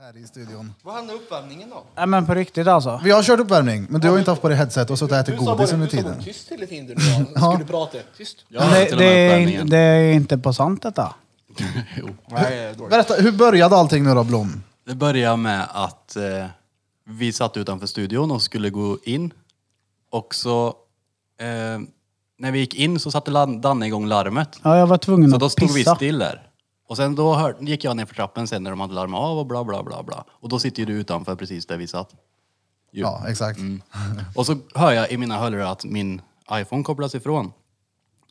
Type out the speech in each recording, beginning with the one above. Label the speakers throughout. Speaker 1: här i studion.
Speaker 2: Vad handlar uppvärmningen om?
Speaker 3: Nej men på riktigt alltså.
Speaker 1: Vi har kört uppvärmning, men du har inte haft på dig headset och suttit och
Speaker 2: Du
Speaker 1: ätit
Speaker 2: sa
Speaker 1: godis
Speaker 2: bara
Speaker 1: under
Speaker 2: du sa bara
Speaker 1: tiden.
Speaker 2: tyst hela tiden nu. Jag skulle prata. Tyst.
Speaker 4: Jag hörde
Speaker 3: det,
Speaker 4: till
Speaker 3: det, är,
Speaker 4: och med
Speaker 3: in-
Speaker 4: uppvärmningen.
Speaker 3: det är inte på sant detta.
Speaker 4: Jo.
Speaker 2: Nej, jag är dålig.
Speaker 1: Berätta, hur började allting nu då Blom?
Speaker 4: Det började med att eh, vi satt utanför studion och skulle gå in. Och så, eh, när vi gick in så satte Lan- Danne igång larmet.
Speaker 3: Ja, jag var tvungen
Speaker 4: Så då
Speaker 3: att
Speaker 4: stod vi
Speaker 3: Mm, pissa.
Speaker 4: still där. Och sen då hör, gick jag ner för trappen sen när de hade larmat av och bla bla bla bla. Och då sitter ju du utanför precis där vi satt. Jo.
Speaker 1: Ja, exakt.
Speaker 4: Och så hör jag i mina hörlurar att min iPhone kopplas ifrån.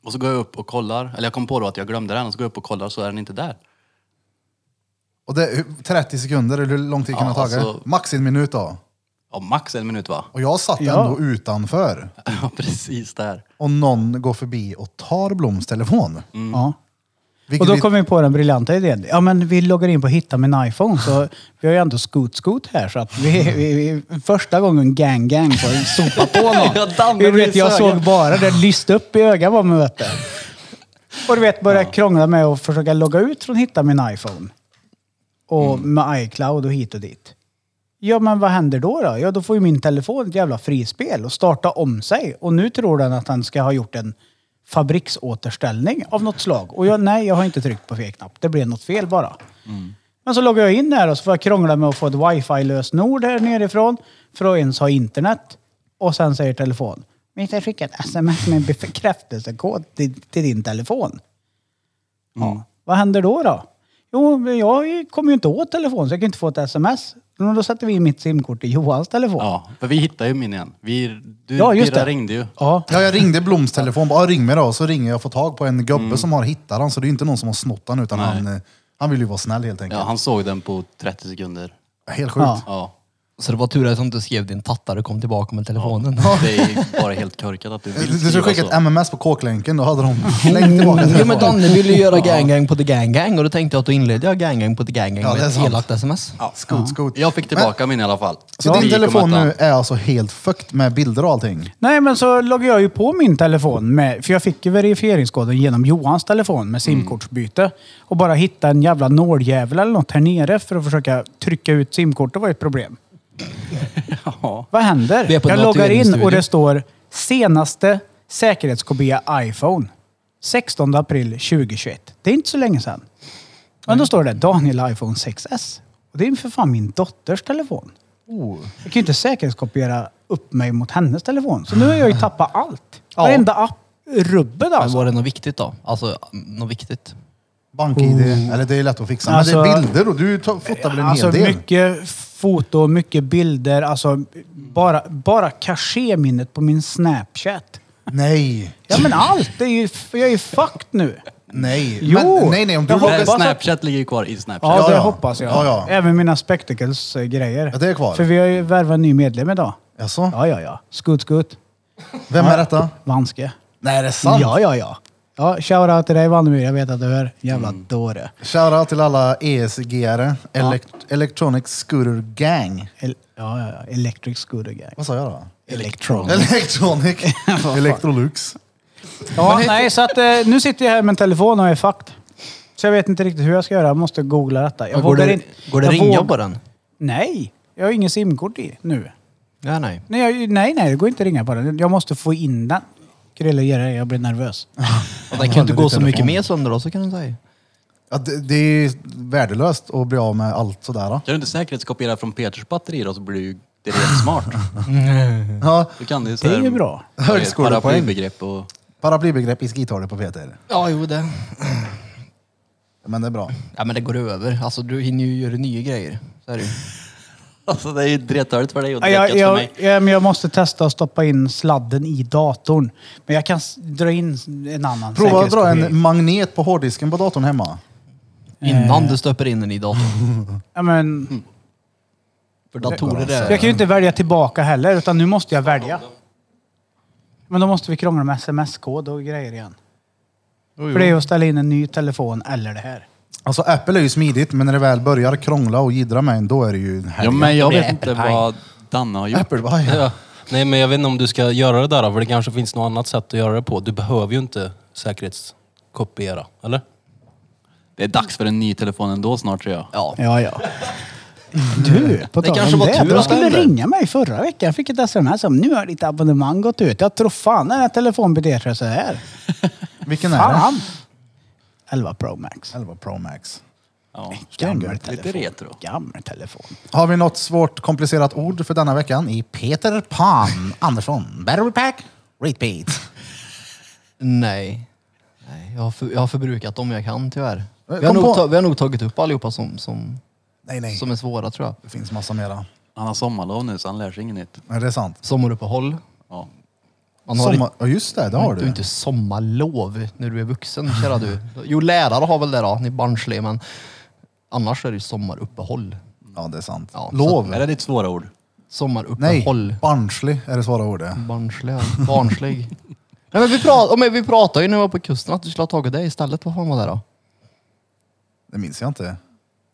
Speaker 4: Och så går jag upp och kollar, eller jag kom på då att jag glömde den och så går jag upp och kollar så är den inte där.
Speaker 1: Och det, hur- 30 sekunder, eller hur lång tid kan det
Speaker 4: Ja,
Speaker 1: ha tagit?
Speaker 4: alltså-
Speaker 1: Max en minut då.
Speaker 4: Ja, max en minut va?
Speaker 1: Och jag satt
Speaker 3: Ja.
Speaker 1: ändå utanför.
Speaker 4: Ja, precis där.
Speaker 1: Och någon går förbi och tar Bloms telefon.
Speaker 4: Mm.
Speaker 3: Ja. Och
Speaker 1: Vilket
Speaker 3: då
Speaker 1: vi-
Speaker 3: kom vi på den briljanta idén. Ja, men vi loggar in på Hitta min iPhone. Så vi har ju ändå Scoot-Scoot här. Så att vi, vi, vi, första gången Gang Gang får sopa på
Speaker 4: Ja,
Speaker 3: någon.
Speaker 4: Danne
Speaker 3: Vi vet,
Speaker 4: blir
Speaker 3: jag
Speaker 4: sögen.
Speaker 3: såg bara det lyst upp i ögat vad man vet. Och du vet, började krångla med att försöka logga ut från Hitta min iPhone. Och
Speaker 4: Mm.
Speaker 3: med iCloud och hit och dit. Ja, men vad händer då? då? Ja, då får ju min telefon ett jävla frispel och starta om sig. Och nu tror den att den ska ha gjort en fabriksåterställning av något slag. Och jag, nej, jag har inte tryckt på fel knapp. Det blev något fel bara. Men så loggar jag in här och så får jag krångla med att få ett wifi-lösenord här nerifrån för att ens ha internet. Och sen säger telefon. Vi har skickat ett sms med en bekräftelsekod till, till din telefon. Ja. Mm. Vad händer då då? Jo, men jag kommer ju inte åt telefon så jag kan inte få ett sms. Men då sätter vi in mitt simkort i Johans telefon.
Speaker 4: Ja, för vi hittade ju min igen. Vi, du,
Speaker 3: Ja, just
Speaker 4: Birra
Speaker 3: det.
Speaker 4: ringde ju.
Speaker 3: Ja.
Speaker 1: Ja, jag ringde Bloms telefon. Bara, "Ja, ring mig då. Så ringer jag och får tag på en gubbe som har hittat den. Så det är ju inte någon som har snott den utan han, eh, han vill ju vara snäll helt enkelt.
Speaker 4: Ja, han såg den på 30 sekunder.
Speaker 1: Helt sjukt.
Speaker 3: Ja.
Speaker 4: Ja.
Speaker 5: Så det var tur att jag inte skrev din tattare och kom tillbaka med telefonen.
Speaker 4: Det är ju bara helt korkat att du
Speaker 1: Du,
Speaker 4: vill
Speaker 1: Eh, du skulle
Speaker 4: skriva
Speaker 1: skicka
Speaker 4: så.
Speaker 1: ett MMS på kåklänken, då hade de längt tillbaka
Speaker 5: Jo men
Speaker 1: telefonen.
Speaker 5: Danne ville ju göra gang gang på the gang gang och då tänkte jag att då inledde jag gang gang på the gang gang
Speaker 1: Ja, det
Speaker 5: med
Speaker 1: är
Speaker 5: ett
Speaker 1: sant.
Speaker 5: elakt sms.
Speaker 1: Skot, skot.
Speaker 4: Jag fick tillbaka min i alla fall.
Speaker 1: Så din
Speaker 4: Vi gick och
Speaker 1: telefon
Speaker 4: mötte
Speaker 1: nu är alltså helt fukt med bilder och allting?
Speaker 3: Nej, men så loggade jag ju på min telefon. Med, för jag fick ju verifieringskoden genom Johans telefon med simkortsbyte. Och bara hitta en jävla nåljävel eller något här nere för att försöka trycka ut simkortet var ju ett problem.
Speaker 4: han. Ja.
Speaker 3: Vad händer?
Speaker 5: Vi är på
Speaker 3: Jag
Speaker 5: en
Speaker 3: loggar in
Speaker 5: dateringsstudio.
Speaker 3: och det står senaste säkerhetskopia iPhone. 16 april 2021. Det är inte så länge sedan. Men då står det Daniel iPhone 6S. Och det är ju för fan min dotters telefon. Jag kan ju inte säkerhetskopiera upp mig mot hennes telefon. Så nu har jag ju tappat allt.
Speaker 5: Ja.
Speaker 3: Varenda app. Rubbet
Speaker 5: Men
Speaker 3: alltså.
Speaker 5: var det något viktigt då? Alltså något viktigt?
Speaker 1: BankID, eller det är lätt att fixa. Men det är
Speaker 3: Oh. Alltså-
Speaker 1: bilder och du tar- fotar väl en
Speaker 3: Alltså
Speaker 1: hel del?
Speaker 3: mycket foto, mycket bilder. Alltså bara, bara cachéminnet på min Snapchat.
Speaker 1: Nej,
Speaker 3: Ja men allt! Det är ju, jag är ju fucked nu.
Speaker 1: nej.
Speaker 3: Jo.
Speaker 1: Men, nej, nej, om du
Speaker 3: Jag
Speaker 1: loggar
Speaker 4: Men
Speaker 3: hoppas att-
Speaker 4: Snapchat ligger ju kvar i
Speaker 3: Ja,
Speaker 4: Snapchat.
Speaker 1: Ja,
Speaker 3: det
Speaker 1: ja.
Speaker 3: hoppas jag.
Speaker 1: Ja, ja.
Speaker 3: Även mina spectacles-grejer.
Speaker 1: Ja, det är kvar.
Speaker 3: För vi har ju värvat en ny medlem idag.
Speaker 1: Jaså?
Speaker 3: Ja, ja, ja. Skutt, skutt.
Speaker 1: Vem är detta?
Speaker 3: Vanske.
Speaker 1: Nej, det är sant.
Speaker 3: Ja, ja, ja. Ja, shoutout till dig Vannemyr. Jag vet att du hör. Jävla
Speaker 1: Mm.
Speaker 3: dåre.
Speaker 1: Shoutout till alla ESG-are. Elekt- Electronic Scooter Gang.
Speaker 3: El- ja, ja, ja. Electric scooter guy.
Speaker 1: Vad sa jag då?
Speaker 3: Electron.
Speaker 1: Electronic. Electrolux.
Speaker 3: Ja, nej, så att eh, nu sitter jag här med en telefon och är fucked. Så jag vet inte riktigt hur jag ska göra. Jag måste googla detta. Jag
Speaker 5: Går
Speaker 3: vågar
Speaker 5: det,
Speaker 3: inte-
Speaker 5: går det
Speaker 3: jag
Speaker 5: ringa
Speaker 3: våg-
Speaker 5: på den?
Speaker 3: Nej. Jag har ingen simkort i nu.
Speaker 5: Ja, nej.
Speaker 3: Nej, jag, nej, nej, det går inte att ringa på den. Jag måste få in den. Krille, ge dig. Jag blir nervös.
Speaker 5: Och den kan ju inte gå så mycket mer sönder då så kan du säga.
Speaker 1: Ja, det, det är ju värdelöst att bli av med allt sådär. Då.
Speaker 4: Kan du inte säkerhetskopiera från Peters batteri då så blir du det är helt smart.
Speaker 3: Mm.
Speaker 1: Ja,
Speaker 4: Du kan ju så
Speaker 3: Det är
Speaker 4: här-
Speaker 3: ju bra.
Speaker 1: Högskolepoäng.
Speaker 4: Paraplybegrepp och...
Speaker 1: paraplybegrepp i skitalet på Peter.
Speaker 5: Ja, jo det.
Speaker 1: Men det är bra.
Speaker 5: Ja men det går över. Alltså du hinner ju göra nya grejer. Så är det ju.
Speaker 4: Alltså det är ju drethörligt för dig och
Speaker 3: Ja,
Speaker 4: dräckat
Speaker 3: Jag,
Speaker 4: för
Speaker 3: jag,
Speaker 4: mig.
Speaker 3: ja, men jag måste testa att stoppa in sladden i datorn. Men jag kan s- dra in en annan
Speaker 1: Prova att dra en
Speaker 3: säkerhetskopi.
Speaker 1: magnet på hårddisken på datorn hemma.
Speaker 5: Innan du stöper in den i datorn.
Speaker 3: Ja, men,
Speaker 5: För datorer
Speaker 4: Alltså,
Speaker 5: är...
Speaker 3: jag kan ju inte välja tillbaka heller, utan nu måste jag välja. Men då måste vi krångla med sms-kod och grejer igen. För det är ju att ställa in en ny telefon eller det här.
Speaker 1: Alltså Apple är ju smidigt, men när det väl börjar krångla och jiddra med en, då är det ju en helg.
Speaker 4: Ja, men jag
Speaker 6: Det blir
Speaker 4: vet inte
Speaker 6: äppelpaj.
Speaker 4: vad Danne har gjort.
Speaker 1: Apple-vaj.
Speaker 6: Ja. Nej, men jag vet inte om du ska göra det där då, för det kanske finns något annat sätt att göra det på. Du behöver ju inte säkerhetskopiera, eller?
Speaker 4: Det är dags för en ny telefon ändå snart tror jag.
Speaker 5: Ja.
Speaker 3: Ja, ja. Du, på
Speaker 6: Det
Speaker 3: tal
Speaker 6: kanske
Speaker 3: om
Speaker 6: var
Speaker 3: det.
Speaker 6: tur
Speaker 3: De
Speaker 6: att
Speaker 3: skulle
Speaker 6: det hände.
Speaker 3: ringa mig förra veckan. Jag fick ett sms om nu har ditt abonnemang gått ut. Jag tror fan den här telefonen beter sig så här.
Speaker 1: Vilken är det?
Speaker 3: Fan! 11 Pro Max.
Speaker 1: 11 Pro Max.
Speaker 4: Ja.
Speaker 3: Gammal
Speaker 1: Lite
Speaker 3: telefon.
Speaker 4: retro.
Speaker 3: Gammal telefon.
Speaker 1: Har vi något svårt komplicerat ord för denna veckan i Peter Pan Andersson? Battery pack, repeat.
Speaker 5: Nej. Nej jag, har för, jag har förbrukat dem jag kan tyvärr. Vi har,
Speaker 1: Eh, kom på-
Speaker 5: nog, ta, vi har nog tagit upp allihopa som, som,
Speaker 1: Nej, nej.
Speaker 5: som är svåra tror jag.
Speaker 1: Det finns massa mera.
Speaker 4: Han har sommarlov nu så han lär sig inget nytt.
Speaker 1: Nej, det är sant.
Speaker 5: Sommaruppehåll.
Speaker 4: Ja.
Speaker 5: Man har
Speaker 1: Sommar... Ja, just det. Det har
Speaker 5: inte, du.
Speaker 1: du.
Speaker 5: inte sommarlov när du är vuxen, kära du. Jo, lärare har väl det då, ni barnsliga, men annars är det ju sommaruppehåll.
Speaker 1: Ja, det är sant.
Speaker 5: Ja, så-
Speaker 1: Lov.
Speaker 4: Är det ditt svåra ord?
Speaker 5: Mm.
Speaker 1: Nej,
Speaker 5: Sommaruppehåll.
Speaker 1: barnslig är det svåra ordet.
Speaker 5: Mm. Barnslig, ja. barnslig. Nej, men vi, prat, men vi pratade ju när vi var på kusten att du skulle ha tagit det istället. Vad fan var det då?
Speaker 1: Det minns jag inte.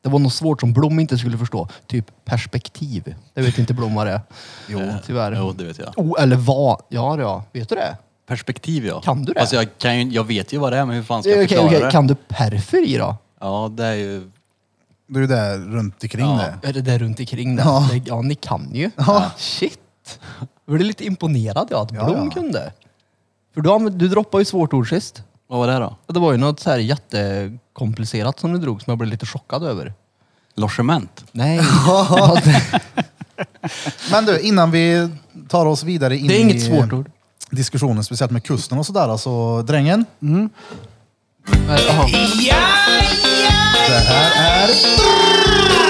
Speaker 5: Det var något svårt som Blom inte skulle förstå. Typ perspektiv. Det vet inte Blom vad det är. Jo. Tyvärr.
Speaker 4: Jo, det vet jag.
Speaker 5: Oh, eller vad? Ja, det ja. Vet du det?
Speaker 4: Perspektiv ja.
Speaker 5: Kan du det? Eh,
Speaker 4: Alltså, jag, kan ju, jag vet ju vad det är men hur fan ska
Speaker 5: Okej,
Speaker 4: jag förklara
Speaker 5: okej.
Speaker 4: det?
Speaker 5: Kan du perferi då?
Speaker 4: Ja, det är ju...
Speaker 1: Det är ju det runt omkring
Speaker 4: Ja.
Speaker 1: det.
Speaker 5: Är det där runt omkring det?
Speaker 1: Ja.
Speaker 5: Ja, ja ni kan ju.
Speaker 1: Ja.
Speaker 5: Shit! Jag blev lite imponerad jag att
Speaker 1: Ja,
Speaker 5: Blom
Speaker 1: ja.
Speaker 5: kunde. För du, använde- du droppade ju svårt ord sist.
Speaker 4: Vad var det då?
Speaker 5: Och Det var ju något så här jättekomplicerat som du drog som jag blev lite chockad över.
Speaker 4: Logement.
Speaker 5: Nej. Fast det-
Speaker 1: Men du, innan vi tar oss vidare in
Speaker 5: det är inget
Speaker 1: i
Speaker 5: svårt ord.
Speaker 1: diskussionen, speciellt med kusten och sådär. Alltså, drängen.
Speaker 5: Mm. Men, aha.
Speaker 1: Det här är...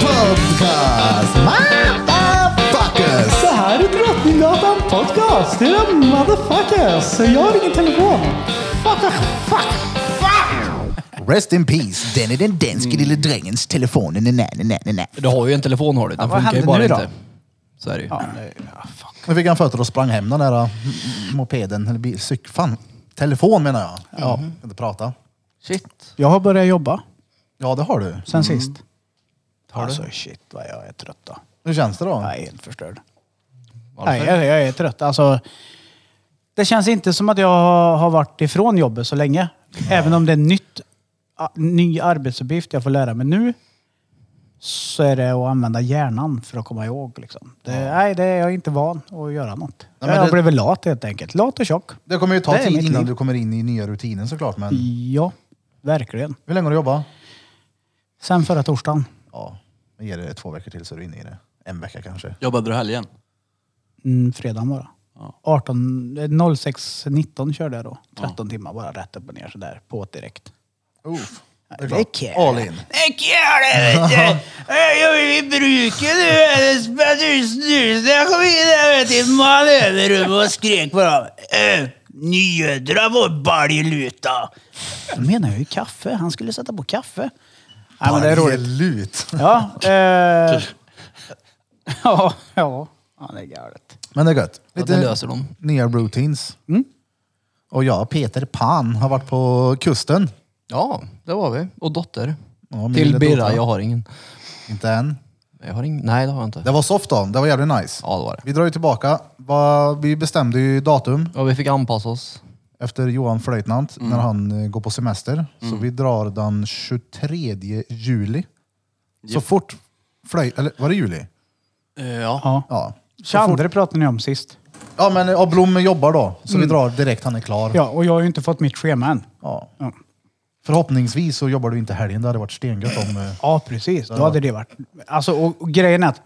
Speaker 1: Podcast! Motherfuckers!
Speaker 7: Det här är Drottninggatan Podcast. Det är motherfuckers. Så jag har ingen telefon. Fuck, fuck, fuck.
Speaker 1: Rest in peace, den är den danske
Speaker 5: Mm.
Speaker 1: lille drängens telefon. Nej, nej, nej, nej, nej.
Speaker 5: Du har ju en telefon har du. Den
Speaker 3: vad
Speaker 5: funkar ju
Speaker 3: hände
Speaker 5: bara
Speaker 3: nu då?
Speaker 5: inte. Så är det ju.
Speaker 3: Ja, det, ja, fuck.
Speaker 1: Nu fick han fötter och sprang hem den där mm, mopeden, eller bil, cyk, fan. Telefon menar jag. Ja. Kan inte prata.
Speaker 5: Shit.
Speaker 3: Jag har börjat jobba
Speaker 1: Ja, det har du.
Speaker 3: sen sist. Mm. Alltså shit vad jag är trött då.
Speaker 1: Hur känns det då?
Speaker 3: Jag är helt förstörd. Nej, jag, jag är trött. Alltså, det känns inte som att jag har- har varit ifrån jobbet så länge. Även om det är nytt, a, ny arbetsuppgift jag får lära mig nu så är det att använda hjärnan för att komma ihåg. Liksom. Det, Nej, det är jag inte van att göra något.
Speaker 1: men
Speaker 3: jag
Speaker 1: det-
Speaker 3: blev väl lat helt enkelt. Lat och tjock.
Speaker 1: Det kommer ju ta
Speaker 3: Det är
Speaker 1: tid
Speaker 3: mitt
Speaker 1: innan
Speaker 3: liv.
Speaker 1: du kommer in i nya rutinen såklart, men
Speaker 3: Ja, verkligen.
Speaker 1: hur länge har du jobbat?
Speaker 3: Sen förra torsdagen.
Speaker 1: Ja, jag ger det två veckor till så är du inne i det. En vecka kanske.
Speaker 4: Jobbade du helgen?
Speaker 3: Mm, fredagen bara.
Speaker 4: Ja.
Speaker 3: 18, eh, 06.19 körde jag då. 13 timmar bara rätt upp och ner sådär. På direkt.
Speaker 1: Uff. Det är
Speaker 3: Det är
Speaker 1: klart.
Speaker 3: kul.
Speaker 1: All in.
Speaker 3: Det är kul det vet du. Jag vill bruka det. Snusen jag kom in där vet du. Man över rummet och skrek på dem. Äh, Njödra vår baljeluta. Då menar jag ju kaffe. Han skulle sätta på kaffe. Ja, men det är roligt.
Speaker 1: Lut.
Speaker 3: Ja, eh, ja, ja. ja, det är galet.
Speaker 1: Men det är gött.
Speaker 5: Ja, det löser de.
Speaker 1: nya routines.
Speaker 3: Mm.
Speaker 1: Och jag och Peter Pan har varit på kusten.
Speaker 5: Ja, det var vi. Och dotter.
Speaker 1: Ja, min lilla
Speaker 5: Till Birra.
Speaker 1: dotter.
Speaker 5: Jag har ingen.
Speaker 1: Inte än.
Speaker 5: Jag har ingen. Nej, det har jag inte.
Speaker 1: Det var soft då. Det var jävligt nice.
Speaker 5: Ja, det var det.
Speaker 1: Vi drar ju tillbaka. Vad- Vi bestämde ju datum
Speaker 5: Ja, vi fick anpassa oss. Mm.
Speaker 1: efter Johan Flöjtnant när han eh, går på semester. Så vi drar den 23 juli. Så fort flöjt... Eller var det juli?
Speaker 5: Eh,
Speaker 4: ja.
Speaker 3: Ja.
Speaker 1: Ja. Så fort,
Speaker 3: 22 pratade ni om sist.
Speaker 1: ja men ja, Blom jobbar då. Så vi
Speaker 5: Mm.
Speaker 1: drar direkt. Han är klar.
Speaker 3: Ja, och jag har ju inte fått mitt schema än.
Speaker 1: Ja.
Speaker 3: Ja.
Speaker 1: Förhoppningsvis så jobbar du inte helgen. Det hade varit stengött om... eh,
Speaker 3: Ja, precis. Då hade det varit... Alltså, och, och grejen är att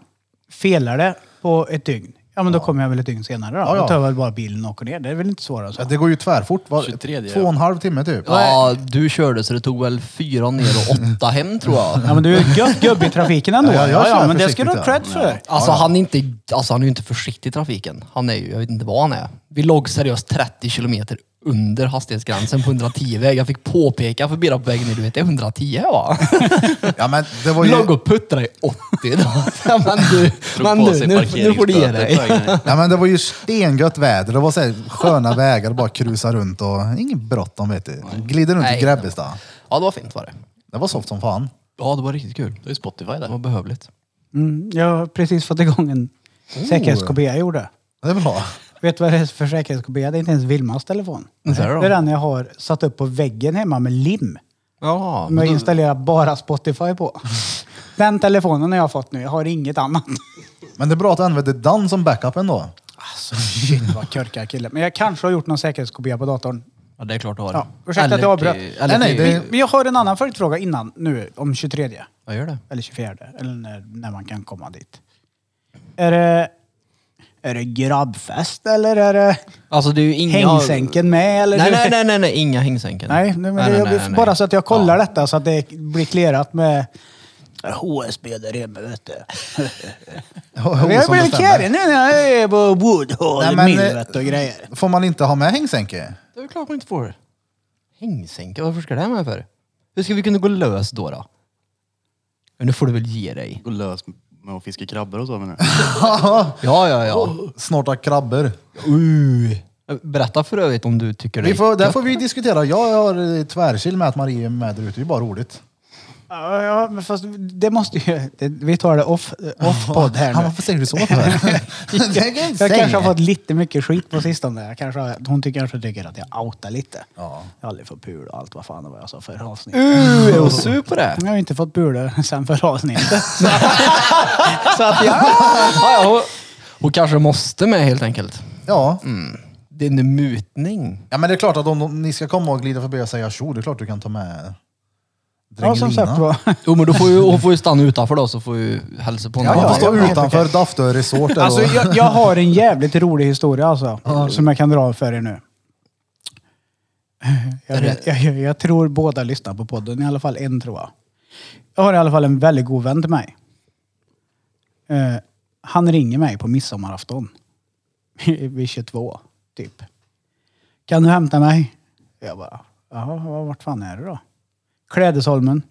Speaker 3: felar det på ett dygn, ja men då kommer jag väl ett dygn senare då.
Speaker 1: Ja, ja.
Speaker 3: Då tar jag väl bara bilen och åker ner. Det är väl inte svårare än så.
Speaker 1: Ja, det går ju tvärfort. Var,
Speaker 4: 23, ja.
Speaker 1: två och en halv timme typ.
Speaker 5: Ja, du körde så det tog väl fyra ner och åtta hem tror jag.
Speaker 3: Ja, men du är gött gubb i trafiken ändå.
Speaker 1: Ja, jag kör
Speaker 3: men det ska du ha
Speaker 1: försiktigt, ja.
Speaker 3: cred för.
Speaker 5: Alltså han, är inte, alltså han är ju inte försiktig i trafiken. Han är ju, jag vet inte vad han är. Vi låg seriöst 30 kilometer under hastighetsgränsen på 110-väg. Jag fick påpeka för Birra på vägen ner, du vet det är 110 här, va?
Speaker 1: Ja, men det var ju...
Speaker 5: Låg och puttrade i 80 då. Men du,
Speaker 4: Drog
Speaker 5: men
Speaker 4: på
Speaker 5: du
Speaker 4: sig
Speaker 5: nu, nu får du ge
Speaker 4: parkeringsböter på
Speaker 5: dig.
Speaker 4: vägen hit.
Speaker 1: Ja, men det var ju stengött väder. Det var så här, sköna vägar, bara krusa runt och inget bråttom vet du. Glider runt
Speaker 5: Nej.
Speaker 1: i Grebbestad.
Speaker 5: Ja det var fint var det.
Speaker 1: Det var soft som fan.
Speaker 5: Ja det var riktigt kul.
Speaker 4: Det är Spotify
Speaker 5: Det
Speaker 4: där.
Speaker 5: var behövligt.
Speaker 3: Mm, jag har precis fått igång en säkerhetskopia jag gjorde.
Speaker 1: Det är bra.
Speaker 3: Vet du vad det är för säkerhetskopia? Det är inte ens Vilmas telefon.
Speaker 5: Så är det då.
Speaker 3: är den jag har satt upp på väggen hemma med lim.
Speaker 5: Ja,
Speaker 3: Men jag installerar bara Spotify på. Den telefonen har jag fått nu, jag har inget annat.
Speaker 1: Men det är bra att du använder den som backup ändå.
Speaker 3: Alltså shit vad körkad kille. Men jag kanske har gjort någon säkerhetskopia på datorn.
Speaker 5: ja det är klart du har.
Speaker 3: Ja, ursäkta att
Speaker 5: Eller
Speaker 3: jag avbröt.
Speaker 5: till- Eller
Speaker 1: Nej, nej,
Speaker 5: till-
Speaker 1: det-
Speaker 3: Men jag har en annan följdfråga innan nu om 23
Speaker 5: Jag gör det.
Speaker 3: eller 24 eller när, när man kan komma dit. Är det, är det grabbfest eller är det
Speaker 5: Alltså det är ju inga...
Speaker 3: hängsänken med? Eller
Speaker 5: Nej,
Speaker 3: du-
Speaker 5: nej, nej, nej, nej, inga hängsänken.
Speaker 3: Nej, nej, men det, jag, bara så att jag kollar detta så att det blir clearat med HSB där hemma vet du. Jag
Speaker 1: Olsson
Speaker 3: blir
Speaker 1: bestämmer.
Speaker 3: kär nu när jag är på
Speaker 1: Nej,
Speaker 3: Woodhall,
Speaker 1: men, eh,
Speaker 3: Millvet och grejer.
Speaker 1: Får man inte ha med hängsänke?
Speaker 5: Det är väl klart man inte får. Hängsänke, varför ska det med för? Hur ska vi kunna gå lös då? då? Men nu får du väl ge dig.
Speaker 4: Gå lös med att fiska krabbor och så menar
Speaker 5: Ja, ja, ja.
Speaker 1: Snorta krabbor.
Speaker 5: Uh. Berätta för övrigt om du tycker det
Speaker 1: Vi
Speaker 5: är
Speaker 1: får, där
Speaker 5: gött.
Speaker 1: får vi diskutera. Jag har eh, tvärchill med att Marie är med där ute. Det är bara roligt.
Speaker 3: Ja, ja, men fast det måste ju... Det, vi tar det off, off podd här
Speaker 1: Ja,
Speaker 3: nu.
Speaker 1: varför säger du så för? det kan jag inte
Speaker 3: Jag kanske har
Speaker 1: säga.
Speaker 3: fått lite mycket skit på sistone. Jag kanske, har- hon tycker kanske tycker att jag outar lite.
Speaker 1: Ja.
Speaker 3: Jag har aldrig fått pul och allt vad fan det var jag sa förra avsnittet.
Speaker 5: Uh, är hon sur på det?
Speaker 3: Jag har ju inte fått pul sen förra avsnittet.
Speaker 5: Så att jag... ja, ja, hon, hon kanske måste med helt enkelt.
Speaker 1: Ja.
Speaker 5: Det är en mutning.
Speaker 1: ja, men det är klart att om de- ni ska komma och glida förbi och säga tjo, det är klart du kan ta med
Speaker 3: Ja, som sagt
Speaker 1: Drängelina.
Speaker 3: var.
Speaker 5: Jo, men då får ju, hon får ju stanna utanför då så får ju hälsa på
Speaker 1: Ja,
Speaker 5: henne.
Speaker 1: man får stå
Speaker 3: ja, ja.
Speaker 1: utanför Daftö Resort. där
Speaker 3: Alltså,
Speaker 1: och-
Speaker 3: jag, jag har en jävligt rolig historia alltså, som jag kan dra för er nu. Jag, vet, jag, jag, jag tror båda lyssnar på podden, i alla fall en tror jag. Jag har i alla fall en väldigt god vän till mig. Eh, han ringer mig på midsommarafton. Vid 22, typ. Kan du hämta mig? Jag bara, jaha, vart fan är du då? Klädesholmen.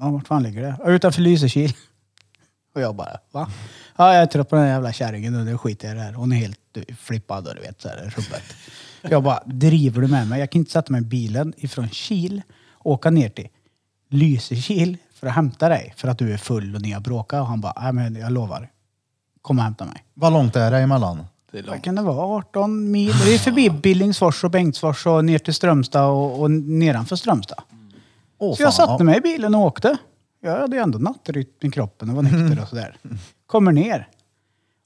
Speaker 3: Ja, vart fan ligger det? "Ja, Utanför Lysekil. Och jag bara, va? Ja, jag är trött på den här jävla kärringen nu, nu skiter jag i det här. Hon är helt flippad och du vet, så här rubbet. Jag bara, driver du med mig? Jag kan inte sätta mig i bilen ifrån Kil och åka ner till Lysekil för att hämta dig för att du är full och ni har bråkat. Och han bara, nej men jag lovar. Kom och hämta mig.
Speaker 1: Vad långt är det emellan?
Speaker 3: Vad kan det vara? 18 mil? Det är förbi Billingsfors och Bengtsfors och ner till Strömstad och, och nedanför Strömstad.
Speaker 1: Åh,
Speaker 3: Så jag
Speaker 1: fan,
Speaker 3: satte mig i bilen och åkte. Jag hade ju ändå nattrytm i kroppen och var
Speaker 1: Mm.
Speaker 3: nykter och sådär. Kommer ner.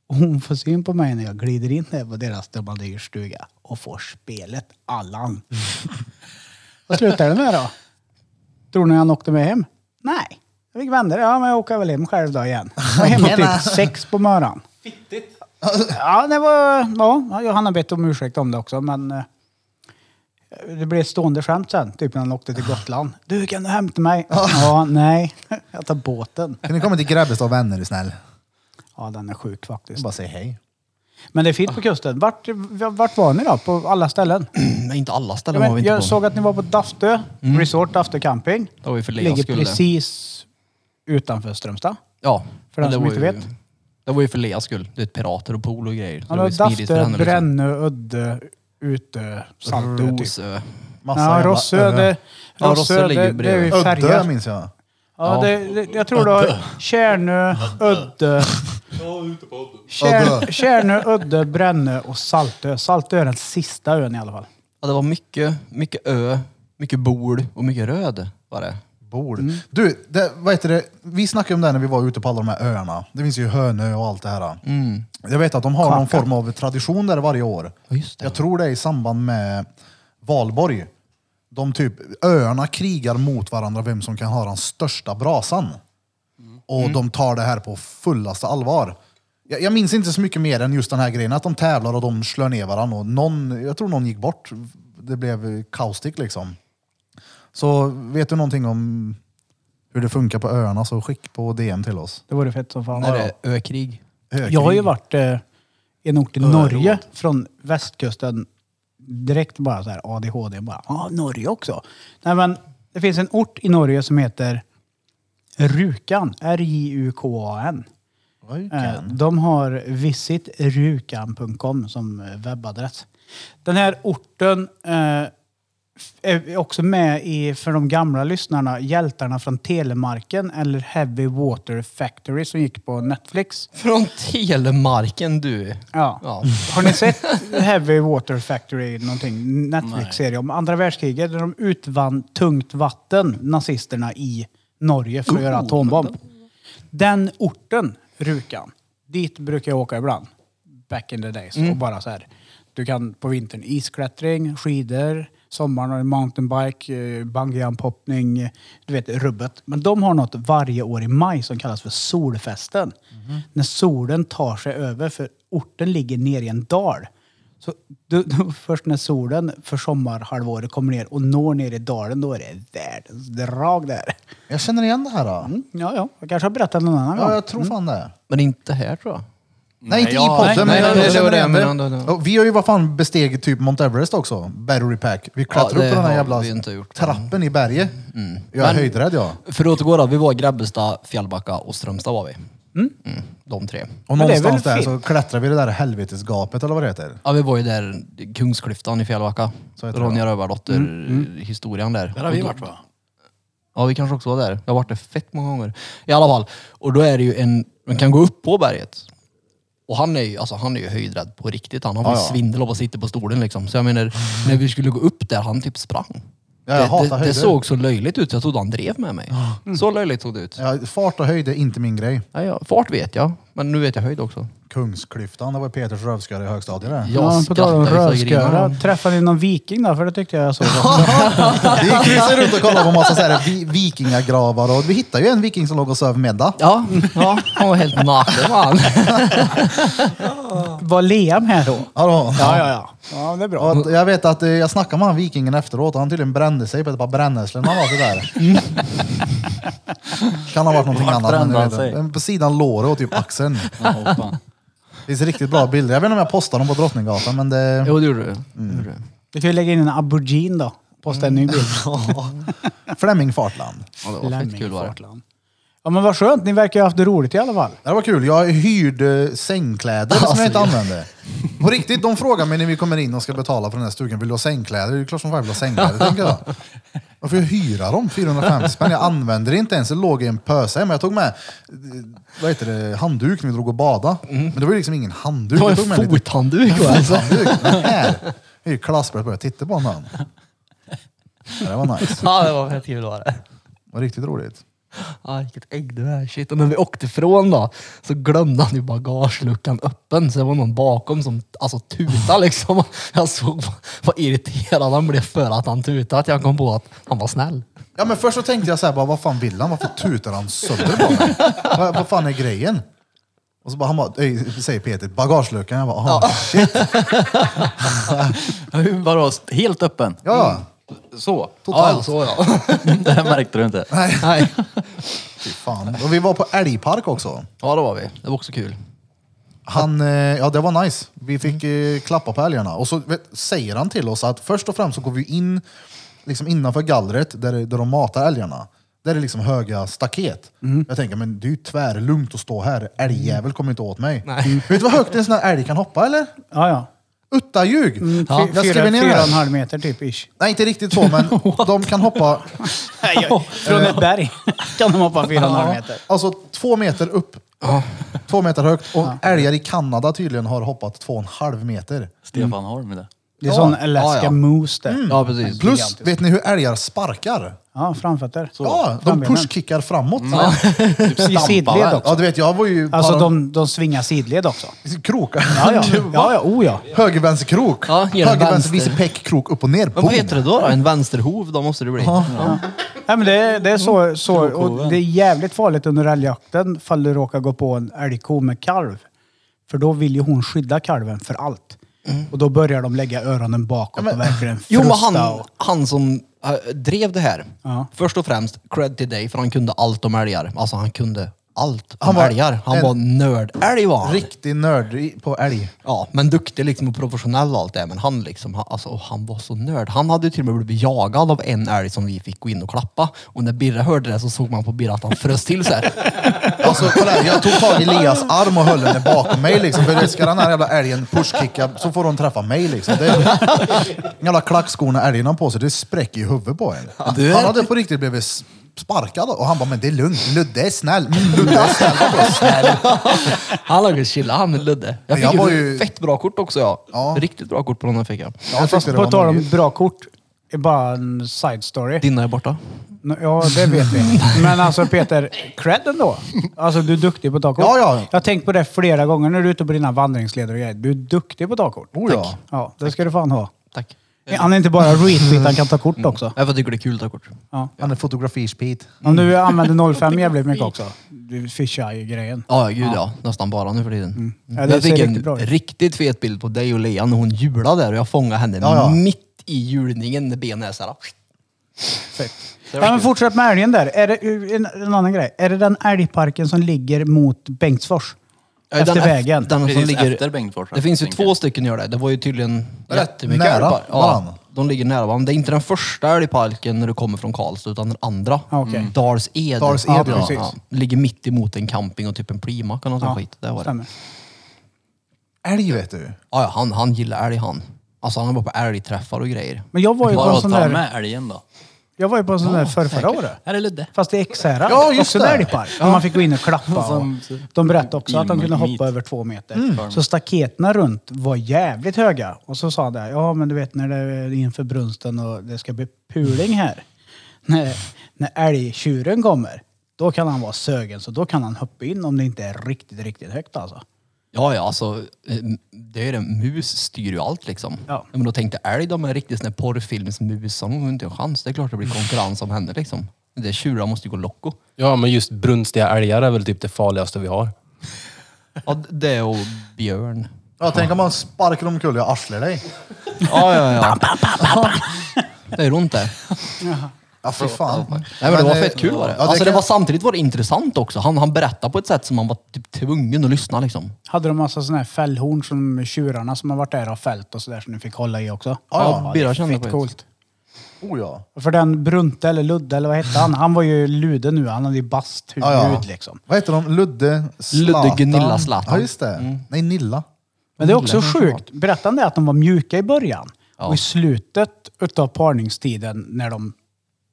Speaker 3: Och hon får syn på mig när jag glider in där på deras dubbeldyrsstuga och får spelet Allan. Vad slutade det med då? Tror ni han åkte med hem? Nej. Jag fick vända det. Ja, men jag åker väl hem själv då igen. Jag var hemma typ sex på morgonen. Fittigt. Ja, det var... Ja, Johanna bett om ursäkt om det också, men... eh, det blev ett stående skämt sen, typ när han åkte till Gotland. Du, kan du hämta mig? ja, nej. Jag tar båten.
Speaker 1: Kan ni komma till Grebbestad och vänner är du snäll?
Speaker 3: Ja, den är sjuk
Speaker 1: Jag
Speaker 3: faktiskt.
Speaker 1: bara säger hej.
Speaker 3: Men det är fint på kusten. Vart, vart var ni då? På alla ställen?
Speaker 5: Nej, inte alla
Speaker 3: Jag,
Speaker 5: ställen var vi
Speaker 3: men,
Speaker 5: inte på. Mm.
Speaker 3: jag såg att ni var på Daftö Resort, Daftö Camping.
Speaker 5: Det var ju för Leas
Speaker 3: Ligger
Speaker 5: skull.
Speaker 3: precis utanför Strömstad.
Speaker 5: Ja.
Speaker 3: För
Speaker 5: men
Speaker 3: den
Speaker 5: det
Speaker 3: som
Speaker 5: var
Speaker 3: inte
Speaker 5: ju-
Speaker 3: vet.
Speaker 5: Det var ju för Leas skull. Det är ett pirater och pool och grejer. Så
Speaker 3: Ja,
Speaker 5: det var
Speaker 3: då
Speaker 5: ju smidigt för
Speaker 3: Daftö,
Speaker 5: henne. liksom.
Speaker 3: Brännö, Alltså, Udde, Utö, Saltö typ.
Speaker 5: Rosö.
Speaker 1: Massa
Speaker 3: Ja,
Speaker 1: jävla
Speaker 3: Rossö, det,
Speaker 5: Ja, Rossö
Speaker 3: Rossö,
Speaker 5: ligger
Speaker 3: det, det är ju
Speaker 5: bredvid.
Speaker 3: färger.
Speaker 1: Ödde minns jag.
Speaker 3: Ja, det, det, jag tror du har Tjärnö, Ödde. Tjär-
Speaker 1: Ödde.
Speaker 3: Tjärnö, Ödde, Brännö och Saltö. Saltö är den sista ön i alla fall.
Speaker 5: Ja, det var mycket, mycket ö, mycket bord och mycket röd var det.
Speaker 1: Bord.
Speaker 5: Mm.
Speaker 1: Du, det, vad heter det? vi snackade om det här när vi var ute på alla de här öarna. Det finns ju Hönö och allt det här. Jag vet att de har någon form av tradition där varje år.
Speaker 5: Mm. Ja, just det.
Speaker 1: Jag tror det är i samband med valborg. De typ, öarna krigar mot varandra vem som kan ha den största brasan. Och
Speaker 5: Mm.
Speaker 1: de tar det här på fullaste allvar. Jag, jag minns inte så mycket mer än just den här grejen att de tävlar och de slår ner varandra. Och någon, jag tror någon gick bort. Det blev kaustik liksom. Så vet du någonting om hur det funkar på öarna så skick på DM till oss.
Speaker 3: Det vore fett som fan.
Speaker 5: När det är ökrig.
Speaker 3: Jag har ju varit eh, i en ort i Norge från västkusten. Direkt bara så här ADHD. Bara, ah, Norge också. Nej, men det finns en ort i Norge som heter Rjukan. R-J-U-K-A-N. Eh, De har visitrukan.com som eh, webbadress. Den här orten eh, är också med i, för de gamla lyssnarna, Hjältarna från Telemarken eller Heavy Water Factory som gick på Netflix.
Speaker 5: Från Telemarken du.
Speaker 3: Ja.
Speaker 5: Ja.
Speaker 3: Har ni sett Heavy Water Factory, någonting, Netflix-serie om andra världskriget där de utvann tungt vatten, nazisterna, i Norge för att göra atombomb? Den orten, Rukan, dit brukar jag åka ibland, back in the days, och bara så här. Du kan på vintern isklättring, skidor, sommaren har du mountainbike, eh, bungyjump-hoppning, eh, du vet rubbet. Men de har något varje år i maj som kallas för solfesten. När solen tar sig över, för orten ligger ner i en dal. Så du, du, först när solen för sommarhalvåret kommer ner och når ner i dalen, då är det världens drag där. Mm,
Speaker 1: Jag känner igen det här. Då.
Speaker 3: Ja, ja, jag kanske har berättat någon annan gång.
Speaker 1: Ja, jag tror fan det.
Speaker 5: Men inte här tror jag.
Speaker 1: Nej, inte i
Speaker 4: ja,
Speaker 1: podden.
Speaker 5: Mm. nej,
Speaker 1: men
Speaker 5: nej,
Speaker 1: jag
Speaker 5: det var det jag
Speaker 1: känner igen
Speaker 5: menade.
Speaker 1: det. Och Vi har ju vad fan bestigit typ Mount Everest också. Battery Pack. Vi klättrade
Speaker 5: Ja, det
Speaker 1: upp på den här
Speaker 5: har
Speaker 1: jävla
Speaker 5: vi inte gjort. Mm.
Speaker 1: trappen i berget. Jag är
Speaker 5: Men-
Speaker 1: höjdrädd jag.
Speaker 5: För att återgå då, vi var i Grebbestad, Fjällbacka och Strömstad var vi. Mm, de tre.
Speaker 1: Och
Speaker 3: Men det är väl
Speaker 1: någonstans där
Speaker 3: fint.
Speaker 1: så klättrar vi det där helvetesgapet eller vad det heter.
Speaker 5: Ja, vi var ju där, Kungsklyftan i Fjällbacka.
Speaker 1: Så heter det,
Speaker 5: Ronja Mm. Rövardotter-historien där.
Speaker 4: Där har vi
Speaker 5: Och då-
Speaker 4: varit va?
Speaker 5: Ja, vi kanske också var där. Jag har varit där fett många gånger. I alla fall. Och då är det ju en... Man kan gå upp på berget. Och han är ju, alltså, han är ju höjdrädd på riktigt. Han har ja,
Speaker 1: Ja, ja.
Speaker 5: svindel av att sitta på stolen liksom. Så jag menar, när vi skulle gå upp där, han typ sprang.
Speaker 1: Ja, jag hatar
Speaker 5: det, det,
Speaker 1: höjder.
Speaker 5: det såg så löjligt ut. Jag trodde han drev med mig. Så löjligt såg det ut.
Speaker 1: Ja, fart och höjd är inte min grej.
Speaker 5: Ja, ja, fart vet jag, men nu vet jag höjd också.
Speaker 1: Kungsklyftan, det var Peters rövsköre i högstadiet det.
Speaker 5: Jag
Speaker 3: Ja, på tal om
Speaker 5: skrattar ju så jag
Speaker 3: rövsköra.
Speaker 5: grinar.
Speaker 3: Träffade ni någon viking då? För det tyckte jag jag såg.
Speaker 1: Vi gick ju runt och kollade på massa så här, vi, vikingagravar och vi hittade ju en viking som låg och söv middag.
Speaker 5: Ja, ja, han var helt naken man.
Speaker 3: Var Liam här då?
Speaker 1: Ja, då.
Speaker 3: ja, ja. Ja, det är bra.
Speaker 1: Och att jag vet att eh, jag snackade med han vikingen efteråt och han tydligen brände sig på ett par brännässlor när han var sådär. Kan ha varit någonting
Speaker 4: Mm. Vart
Speaker 1: annat. men
Speaker 4: brände
Speaker 1: jag
Speaker 4: han
Speaker 1: vet inte.
Speaker 4: sig?
Speaker 1: På sidan låret och typ axeln. Det finns riktigt bra bilder. Jag vet inte om jag postar dem på Drottninggatan men det...
Speaker 5: Jo, det gjorde du. Det
Speaker 1: Mm.
Speaker 5: gjorde du.
Speaker 3: Vi kan ju lägga in en aubergine då. Posta en ny bild.
Speaker 1: Flemming Fartland.
Speaker 5: Ja, det var fett kul var det.
Speaker 3: Fartland. Ja men vad skönt, ni verkar ju ha haft det roligt i alla fall.
Speaker 1: Det var kul. Jag hyrde sängkläder som jag inte
Speaker 5: Alltså,
Speaker 1: använde. På riktigt, de frågar mig när vi kommer in och ska betala för den här stugan, vill du ha sängkläder? Det är ju klart som fan jag vill ha sängkläder, tänker jag. Varför jag hyra dem? 450 spänn. Jag använder det inte ens. Det låg i en pöse hemma. Jag tog med eh, vad heter det, handduk när vi drog och badade. Men det var ju liksom ingen handduk.
Speaker 5: Mm.
Speaker 1: Jag
Speaker 5: Det var
Speaker 1: tog med
Speaker 5: en alltså.
Speaker 1: lite
Speaker 5: fothandduk va?
Speaker 1: fothandduk. Den här är ju klassbröd. Jag titta på honom. Det där var nice.
Speaker 5: Ja, det var fett kul var det.
Speaker 1: Det var riktigt roligt.
Speaker 5: Ja, "Ah, vilket ägg du är. Shit. Och när vi åkte ifrån då, så glömde han ju bagageluckan öppen. Så det var någon bakom som alltså, tutade liksom. Jag såg vad- vad irriterad han blev för att han tutade. Att jag kom på att han var snäll.
Speaker 1: Ja, men först så tänkte jag så här, bara, vad fan vill han? Varför tutar han sönder på mig? vad, vad fan är grejen? Och så bara, han bara, "Ey", säger Peter, bagageluckan. Jag bara, "Ah, shit.
Speaker 4: Vadå, helt öppen?
Speaker 1: Ja, ja.
Speaker 4: Så?
Speaker 1: Totalt.
Speaker 5: Ja, så ja.
Speaker 4: Det här märkte du inte?
Speaker 1: Nej,
Speaker 5: Nej.
Speaker 1: fy fan. Och vi var på älgpark också.
Speaker 5: Ja, det var vi. Det var också kul.
Speaker 1: Han, eh, ja det var nice. Vi fick eh, klappa på älgarna. Och så vet, säger han till oss att först och främst så går vi in liksom innanför gallret där, där de matar älgarna. Där är det liksom höga staket.
Speaker 3: Mm.
Speaker 1: Jag tänker, men det är ju tvärlugnt att stå här. Älgjävel kommer inte åt mig. Mm. Vet du vad högt en sån här älg kan hoppa eller?
Speaker 3: Ja ja.
Speaker 1: Uttaljug!
Speaker 3: Fy-
Speaker 1: Jag
Speaker 3: Mm. Fyra,
Speaker 1: skriver ner
Speaker 3: fyra och en
Speaker 1: det.
Speaker 3: halv meter typ ish.
Speaker 1: Nej, inte riktigt så, men de kan hoppa
Speaker 3: Från ett berg kan de hoppa fyra och en halv meter.
Speaker 1: alltså, två meter upp. Två meter högt. Och älgar i Kanada tydligen har hoppat två och en halv meter.
Speaker 4: Stefan Holm det.
Speaker 3: Det är sån Alaska
Speaker 5: ja, ja.
Speaker 3: Moose där.
Speaker 5: Ja, precis.
Speaker 1: Plus, vet ni hur älgar sparkar?
Speaker 3: Ja, framfötter.
Speaker 1: Ja, de
Speaker 3: Frambenen.
Speaker 1: pushkickar framåt.
Speaker 5: Mm.
Speaker 3: I sidled också.
Speaker 1: Ja, du vet, jag var ju
Speaker 3: Alltså
Speaker 1: bara-
Speaker 3: de, de svingar sidled också.
Speaker 1: krokar.
Speaker 3: Ja, ja. ja, ja, oh, ja.
Speaker 1: Höger, vänster, krok.
Speaker 5: Ja, genom
Speaker 1: Höger, vänster,
Speaker 5: vänster.
Speaker 1: vice, peck, krok, upp och ner.
Speaker 5: Men
Speaker 1: Boom.
Speaker 5: vad heter det då? då? En vänsterhov, då måste det bli.
Speaker 3: Nej, men det, det är
Speaker 5: Mm.
Speaker 3: så, så och det är jävligt farligt under älgjakten fall du råkar gå på en älgko med kalv. För då vill ju hon skydda kalven för allt. Och då börjar de lägga öronen bakåt och verkligen frusta.
Speaker 5: Jo, Mm. men han,
Speaker 3: och,
Speaker 5: han som eh, drev det här.
Speaker 3: Ja.
Speaker 5: Först och främst, cred till dig, för han kunde allt om älgar. Alltså han kunde allt
Speaker 1: Han
Speaker 5: om
Speaker 1: var
Speaker 5: älgar. Han
Speaker 1: en-
Speaker 5: var nördälg var han.
Speaker 1: Riktig nörd i- på älg.
Speaker 5: Ja, men duktig liksom och professionell och allt det. Men han liksom, han, alltså, och han var så nörd. Han hade ju till och med blivit jagad av en älg som vi fick gå in och klappa. Och när Birre hörde det så såg man på Birre att han frös till sig.
Speaker 1: Alltså kolla här, jag tog tag i Elias arm och höll henne bakom mig liksom. För ska den här jävla älgen pushkicka så får hon träffa mig liksom. Det är, jävla klackskorna älgen har på sig, det spräcker ju huvudet på en.
Speaker 5: Du är-
Speaker 1: Han hade på riktigt blivit s- sparkad och han bara, men det är lugnt, Ludde är snäll. Mm, Ludde är snäll, Ludde är snäll.
Speaker 5: Han låg och chillade han med Ludde. Jag fick
Speaker 1: Jag var
Speaker 5: ju
Speaker 1: ju-
Speaker 5: fett bra kort också ja.
Speaker 1: Ja.
Speaker 5: Riktigt bra kort på honom fick jag.
Speaker 1: Jag tyckte det
Speaker 3: På
Speaker 1: var
Speaker 3: tal om
Speaker 1: nöjd.
Speaker 3: bra kort, är bara en side story.
Speaker 5: Dina är borta.
Speaker 3: Nå, Ja, det vet vi. Men alltså Peter, cred ändå. Alltså du är duktig på att ta kort.
Speaker 1: Ja, ja.
Speaker 3: Jag har tänkt på det flera gånger när du är ute på dina vandringsleder och grejer. Du är duktig på att ta kort.
Speaker 1: Oh, ja.
Speaker 3: Ja, det ska du fan ha.
Speaker 5: Tack.
Speaker 3: Han är inte bara retweet, han kan ta kort också.
Speaker 5: Jag tycker det är kul att ta kort.
Speaker 3: Ja.
Speaker 1: Han är fotografispit.
Speaker 3: Om du använder 05 jävligt mycket också. Du fishar ju grejen.
Speaker 5: Ja, gud ja. Nästan bara nu för tiden. Mm.
Speaker 3: Ja, det
Speaker 5: jag fick
Speaker 3: ser
Speaker 5: en
Speaker 3: riktigt bra ut.
Speaker 5: riktigt fet bild på dig och Lea när hon hjulade där och jag fångade henne
Speaker 1: Ja, ja.
Speaker 5: mitt i hjulningen när benen är såhär.
Speaker 3: Fett. Ja, men fortsätt med älgen där. Är det, en, en annan grej. Är det den älgparken som ligger mot Bengtsfors? Efter
Speaker 5: den,
Speaker 3: vägen.
Speaker 5: Den som
Speaker 4: Precis
Speaker 5: ligger,
Speaker 4: efter Bengtsfors,
Speaker 5: Det finns ju
Speaker 4: tänker
Speaker 5: två stycken gör det. Det var ju tydligen
Speaker 1: Rätt
Speaker 5: jättemycket
Speaker 1: nära
Speaker 5: älgpar-
Speaker 1: varann.
Speaker 5: Ja, de ligger nära varandra. Det är inte den första älgparken när du kommer från Karlstad utan den andra.
Speaker 3: Ja, okej. Mm.
Speaker 5: Dals Ed.
Speaker 1: Dals Ed, ja,
Speaker 3: precis.
Speaker 5: Ligger mitt emot en camping och typ en primack eller något sånt skit. Det var det.
Speaker 3: stämmer.
Speaker 1: Älg vet du.
Speaker 5: Ja, ja, han, han gillar älg han. Alltså han var på älgträffar och grejer.
Speaker 3: Men jag var ju på
Speaker 4: Bara
Speaker 3: en
Speaker 4: att
Speaker 3: sån
Speaker 4: ta
Speaker 3: där,
Speaker 4: med älgen då.
Speaker 3: jag var ju på en sån där förr, förra året.
Speaker 4: Här är Ludde.
Speaker 3: Fast i Ekshärad.
Speaker 1: Ja, just
Speaker 3: också en
Speaker 1: det.
Speaker 3: älgpark. Man fick gå in och klappa. Och de berättade också att de kunde
Speaker 4: Meat.
Speaker 3: hoppa över två meter. Så staketerna runt var jävligt höga. Och så sa han där, ja men du vet när det är inför brunsten och det ska bli puling här. När, när älgtjuren kommer, då kan han vara sögen. Så då kan han hoppa in om det inte är riktigt, riktigt högt alltså.
Speaker 5: Ja, ja, alltså eh, det är det. Mus styr ju allt liksom.
Speaker 3: Ja.
Speaker 5: Men då tänkte jag, älg, de är riktigt sån här porrfilmsmus. Hon har inte en chans. Det är klart det blir konkurrens om henne liksom. Det är tjurar måste ju gå loco.
Speaker 6: Ja, men just brunstiga älgar är väl typ det farligaste vi har.
Speaker 5: Ja, det och björn.
Speaker 1: Ja, tänk om man sparkar omkull och arslar dig.
Speaker 5: Ja, ja, ja. Det är runt det.
Speaker 1: Ja, fy fan.
Speaker 5: Nej, men det var
Speaker 1: eh,
Speaker 5: fett kul var det.
Speaker 1: Ja, det
Speaker 5: Alltså det
Speaker 1: kan-
Speaker 5: var samtidigt var det intressant också. Han, han berättade på ett sätt som man var typ tvungen att lyssna liksom.
Speaker 3: Hade de massa såna här fällhorn som tjurarna som har varit där har fällt och sådär som ni fick hålla i också?
Speaker 5: Ja, Birra kände på
Speaker 3: Fett
Speaker 5: det.
Speaker 3: coolt.
Speaker 1: Oh ja.
Speaker 3: För den Brunte eller Ludde eller vad hette han? Han var ju lude nu. Han hade ju basthuvud
Speaker 1: Ja, ja.
Speaker 3: liksom.
Speaker 1: Vad heter de? Ludde, Zlatan.
Speaker 5: Ludde Gunilla Zlatan. Mm.
Speaker 1: Ja, just det. Nej, Nilla.
Speaker 3: Men det är också
Speaker 5: Gillar
Speaker 1: Mm.
Speaker 5: den
Speaker 3: sjukt. Berättande är att de var mjuka i början. Och i slutet utav parningstiden när de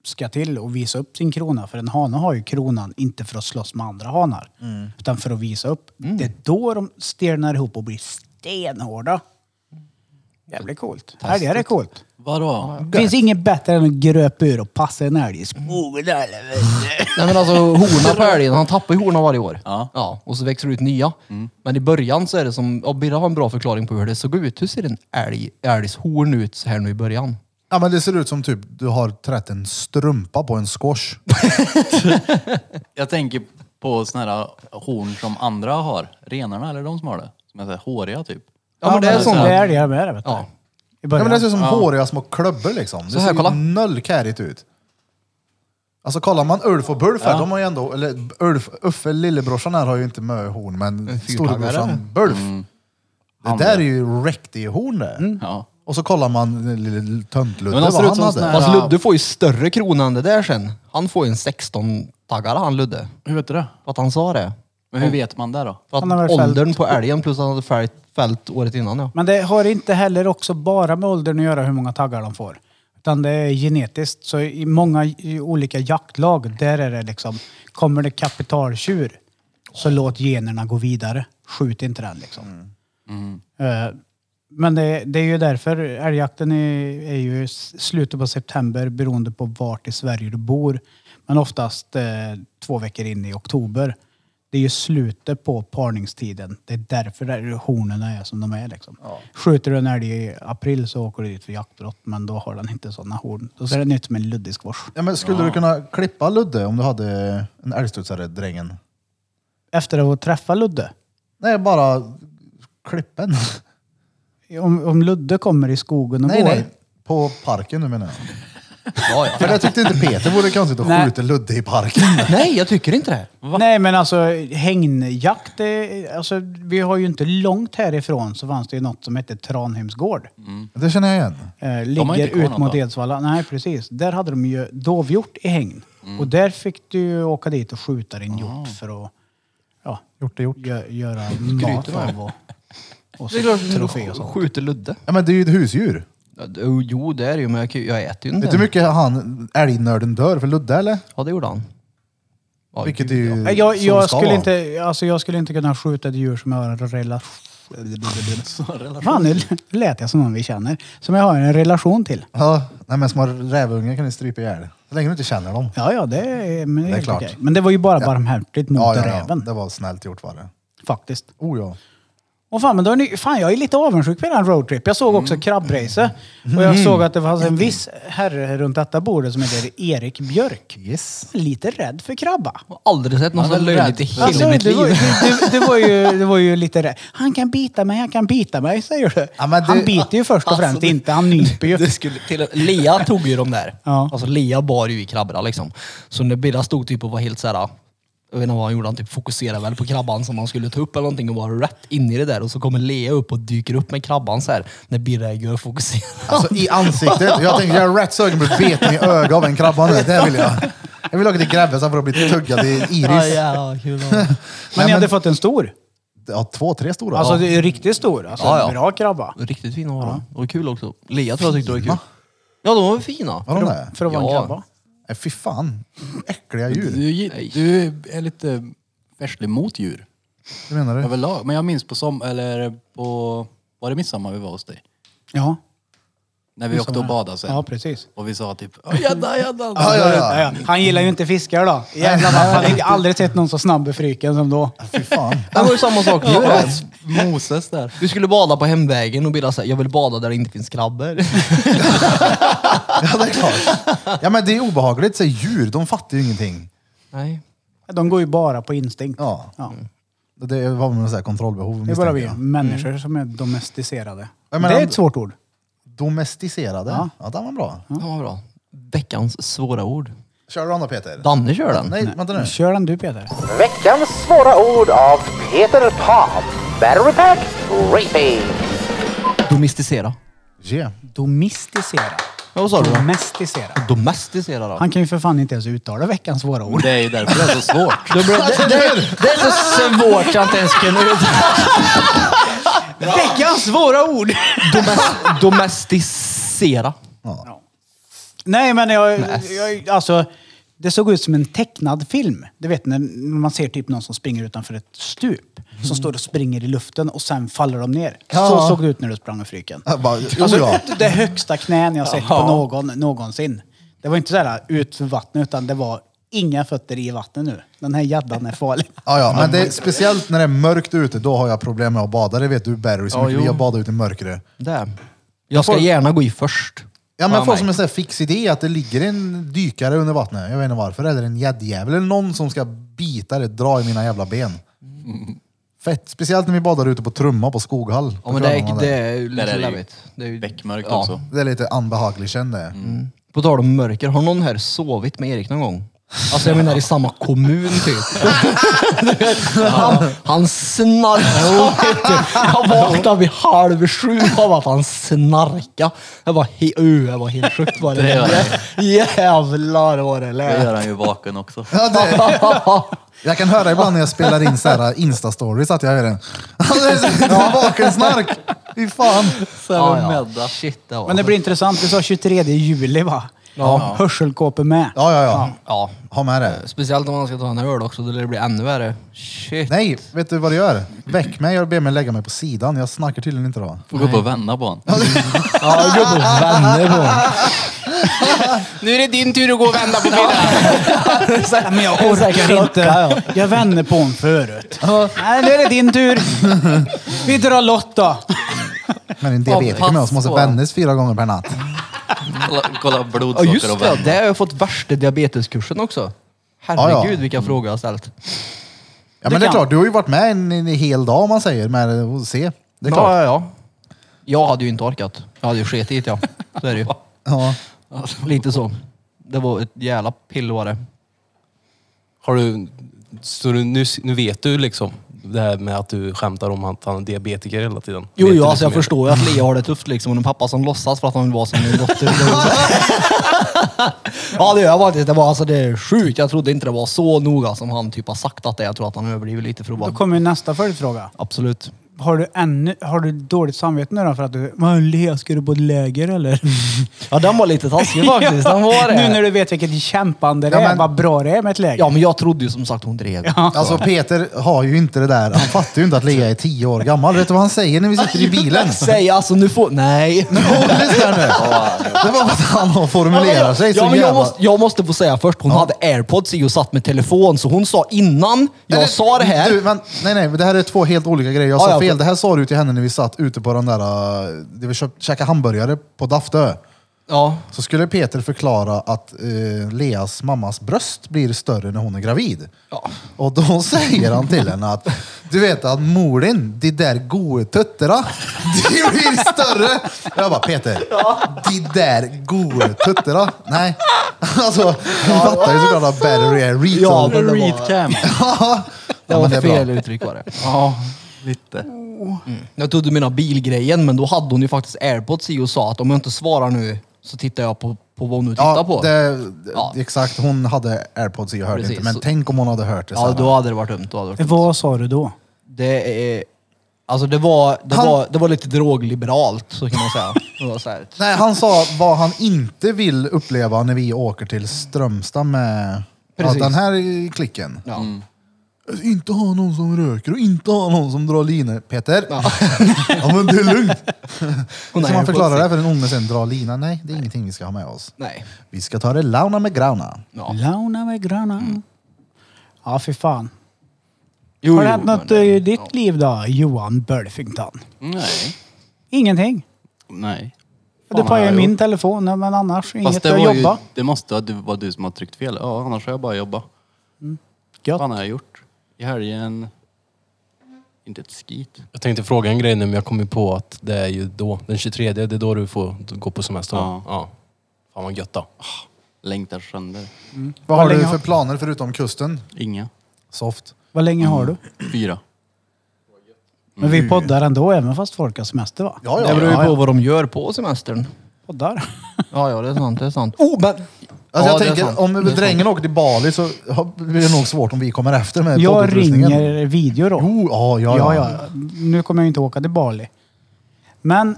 Speaker 3: ska till och visa upp sin krona. För en hane har ju kronan inte för att slåss med andra hanar.
Speaker 1: Mm.
Speaker 3: Utan för att visa upp. Det är då de stelnar ihop och blir stenhårda. Jävligt coolt. Älgar är coolt.
Speaker 4: Vadå?
Speaker 3: Det finns inget bättre än att gröpa ur och passa en älg i
Speaker 1: Mm.
Speaker 3: skogen. eller vad det är.
Speaker 5: Nej men alltså horna på älgen, han tappar ju horna varje år.
Speaker 4: Ja.
Speaker 5: och så växer det ut nya. Men i början så är det som, och Birra har en bra förklaring på hur det såg ut. Hur ser en älg, älgshorn ut så här nu i början?
Speaker 1: Ja, men det ser ut som typ du har trätt en strumpa på en squash.
Speaker 4: Jag tänker på såna här horn som andra har. Renarna, eller de som har det? Som är så här håriga typ.
Speaker 5: Ja, men det är sånt.
Speaker 3: Det är älgar med det vet du.
Speaker 5: Ja.
Speaker 3: I
Speaker 1: Ja,
Speaker 3: början.
Speaker 1: men det ser ut som håriga små klubbor liksom. Det
Speaker 5: Så här,
Speaker 1: ser
Speaker 5: kolla.
Speaker 1: ju nöllkärigt ut. Alltså kollar man Ulf och Bulf här, de har ju ändå, eller Ulf, Uffe lillebrorsan här har ju inte möhorn, men
Speaker 5: fyrtaggare.
Speaker 1: storebrorsan Bulf. Det där är ju riktighorn det.
Speaker 4: Ja.
Speaker 1: Och så kollar man den lille töntludde
Speaker 4: Mm. Men de
Speaker 1: vad
Speaker 4: ser ut
Speaker 1: han
Speaker 4: som
Speaker 1: hade.
Speaker 4: såna
Speaker 5: Fast
Speaker 4: Ja.
Speaker 5: Ludde får ju större krona än det där sen. Han får ju en 16-taggare han Ludde.
Speaker 4: Hur vet du det?
Speaker 5: För att han sa det.
Speaker 4: Men hur vet man det då?
Speaker 5: För att
Speaker 3: Han har väl
Speaker 5: åldern
Speaker 3: fällt-
Speaker 5: på älgen plus att han hade fällt, fällt året innan ja.
Speaker 3: Men det har inte heller också bara med åldern att göra hur många taggar de får. Utan det är genetiskt. Så i många i olika jaktlag, där är det liksom, kommer det kapitaltjur så låt generna gå vidare. Skjut inte den liksom. Eh, Men det, det är ju därför älgjakten är, är ju s- slutet på september beroende på vart i Sverige du bor. Men oftast eh, två veckor in i oktober. Det är ju slutet på parningstiden. Det är därför där hornen är som de är. Liksom. Skjuter du en älg i april så åker du dit för jaktbrott men då har den inte sådana horn. Då ser den ut som en luddig squash.
Speaker 1: Ja, men skulle du kunna klippa Ludde om du hade en älgstudsare, drängen?
Speaker 3: Efter att ha träffat Ludde.
Speaker 1: Nej, bara klippen.
Speaker 3: Om, om Ludde kommer i skogen och
Speaker 1: Nej,
Speaker 3: går.
Speaker 1: nej. På parken nu menar jag.
Speaker 5: Ja, ja.
Speaker 1: För det tyckte inte Peter vore konstigt att
Speaker 3: Nej.
Speaker 1: skjuta Ludde i parken.
Speaker 5: Nej, jag tycker inte det.
Speaker 3: Nej men alltså hägnjakt, det, alltså, vi har ju inte långt härifrån så fanns det ju något som hette Tranhems gård.
Speaker 1: Det känner jag igen.
Speaker 3: Eh,
Speaker 4: har
Speaker 3: ligger
Speaker 4: inte kvar
Speaker 3: ut
Speaker 4: något,
Speaker 3: mot
Speaker 4: va?
Speaker 3: Edsvalla. Nej precis, där hade de ju dovhjort i hägn.
Speaker 1: Mm.
Speaker 3: Och där fick du ju åka dit och skjuta din hjort för att ja,
Speaker 1: Gjort är gjort.
Speaker 3: gö göra mat av och, och så trofé och sånt.
Speaker 5: Skjuter Ludde.
Speaker 1: Ja, men det är ju ett husdjur.
Speaker 5: Ja, det- Jo, det är det ju, men jag, kan ju- jag äter ju inte.
Speaker 1: Vet du hur mycket han, älgnörden dör för Ludde eller?
Speaker 5: Ja, det gjorde han. Ja,
Speaker 1: Vilket är
Speaker 5: gud,
Speaker 1: ju
Speaker 5: ja.
Speaker 3: Nej, Jag,
Speaker 1: så det
Speaker 3: jag,
Speaker 1: ska vara.
Speaker 3: skulle inte, alltså jag skulle inte kunna skjuta ett djur som jag har en relation... Fan, nu lät jag som någon vi känner. Som jag har en relation till.
Speaker 1: Ja, nej, men små rävungar kan ni strypa ihjäl. Så länge du inte känner dem.
Speaker 3: Ja, ja, det är, men det är,
Speaker 1: är
Speaker 3: helt
Speaker 1: klart.
Speaker 3: okej. Men det var ju bara barmhärtigt mot
Speaker 1: Ja, ja, ja.
Speaker 3: räven.
Speaker 1: Det var snällt gjort var det.
Speaker 3: Faktiskt.
Speaker 1: Oh ja.
Speaker 3: Och fan, men då är ni, fan, jag är lite avundsjuk på den roadtrip. Jag såg
Speaker 5: Mm.
Speaker 3: också krabbrace. Och jag såg att det fanns en viss herre runt detta bordet som heter Erik Björk.
Speaker 1: Yes.
Speaker 3: Lite rädd för krabba.
Speaker 5: Jag har aldrig sett någon så löjligt i hela
Speaker 3: Alltså,
Speaker 5: mitt
Speaker 3: det,
Speaker 5: liv.
Speaker 3: var, det, det, var ju, det var ju lite det. Han kan bita mig, han kan bita mig, säger du.
Speaker 1: Ja, men
Speaker 3: han
Speaker 1: det-
Speaker 3: biter ju först och
Speaker 5: alltså,
Speaker 3: främst
Speaker 5: det-
Speaker 3: inte, han nyper ju.
Speaker 5: Det skulle, till, Lea tog ju de där.
Speaker 3: Ja.
Speaker 5: Alltså Lea bar ju i krabborna liksom. Så när Birra stod typ och var helt såhär, jag vet inte vad han gjorde, han typ fokuserade väl på krabban som han skulle ta upp eller någonting och var rätt in i det där. Och så kommer Lea upp och dyker upp med krabban så här när Birra gör fokuserad.
Speaker 1: Alltså i ansiktet. Jag tänkte jag är rätt sugen på att bli beten i ögat av en krabba nu. Det vill jag. Jag vill åka till Grebbestad för att bli tuggad i
Speaker 5: Ja,
Speaker 1: iris.
Speaker 5: jävlar, vad kul det var.
Speaker 3: Men ni
Speaker 1: men-
Speaker 3: hade fått en stor.
Speaker 1: Ja, två, tre stora.
Speaker 3: Alltså det är riktigt stor. Alltså,
Speaker 5: Ja, ja.
Speaker 3: Bra krabba.
Speaker 5: Riktigt fina var de. Och kul också. Lea tror jag tyckte det var kul. Ja, de var väl fina.
Speaker 1: Var de det?
Speaker 3: För att vara en
Speaker 5: Ja.
Speaker 3: krabba.
Speaker 1: Nej, Eh, fy fan. Äckliga djur.
Speaker 4: Du, du är lite färslig mot djur
Speaker 1: Hur menar du?
Speaker 4: överlag. Men jag minns på som, eller på, var det midsommar vi var hos dig?
Speaker 3: Ja.
Speaker 4: När vi åkte och badade sen.
Speaker 3: Ja, precis.
Speaker 4: Och vi sa typ "Åh, jädda, jädda.
Speaker 1: Ja, ja,
Speaker 3: Ja,
Speaker 1: ja.
Speaker 3: ja. Han gillar ju inte fiskar då. Jävlar, han har aldrig sett någon så snabb i fryken som då.
Speaker 1: Fy fan.
Speaker 5: Det var ju samma sak.
Speaker 4: Ja,
Speaker 5: nu.
Speaker 4: Moses där.
Speaker 5: Vi skulle bada på hemvägen och Birra sa jag vill bada där det inte finns krabbor.
Speaker 1: Ja, det är klart. Ja, men det är obehagligt. Så djur, de fattar ju ingenting.
Speaker 5: Nej.
Speaker 3: De går ju bara på instinkt.
Speaker 1: Ja. Det var väl något så här kontrollbehov
Speaker 3: Det är
Speaker 1: misstänker
Speaker 3: bara vi
Speaker 1: jag.
Speaker 3: människor som är domesticerade.
Speaker 1: Mm. Jag menar-
Speaker 3: det är ett svårt ord.
Speaker 1: Domesticerade. Ja. ja, den var bra.
Speaker 5: Det var bra. Veckans svåra ord.
Speaker 1: Kör du den då Peter?
Speaker 5: Danne kör den.
Speaker 1: Nej, vänta nu.
Speaker 3: Kör den du Peter.
Speaker 8: Veckans svåra ord av Peter Pan. Battery Pack Repeat.
Speaker 5: Domesticera.
Speaker 1: Ge.
Speaker 3: Domesticera.
Speaker 5: Ja, vad sa du då?
Speaker 3: Domesticera.
Speaker 5: Domesticera då.
Speaker 3: Han kan ju för fan inte ens uttala veckans svåra ord.
Speaker 4: Det är ju därför det är så svårt.
Speaker 5: Det, det, det, det är så svårt jag inte ens kunde ut-
Speaker 3: Veckans svåra ord!
Speaker 5: Domes- Domesticera.
Speaker 1: Ja.
Speaker 3: Nej, men jag, jag... Alltså, det såg ut som en tecknad film. Du vet när man ser typ någon som springer utanför ett stup. Som står och springer i luften och sen faller de ner. Så
Speaker 1: Mm. Ja.
Speaker 3: såg det ut när du sprang ur fryken.
Speaker 1: Jag bara,
Speaker 3: Alltså,
Speaker 1: oh ja.
Speaker 3: Det högsta knän jag sett på någon någonsin. Det var inte sådär ut för vattnet utan det var inga fötter i vattnet nu. Den här gäddan är farlig.
Speaker 1: Ja, ja, men det är, speciellt när det är mörkt ute, då har jag problem med att bada. Det vet du Barry, så mycket vi har badat ute i mörkret.
Speaker 5: Där. Jag ska gärna gå i först.
Speaker 1: Ja, men
Speaker 5: Fan,
Speaker 1: jag får
Speaker 5: nej.
Speaker 1: som en sån här fix idé att det ligger en dykare under vattnet. Jag vet inte varför. Eller en gäddjävel eller någon som ska bita eller dra i mina jävla ben. Fett. Speciellt när vi badar ute på Trumma på Skoghall.
Speaker 5: Ja men det är,
Speaker 1: På
Speaker 5: det
Speaker 1: kvällarna
Speaker 5: är ju
Speaker 4: Där
Speaker 5: lite
Speaker 4: är det ju
Speaker 5: läbbigt. Det är ju-
Speaker 4: Bäckmörkt
Speaker 5: Ja.
Speaker 4: också.
Speaker 1: där. det är lite unbehaglig känd det.
Speaker 5: Mm. På tal om mörker, har någon här sovit med Erik någon gång? Alltså jag menar i samma kommun typ. Han, han snarkade. Jag vaknade vid halv sju av att han snarkade. Jag var, he- ö, jag var helt sjukt var det.
Speaker 4: Det gör
Speaker 5: Jävlar vad det
Speaker 4: Det
Speaker 5: lät.
Speaker 4: gör han ju vaken också.
Speaker 1: Ja, det. Jag kan höra ibland när jag spelar in så här äh, Insta-stories att jag gör en vakensnark. Fy fan.
Speaker 4: Så är det medda.
Speaker 5: Shit, det var.
Speaker 3: Men det blir intressant. Du sa 23 juli va? Ja. Hörselkåpor med.
Speaker 1: Ja, ja, ja.
Speaker 5: Ja,
Speaker 1: Ha med det.
Speaker 5: speciellt om man ska ta en öl också, då lär det bli ännu värre. Shit.
Speaker 1: Nej, vet du vad du gör? Väck mig och ber mig lägga mig på sidan. Jag snackar tydligen inte då.
Speaker 4: Får gå upp och vända på honom.
Speaker 5: Ja, jag går på vänner på honom.
Speaker 6: Nu är det din tur att gå och vända på bilen.
Speaker 3: Nej, men jag orkar inte. Jag vände på en förut. Nej, nu är det din tur. Vi drar lott då.
Speaker 1: Men en diabetiker
Speaker 4: pass
Speaker 1: med oss måste
Speaker 4: på.
Speaker 1: vändas fyra gånger per natt.
Speaker 4: Kolla, kolla
Speaker 5: Ja
Speaker 4: blodsocker
Speaker 5: just
Speaker 4: och
Speaker 5: det,
Speaker 4: vända.
Speaker 5: det har jag fått värsta diabeteskursen också. Herregud
Speaker 1: Ja, ja.
Speaker 5: vilka frågor jag har ställt.
Speaker 1: Ja, men det är
Speaker 3: kan.
Speaker 1: klart, du har ju varit med en, en hel dag om man säger, med att se. Det är
Speaker 5: Ja,
Speaker 1: klart.
Speaker 5: ja, ja. Jag hade ju inte orkat. Jag hade ju skitit i det, ja. Så är det ju.
Speaker 1: Ja.
Speaker 5: Lite så. Det var ett jävla pill var det.
Speaker 6: Har du... Så du, nu, nu vet du liksom det här med att du skämtar om att han är diabetiker hela tiden.
Speaker 5: Jo,
Speaker 6: Vet
Speaker 5: jo
Speaker 6: du
Speaker 5: alltså
Speaker 6: lite
Speaker 5: jag
Speaker 6: mer?
Speaker 5: förstår ju att Lea har det tufft liksom. Och en pappa som låtsas för att han vill vara som en dotter. Det var så- ja, det gör jag faktiskt. Det var alltså det är sjukt. Jag trodde inte det var så noga som han typ har sagt att det är. Jag tror att han överdriver lite för att
Speaker 3: Då
Speaker 5: vara...
Speaker 3: kommer ju nästa följdfråga.
Speaker 5: Absolut.
Speaker 3: Har du, ännu, har du dåligt samvete nu då för att du... "Vad, Lea, Ska du på ett läger eller?
Speaker 5: Ja, den var lite taskig faktiskt. Den var det.
Speaker 3: Nu när du vet vilket kämpande det
Speaker 1: Ja,
Speaker 3: är,
Speaker 1: men-
Speaker 3: vad bra det är med ett läger.
Speaker 5: Ja, men jag trodde ju som sagt hon drev.
Speaker 1: Alltså Peter har ju inte det där. Han fattar ju inte att Lea är tio år gammal. Vet du vad han säger när vi sitter i bilen?
Speaker 5: Säg alltså nu får... Nej.
Speaker 1: Åh, lyssna nu. Det var för att han formulerar sig så
Speaker 5: ja, men jag,
Speaker 1: jävla...
Speaker 5: måste, jag måste få säga först, hon hade airpods i och satt med telefon, så hon sa innan jag
Speaker 1: Eller,
Speaker 5: sa det här.
Speaker 1: Du, men, nej, nej, det här är två helt olika grejer. Jag
Speaker 5: Ja,
Speaker 1: sa
Speaker 5: ja,
Speaker 1: fel.
Speaker 5: för-
Speaker 1: Det här sa du till henne när vi satt ute på den där... äh, där Vi köpt, käkade hamburgare på Daftö.
Speaker 5: Ja.
Speaker 1: Så skulle Peter förklara att eh, Leas mammas bröst blir större när hon är gravid. Och då säger han till henne att du vet att mor din, de där goa tutterna, de blir större. Jag bara Peter, de där goa tutterna. Nej. Alltså, hon fattar ju såklart att battery är retail.
Speaker 5: Ja, men det var,
Speaker 4: Readcam.
Speaker 5: det var
Speaker 1: men det är bra.
Speaker 5: fel uttryck var det. Mm.
Speaker 4: Ja, lite.
Speaker 5: Jag trodde du menade bilgrejen, men då hade hon ju faktiskt airpods i och sa att om jag inte svarar nu så tittar jag på, på vad hon nu tittar
Speaker 1: Ja,
Speaker 5: på.
Speaker 1: det,
Speaker 5: Ja.
Speaker 1: Exakt, hon hade airpods i och hörde
Speaker 5: Precis,
Speaker 1: inte. Men
Speaker 5: så-
Speaker 1: tänk om hon hade hört det.
Speaker 5: ja,
Speaker 1: sen.
Speaker 5: då hade det varit dumt. Då hade det varit dumt.
Speaker 3: Vad sa du då?
Speaker 5: Det är... Alltså det var, det,
Speaker 1: Han-
Speaker 5: var, det var lite drogliberalt, så kan man säga. Det var så här.
Speaker 1: Nej, han sa vad han inte vill uppleva när vi åker till Strömstad med ja,
Speaker 5: Precis.
Speaker 1: den här klicken.
Speaker 5: Ja.
Speaker 1: Inte ha någon som röker och inte ha någon som drar linor. Peter! Ja, men det är lugnt.
Speaker 5: Hon
Speaker 1: Som
Speaker 5: är
Speaker 1: man förklarar
Speaker 5: airpods
Speaker 1: det
Speaker 5: i.
Speaker 1: för en unge sen, dra lina. Nej, det är ingenting vi ska ha med oss.
Speaker 5: Nej.
Speaker 1: Vi ska ta det launa med grauna.
Speaker 5: Ja.
Speaker 3: Launa med gröna. Ja, fy fan.
Speaker 5: Jo,
Speaker 3: Har det
Speaker 5: jo,
Speaker 3: hänt
Speaker 5: men
Speaker 3: något eh,
Speaker 5: det-
Speaker 3: i ditt liv då, Johan Bölfington?
Speaker 4: Nej.
Speaker 3: Ingenting.
Speaker 4: Nej.
Speaker 3: du
Speaker 4: Fan, har
Speaker 3: tar ju
Speaker 4: jag
Speaker 3: min
Speaker 4: gjort.
Speaker 3: telefon, men annars inget.
Speaker 4: Fast det,
Speaker 3: Jag
Speaker 4: var ju,
Speaker 3: jobbar.
Speaker 4: det måste ha- det var du som har tryckt fel. Ja, annars har jag bara jobbat.
Speaker 3: Mm. Gött.
Speaker 4: Vad fan har jag gjort? I helgen... Inte ett skit.
Speaker 6: Jag tänkte fråga en grej nu, men jag kom ju på att det är ju då, den 23, det är då du får gå på semester. Ja.
Speaker 4: Ja.
Speaker 6: ja. Fan vad gött då.
Speaker 4: Längtar sönder.
Speaker 1: Vad har du
Speaker 3: länge har-
Speaker 1: för planer förutom kusten?
Speaker 4: Inga.
Speaker 1: Soft.
Speaker 3: Vad länge har du?
Speaker 4: Fyra.
Speaker 3: Men vi poddar ändå, även fast folk har semester va?
Speaker 1: Ja,
Speaker 5: Det
Speaker 1: ja.
Speaker 5: beror ju på vad de gör på semestern.
Speaker 3: Poddar.
Speaker 5: Ja, ja, det är sant. Det är sant. Oh, men...
Speaker 1: Alltså
Speaker 5: ja,
Speaker 1: jag
Speaker 5: det är sant.
Speaker 1: tänker, om
Speaker 5: Det är sant.
Speaker 1: drängen åker till Bali så har- blir det nog svårt om vi kommer efter med
Speaker 3: Jag
Speaker 1: poddutrustningen.
Speaker 3: ringer video då.
Speaker 1: Jo, ja, ja,
Speaker 3: Ja,
Speaker 1: ja.
Speaker 3: ja. Nu kommer jag ju inte åka till Bali. Men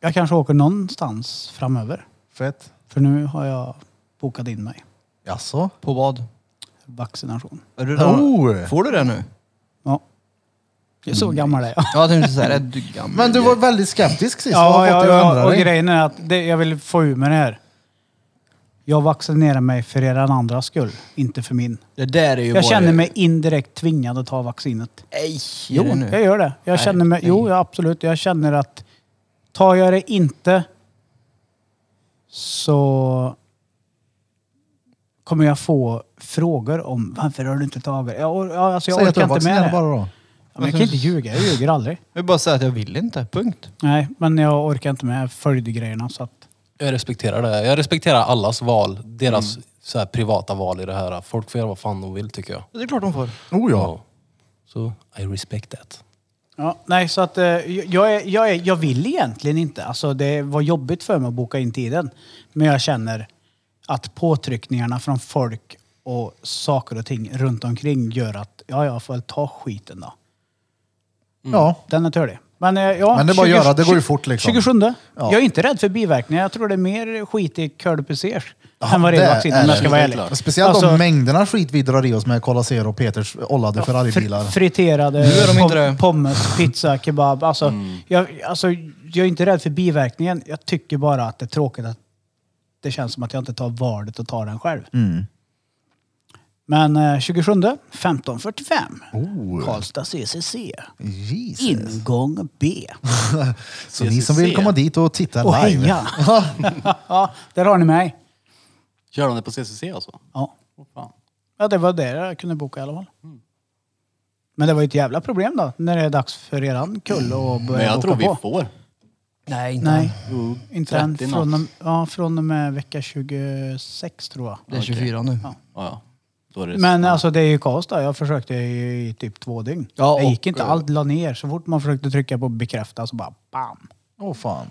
Speaker 3: jag kanske åker någonstans framöver.
Speaker 1: Fett.
Speaker 3: För nu har jag bokat in mig.
Speaker 1: Jaså?
Speaker 5: På vad?
Speaker 3: Vaccination.
Speaker 5: Är du redan-
Speaker 1: Oh.
Speaker 5: Får du det nu?
Speaker 3: Ja. Jag
Speaker 5: Mm.
Speaker 3: är så gammal är jag.
Speaker 5: Ja, jag tänkte säga det. Du gammal.
Speaker 1: Men du var väldigt skeptisk sist. Vad
Speaker 3: Mm. Ja,
Speaker 1: har fått
Speaker 3: ja,
Speaker 1: dig att
Speaker 3: ja,
Speaker 1: ändra
Speaker 3: och
Speaker 1: dig?
Speaker 3: grejen är att det, jag vill få ur mig det här. Jag vaccinerar mig för er andras skull, inte för min.
Speaker 5: Det där är ju
Speaker 3: Jag
Speaker 5: bara-
Speaker 3: känner mig indirekt tvingad att ta vaccinet.
Speaker 5: Nej,
Speaker 3: Jo,
Speaker 5: är det nu?
Speaker 3: jag gör det. Jag
Speaker 5: Nej,
Speaker 3: känner mig, jo,
Speaker 5: nej.
Speaker 3: ja, absolut. Jag känner att tar jag det inte så kommer jag få frågor om varför har du inte tagit det? Jag, or- ja, alltså, jag
Speaker 1: Säg att du
Speaker 3: orkar inte med
Speaker 1: vaccinerar
Speaker 3: det.
Speaker 1: bara då.
Speaker 3: Ja, men jag kan inte ljuga. Jag ljuger aldrig.
Speaker 5: Jag vill bara säga att jag vill inte. Punkt.
Speaker 3: Nej, men jag orkar inte med följdgrejerna. Så att,
Speaker 6: Jag respekterar det. Jag respekterar allas val. Deras
Speaker 1: Mm.
Speaker 6: så här privata val i det här. Folk får göra vad fan de vill tycker jag.
Speaker 5: Det är klart de får.
Speaker 1: Oh ja.
Speaker 6: Ja. Så I respect that.
Speaker 3: ja, nej, så att eh, jag, är, jag, är, jag vill egentligen inte. Alltså, det var jobbigt för mig att boka in tiden. Men jag känner att påtryckningarna från folk och saker och ting runt omkring gör att ja, jag får väl ta skiten då. Mm.
Speaker 1: ja.
Speaker 3: Den är törlig. Men, eh, ja,
Speaker 1: Men det är bara att göra, det går ju fort liksom.
Speaker 3: 27.
Speaker 1: Ja.
Speaker 3: Jag är inte rädd för biverkningar. Jag tror det är mer skit i curlpusers än vad det
Speaker 1: det
Speaker 3: är i vaccin om
Speaker 1: är
Speaker 3: jag ska
Speaker 1: det
Speaker 3: vara
Speaker 1: helt
Speaker 3: ärlig.
Speaker 1: klart. Speciellt
Speaker 3: Alltså,
Speaker 1: de mängderna skit vi drar i oss med Cola Zero och Peters ollade
Speaker 3: fr-
Speaker 1: Ferraribilar.
Speaker 3: Friterade
Speaker 5: Nu är de inte
Speaker 3: pom-
Speaker 5: det. Mm.
Speaker 3: pommes, pizza, kebab. Alltså, jag, alltså, jag är inte rädd för biverkningen. Jag tycker bara att det är tråkigt att det känns som att jag inte tar valet och tar den själv. Men eh, 27, 15.45. Karlstad CCC.
Speaker 1: Jesus.
Speaker 3: Ingång B.
Speaker 1: Så ni som vill komma dit och titta
Speaker 3: Och
Speaker 1: live.
Speaker 3: heja! ja, där har ni mig.
Speaker 4: Kör de det på CCC alltså?
Speaker 3: Ja.
Speaker 4: Åh fan.
Speaker 3: ja, det var det jag kunde boka i alla fall.
Speaker 5: Mm.
Speaker 3: Men det var ju ett jävla problem då, när det är dags för eran kull att
Speaker 5: Mm.
Speaker 4: Men
Speaker 3: börja
Speaker 4: jag
Speaker 3: boka
Speaker 4: tror vi
Speaker 3: på.
Speaker 4: får.
Speaker 5: Nej, inte
Speaker 3: Nej,
Speaker 4: Jo,
Speaker 3: inte än.
Speaker 4: 30
Speaker 3: Från,
Speaker 4: något.
Speaker 3: och- ja, från och med vecka 26 tror jag.
Speaker 5: Det är 24 nu.
Speaker 3: Ja.
Speaker 4: Ja, ja. Då är det
Speaker 3: Men alltså det är ju kaos där. Jag försökte i typ två dygn.
Speaker 5: Ja,
Speaker 3: det gick
Speaker 5: och- eh,
Speaker 3: inte. Allt la ner. Så fort man försökte trycka på bekräfta så bara bam.
Speaker 1: Åh fan.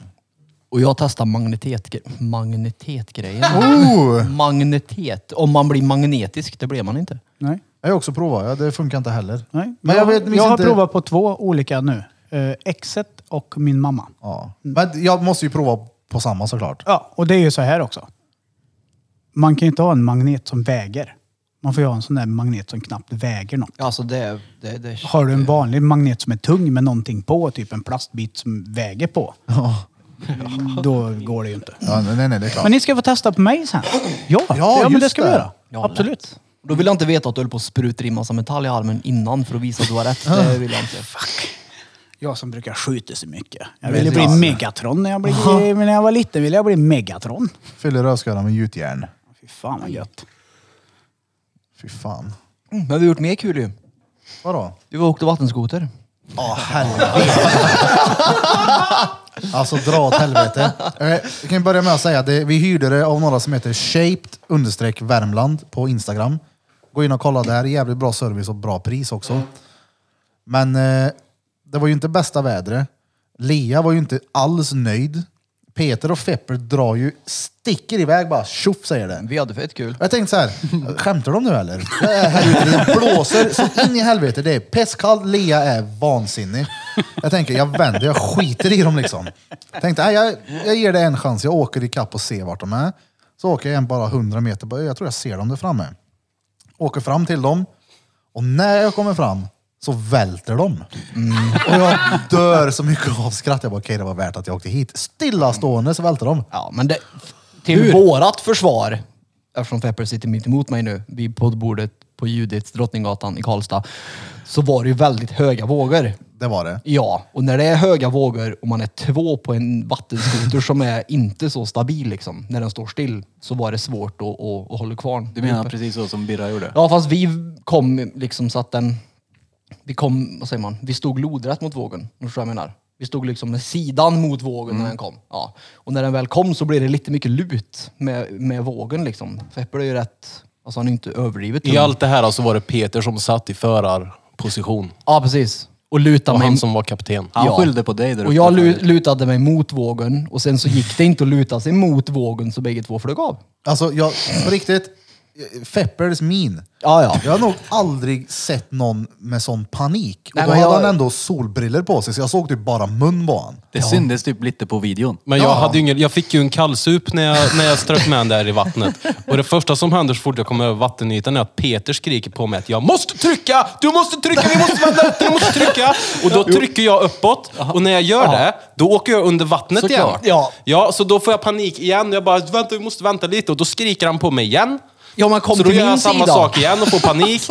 Speaker 5: Och jag testar magnetetgre- magnetetgrejen.
Speaker 1: Oh!
Speaker 5: Magnetet. Om man blir magnetisk, det blir man inte.
Speaker 3: Nej.
Speaker 1: Jag har också provat, ja, det funkar inte heller.
Speaker 3: Nej.
Speaker 1: Men jag, vet, minns
Speaker 3: jag har
Speaker 1: inte...
Speaker 3: provat på två olika nu. Eh, exet och min mamma.
Speaker 1: Ja. Men jag måste ju prova på samma såklart.
Speaker 3: Ja, och det är ju så här också. Man kan ju inte ha en magnet som väger. Man får ju ha en sån där magnet som knappt väger något.
Speaker 5: Alltså det är... Det, det,
Speaker 3: Har du en vanlig magnet som är tung med någonting på, typ en plastbit som väger på. Då går det ju inte.
Speaker 1: Ja, nej, nej, det är klart.
Speaker 3: Men ni ska få testa på mig sen. Ja, ja, men
Speaker 1: just
Speaker 3: det ska vi
Speaker 1: det.
Speaker 3: göra.
Speaker 5: Ja,
Speaker 3: Absolut.
Speaker 5: lätt. Då vill jag inte veta att du höll på att spruta i massa metall i armen innan för att visa att du har rätt. Det vill jag inte.
Speaker 3: Jag som brukar skjuta så mycket. Jag ville bli Megatron när jag, blev, när jag var liten. Ville jag bli Megatron.
Speaker 1: Fyller rödskallar med gjutjärn.
Speaker 3: Fy fan vad gött.
Speaker 1: Fy fan.
Speaker 5: Mm, Men vi har gjort mer kul ju.
Speaker 1: Vadå?
Speaker 5: Vi var och åkte vattenskoter.
Speaker 1: Ja, helvete. alltså dra åt helvete. Eh, Jag kan börja med att säga att det- vi hyrde det av några som heter shaped understreck Värmland på Instagram. Gå in och kolla där. Jävligt bra service och bra pris också. Men eh, det var ju inte bästa vädret. Lea var ju inte alls nöjd. Peter och Fepper drar ju, sticker iväg bara, tjoff säger det.
Speaker 5: Vi hade fett kul.
Speaker 1: Och Jag tänkte så här, skämtar de nu eller? Det är här ute, det blåser så in i helvete. Det är pestkallt, Lea är vansinnig. Jag tänker, jag vänder, jag skiter i dem liksom. Tänkte, nej, jag, jag ger det en chans, jag åker i kapp och ser vart de är. Så åker jag en bara 100 meter, bara, jag tror jag ser dem där framme. Åker fram till dem och när jag kommer fram så välter de. Och jag dör så mycket av skratt. Jag bara, okej det var värt att jag åkte hit. Stillastående så välter de.
Speaker 5: Ja, men det, till vårat försvar, eftersom Pepper sitter mitt emot mig nu, vid poddbordet på Judits Drottninggatan i Karlstad, så var det ju väldigt höga vågor.
Speaker 1: Det var det.
Speaker 5: Ja, och när det är höga vågor och man är två på en vattenskoter som är inte så stabil liksom, när den står still, så var det svårt att, att, att hålla kvar.
Speaker 4: Du menar precis så som Birra gjorde?
Speaker 5: Ja, fast vi kom liksom så att den... Vi kom, vad säger man, vi stod lodrätt mot vågen. Om du förstår vad jag menar? Vi stod liksom med sidan mot vågen
Speaker 4: Mm.
Speaker 5: när den kom. Ja. Och när den väl kom så blev det lite mycket lut med, med vågen liksom. Feppe är ju rätt, alltså han är ju inte överdrivet
Speaker 6: I
Speaker 1: Mm.
Speaker 5: tung.
Speaker 6: allt det här så var det Peter som satt i förarposition.
Speaker 5: Ja, precis. Och lutade
Speaker 6: Och
Speaker 5: mig.
Speaker 6: han som var kapten.
Speaker 4: Han
Speaker 5: Ja.
Speaker 4: skyllde på dig där
Speaker 5: Och
Speaker 4: uppe
Speaker 5: jag lu-
Speaker 4: förut.
Speaker 5: lutade mig mot vågen och sen så gick det inte att luta sig mot vågen så bägge två flög av.
Speaker 1: Alltså, jag, på riktigt, Feppers min.
Speaker 5: Ja, ja.
Speaker 1: Jag har nog aldrig sett någon med sån panik.
Speaker 5: Nej,
Speaker 1: och då
Speaker 5: men
Speaker 1: hade
Speaker 5: jag-
Speaker 1: han ändå solbriller på sig, så jag såg typ bara mun på han.
Speaker 4: Det syndes typ lite på videon.
Speaker 6: Men jag, hade ju ingen, jag fick ju en kallsup när jag, när jag strök med den där i vattnet. Och det första som händer så fort jag kommer över vattenytan är att Peter skriker på mig att jag måste trycka! Du måste trycka! Vi måste vända upp! Du måste trycka! Och då trycker jag uppåt. Och när jag gör det, då åker jag under vattnet
Speaker 5: Såklart.
Speaker 6: igen.
Speaker 5: Ja.
Speaker 6: ja, så då får jag panik igen. Jag bara, vänta, vi måste vänta lite. Och då skriker han på mig igen.
Speaker 5: Ja, men kom
Speaker 6: så då
Speaker 5: till
Speaker 6: gör jag
Speaker 5: min
Speaker 6: samma
Speaker 5: sida.
Speaker 6: sak igen och får panik.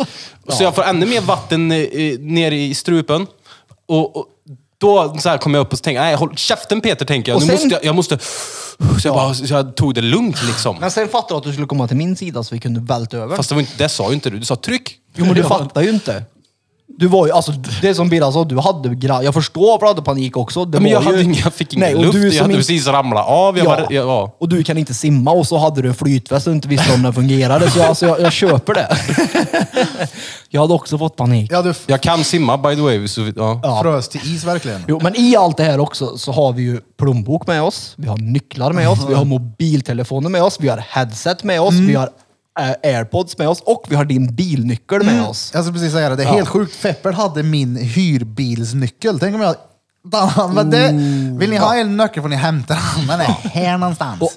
Speaker 6: Så jag får ännu mer vatten eh, eh, ner i strupen. Och, och då så här kom jag upp och tänkte, nej håll käften Peter, tänker jag.
Speaker 5: Och
Speaker 6: Nu
Speaker 5: sen-
Speaker 6: måste jag, jag måste... Så jag, bara, så jag tog det lugnt liksom.
Speaker 5: Men sen fattade jag att du skulle komma till min sida så vi kunde välta över.
Speaker 6: Fast det, var inte, det sa ju inte du. Du sa tryck.
Speaker 5: Jo men du fattar ju inte. Du var ju, alltså det som Birra sa, du hade gra- Jag förstår varför du hade panik också. Det
Speaker 6: Ja,
Speaker 5: var
Speaker 6: Men jag, hade,
Speaker 5: ju...
Speaker 6: ingen- jag fick ingen
Speaker 5: Nej, och
Speaker 6: luft.
Speaker 5: du
Speaker 6: Jag
Speaker 5: som
Speaker 6: hade
Speaker 5: inte-
Speaker 6: precis ramlat av. Jag
Speaker 5: Ja.
Speaker 6: Var, jag, ja.
Speaker 5: Och du kan inte simma och så hade du en flytväst och inte visste om den fungerade. Så alltså, jag, jag köper det. jag hade också fått panik.
Speaker 1: Jag hade f-
Speaker 6: jag kan simma by the way. Så, ja.
Speaker 1: frös till is verkligen.
Speaker 5: Jo, men i allt det här också så har vi ju plånbok med oss, vi har nycklar med oss, vi har mobiltelefoner med oss, vi har headset med oss,
Speaker 6: Mm.
Speaker 5: vi har eh, airpods med oss och vi har din bilnyckel med
Speaker 6: Mm.
Speaker 5: oss.
Speaker 1: Jag skulle precis säga det, det är helt sjukt. Fepper hade min hyrbilsnyckel. Tänk om jag... Dan, men det, vill ni ha en nyckel får ni hämta den. Den är här någonstans.
Speaker 5: Och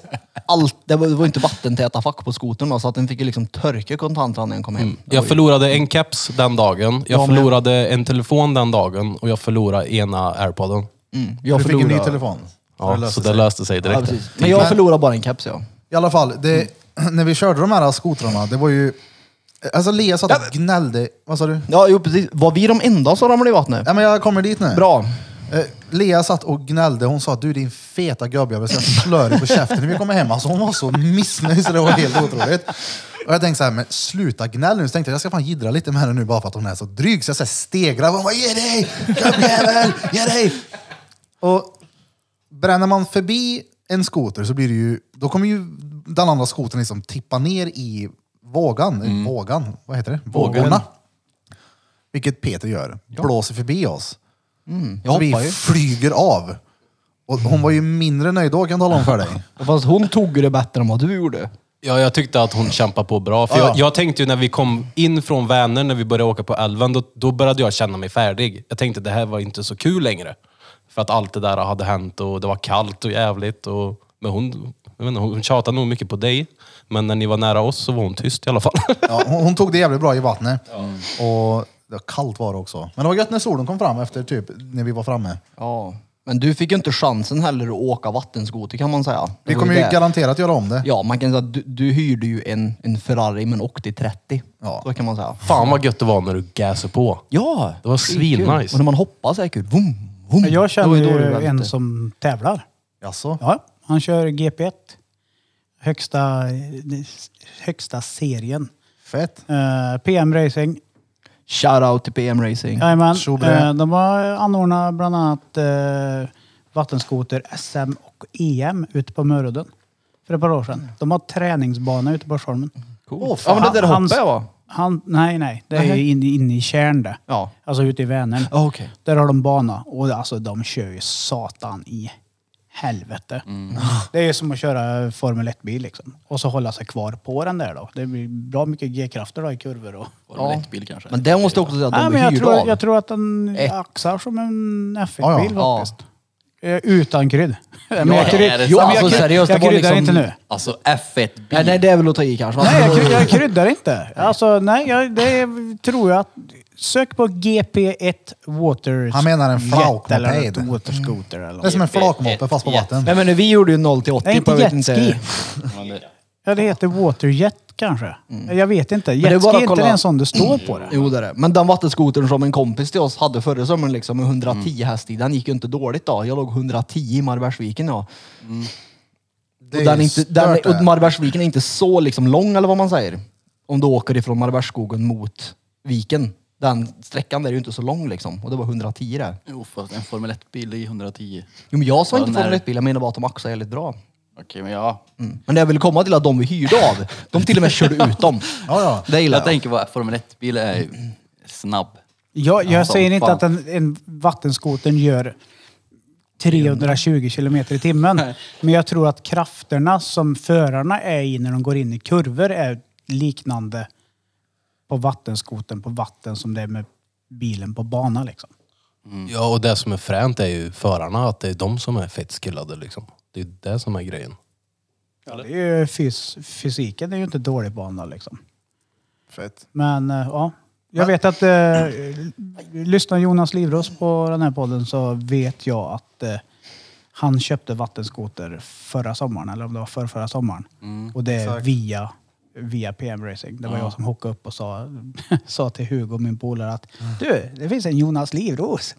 Speaker 5: allt, det var, det var inte vattentäta fack på skotern då, så att den fick ju liksom törka kontanterna när den kom hem.
Speaker 1: Mm.
Speaker 5: Det var
Speaker 6: Jag
Speaker 5: ju-
Speaker 6: förlorade en keps den dagen. Jag
Speaker 5: Ja, men-
Speaker 6: förlorade en telefon den dagen. Och jag förlorade ena airpodden.
Speaker 5: mm, jag
Speaker 1: du fick en ny
Speaker 5: förlorade-
Speaker 1: telefon.
Speaker 6: Ja,
Speaker 1: löste
Speaker 6: så det
Speaker 1: sig.
Speaker 6: löste sig
Speaker 5: Ja,
Speaker 6: direkt.
Speaker 5: precis. Men jag förlorade bara en keps ja.
Speaker 1: I alla fall, det, när vi körde de här skotrarna, det var ju... Alltså Lea satt och gnällde. Vad sa du?
Speaker 5: Ja, jo precis. Var vi de enda som ramlade i vattnet?
Speaker 1: Ja, men jag kommer dit nu.
Speaker 5: Bra.
Speaker 1: Eh, Lea satt och gnällde. Hon sa du din feta gubbjävel ska slå dig på käften när vi kommer hem. Alltså, hon var så missnöjd så det var helt otroligt. Och jag tänkte så här, men sluta gnäll nu. Så tänkte jag, jag ska fan jiddra lite med henne nu bara för att hon är så dryg. Så jag så här stegrar. Hon bara, ge dig! Gubbjävel! Ge dig! Och bränner man förbi en skoter så blir det ju, då kommer ju den andra skotern liksom tippa ner i vågan. Vågan, vad heter det?
Speaker 4: Vågen.
Speaker 1: Vågorna. Vilket Peter gör. Blåser förbi oss.
Speaker 5: Jag
Speaker 1: så vi
Speaker 5: hoppar ju.
Speaker 1: flyger av. Och hon var ju mindre nöjd då kan jag tala om för dig.
Speaker 5: Fast hon tog det bättre än vad du gjorde.
Speaker 6: Ja, jag tyckte att hon kämpade på bra. För
Speaker 1: Ja.
Speaker 6: jag, jag tänkte ju när vi kom in från Vänern, när vi började åka på älven, då, då började jag känna mig färdig. Jag tänkte det här var inte så kul längre. För att allt det där hade hänt och det var kallt och jävligt. Och, men hon, jag vet inte, hon tjatade nog mycket på dig. Men när ni var nära oss så var hon tyst i alla fall.
Speaker 1: Ja, hon, hon tog det jävligt bra i vattnet. Och det var kallt var det också. Men det var gött när solen kom fram efter typ när vi var framme.
Speaker 5: Ja. Men du fick ju inte chansen heller att åka vattenskoter kan man säga.
Speaker 1: Vi
Speaker 5: Det var
Speaker 1: kommer ju
Speaker 5: det.
Speaker 1: garanterat göra om det.
Speaker 5: Ja, man kan säga att du, du hyrde ju en, en Ferrari men åkte i 30.
Speaker 1: Ja.
Speaker 5: Så kan man säga.
Speaker 6: Fan vad gött det var när du gasade på.
Speaker 5: Ja!
Speaker 6: Det var
Speaker 5: är kul.
Speaker 6: svinnice.
Speaker 5: Och när man hoppar så är det kul. Vum, vum.
Speaker 3: Jag
Speaker 5: Det
Speaker 3: känner
Speaker 5: var då det
Speaker 3: ju
Speaker 5: vände.
Speaker 3: en som tävlar.
Speaker 1: Jaså?
Speaker 3: Ja, han kör GP1. Högsta, högsta serien.
Speaker 1: Fett.
Speaker 3: Eh, PM Racing.
Speaker 5: Shout out till PM Racing.
Speaker 3: Jajamän.
Speaker 1: Sobre.
Speaker 3: Eh, de har anordnat bland annat eh, vattenskoter SM och EM ute på Mörudden för ett par år sedan. De har träningsbana ute på Sholmen.
Speaker 5: Cool. ja, men det där
Speaker 3: Hans-
Speaker 5: hoppet va?
Speaker 3: Han, nej, nej. Det är
Speaker 5: Nej.
Speaker 3: ju inne in i Tjärn det.
Speaker 5: Ja.
Speaker 3: Alltså ute i Vänern.
Speaker 5: Ja, okej.
Speaker 3: Där har de bana. Och det- alltså de kör ju satan i helvete.
Speaker 5: Mm.
Speaker 3: Det är ju som att köra Formel 1-bil liksom. Och så hålla sig kvar på den där då. Det blir bra mycket G-krafter då i kurvor och...
Speaker 4: Formel 1-bil kanske.
Speaker 5: Men det måste jag också säga att
Speaker 3: Nej,
Speaker 5: de
Speaker 3: men jag,
Speaker 5: hyrde
Speaker 3: tror,
Speaker 5: av.
Speaker 3: jag tror att den
Speaker 5: Ett.
Speaker 3: axar som en
Speaker 1: Ja, ja.
Speaker 3: F1-bil
Speaker 5: Ja.
Speaker 3: faktiskt. Eh, Utan krydd. Men
Speaker 5: Ja,
Speaker 3: jag
Speaker 5: ja.
Speaker 3: krydd-
Speaker 5: Är det Jo, sant?
Speaker 3: men jag
Speaker 5: alltså,
Speaker 3: krydd-
Speaker 5: seriöst,
Speaker 3: Jag
Speaker 5: det var
Speaker 3: kryddar
Speaker 5: liksom-
Speaker 3: inte nu.
Speaker 4: Alltså F1-bil.
Speaker 5: Nej, nej, det är väl att ta i kanske. va?
Speaker 3: Nej, jag, kryddar, jag kryddar inte. Alltså, nej, jag, det är- tror jag att... Sök på GP1 Water...
Speaker 1: Han menar en
Speaker 3: jet Eller
Speaker 1: flakmoped.
Speaker 3: ett waterskoter eller
Speaker 1: Det är
Speaker 3: något.
Speaker 1: som en flakmoppe fast på vatten.
Speaker 5: Nej, men vi gjorde ju 0 till 80
Speaker 3: Nej, inte
Speaker 5: på typ jag vet
Speaker 3: jetski.
Speaker 4: Men det-
Speaker 3: Ja, det heter Waterjet kanske. Jag vet inte.
Speaker 5: Mm. det är
Speaker 3: Jetski
Speaker 5: bara
Speaker 3: är
Speaker 5: att
Speaker 3: inte
Speaker 5: kolla-
Speaker 3: den som det står på det.
Speaker 5: Jo det är det. Men den vattenskotern som en kompis till oss hade förra sommaren liksom med 110 häst i, den gick ju inte dåligt då. Jag låg 110 i Marbergsviken ja.
Speaker 1: Det
Speaker 5: Och,
Speaker 1: är
Speaker 5: den är
Speaker 1: ju
Speaker 5: inte,
Speaker 1: stört
Speaker 5: den, är-
Speaker 1: det.
Speaker 5: och Marbergsviken är inte så liksom lång eller vad man säger. Om du åker ifrån Marbergsskogen mot viken. Den sträckan där är ju inte så lång liksom. Och det var 110 där.
Speaker 4: Jo, fast en Formel 1-bil i 110.
Speaker 5: Jo men jag sa
Speaker 4: Ja,
Speaker 5: inte
Speaker 4: när-
Speaker 5: Formel 1-bil, jag menar bara att de axar jävligt bra. Mm.
Speaker 4: Okej, men ja.
Speaker 5: Men det jag ville komma till är att de vi hyrde av, de till och med körde ut dem.
Speaker 1: Ja, ja.
Speaker 5: Det gillar
Speaker 4: Jag
Speaker 5: jag.
Speaker 4: tänker bara, Formel 1-bil är ju snabb.
Speaker 3: Jag, jag
Speaker 4: Ja, som
Speaker 3: säger inte
Speaker 4: fan.
Speaker 3: att en, en vattenskoter gör 320 kilometer i timmen. Men jag tror att krafterna som förarna är i när de går in i kurvor är liknande på vattenskoten på vatten som det är med bilen på bana. Liksom.
Speaker 1: Mm.
Speaker 6: Ja, och det som är fränt är ju förarna, att det är de som är fett skillade liksom. Det är det som är grejen.
Speaker 3: Det är ju fys, fysiken är ju inte dålig bana liksom.
Speaker 1: Fett.
Speaker 3: Men eh, ja, jag vet att... Eh, lyssnar Jonas Livros på den här podden så vet jag att eh, han köpte vattenskoter förra sommaren, eller om det var förra, förra sommaren.
Speaker 1: Mm,
Speaker 3: och det är via, via PM Racing. Det var jag som hockade upp och sa, sa till Hugo, min polare, att
Speaker 1: Mm.
Speaker 3: du, det finns en Jonas Livros.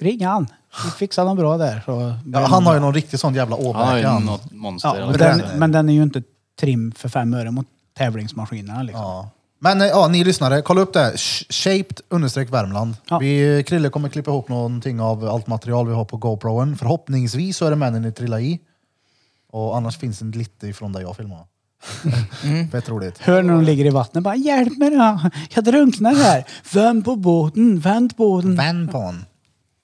Speaker 3: Ring han. Vi fixar något bra där. Så
Speaker 1: Ja, han har ju någon riktig sån jävla
Speaker 4: Han har
Speaker 1: åbäke.
Speaker 4: ju
Speaker 1: han.
Speaker 4: något monster. alltså.
Speaker 3: ja,
Speaker 4: eller
Speaker 3: men,
Speaker 4: något.
Speaker 3: den, men den är ju inte trim för fem öre mot tävlingsmaskinerna. Liksom.
Speaker 1: Ja. Men eh, ja, ni lyssnare, kolla upp det. här. Sh- Shaped understreck Värmland.
Speaker 3: Ja.
Speaker 1: Vi, eh, Krille kommer klippa ihop någonting av allt material vi har på GoProen. Förhoppningsvis så är det männen ni trillar i. Och annars finns det lite ifrån där jag filmar.
Speaker 5: Mm.
Speaker 1: Fett roligt.
Speaker 3: Hör när de ligger i vattnet bara hjälp mig då, jag drunknar här. Vänd på båten, vänd båten.
Speaker 1: Vän på hon.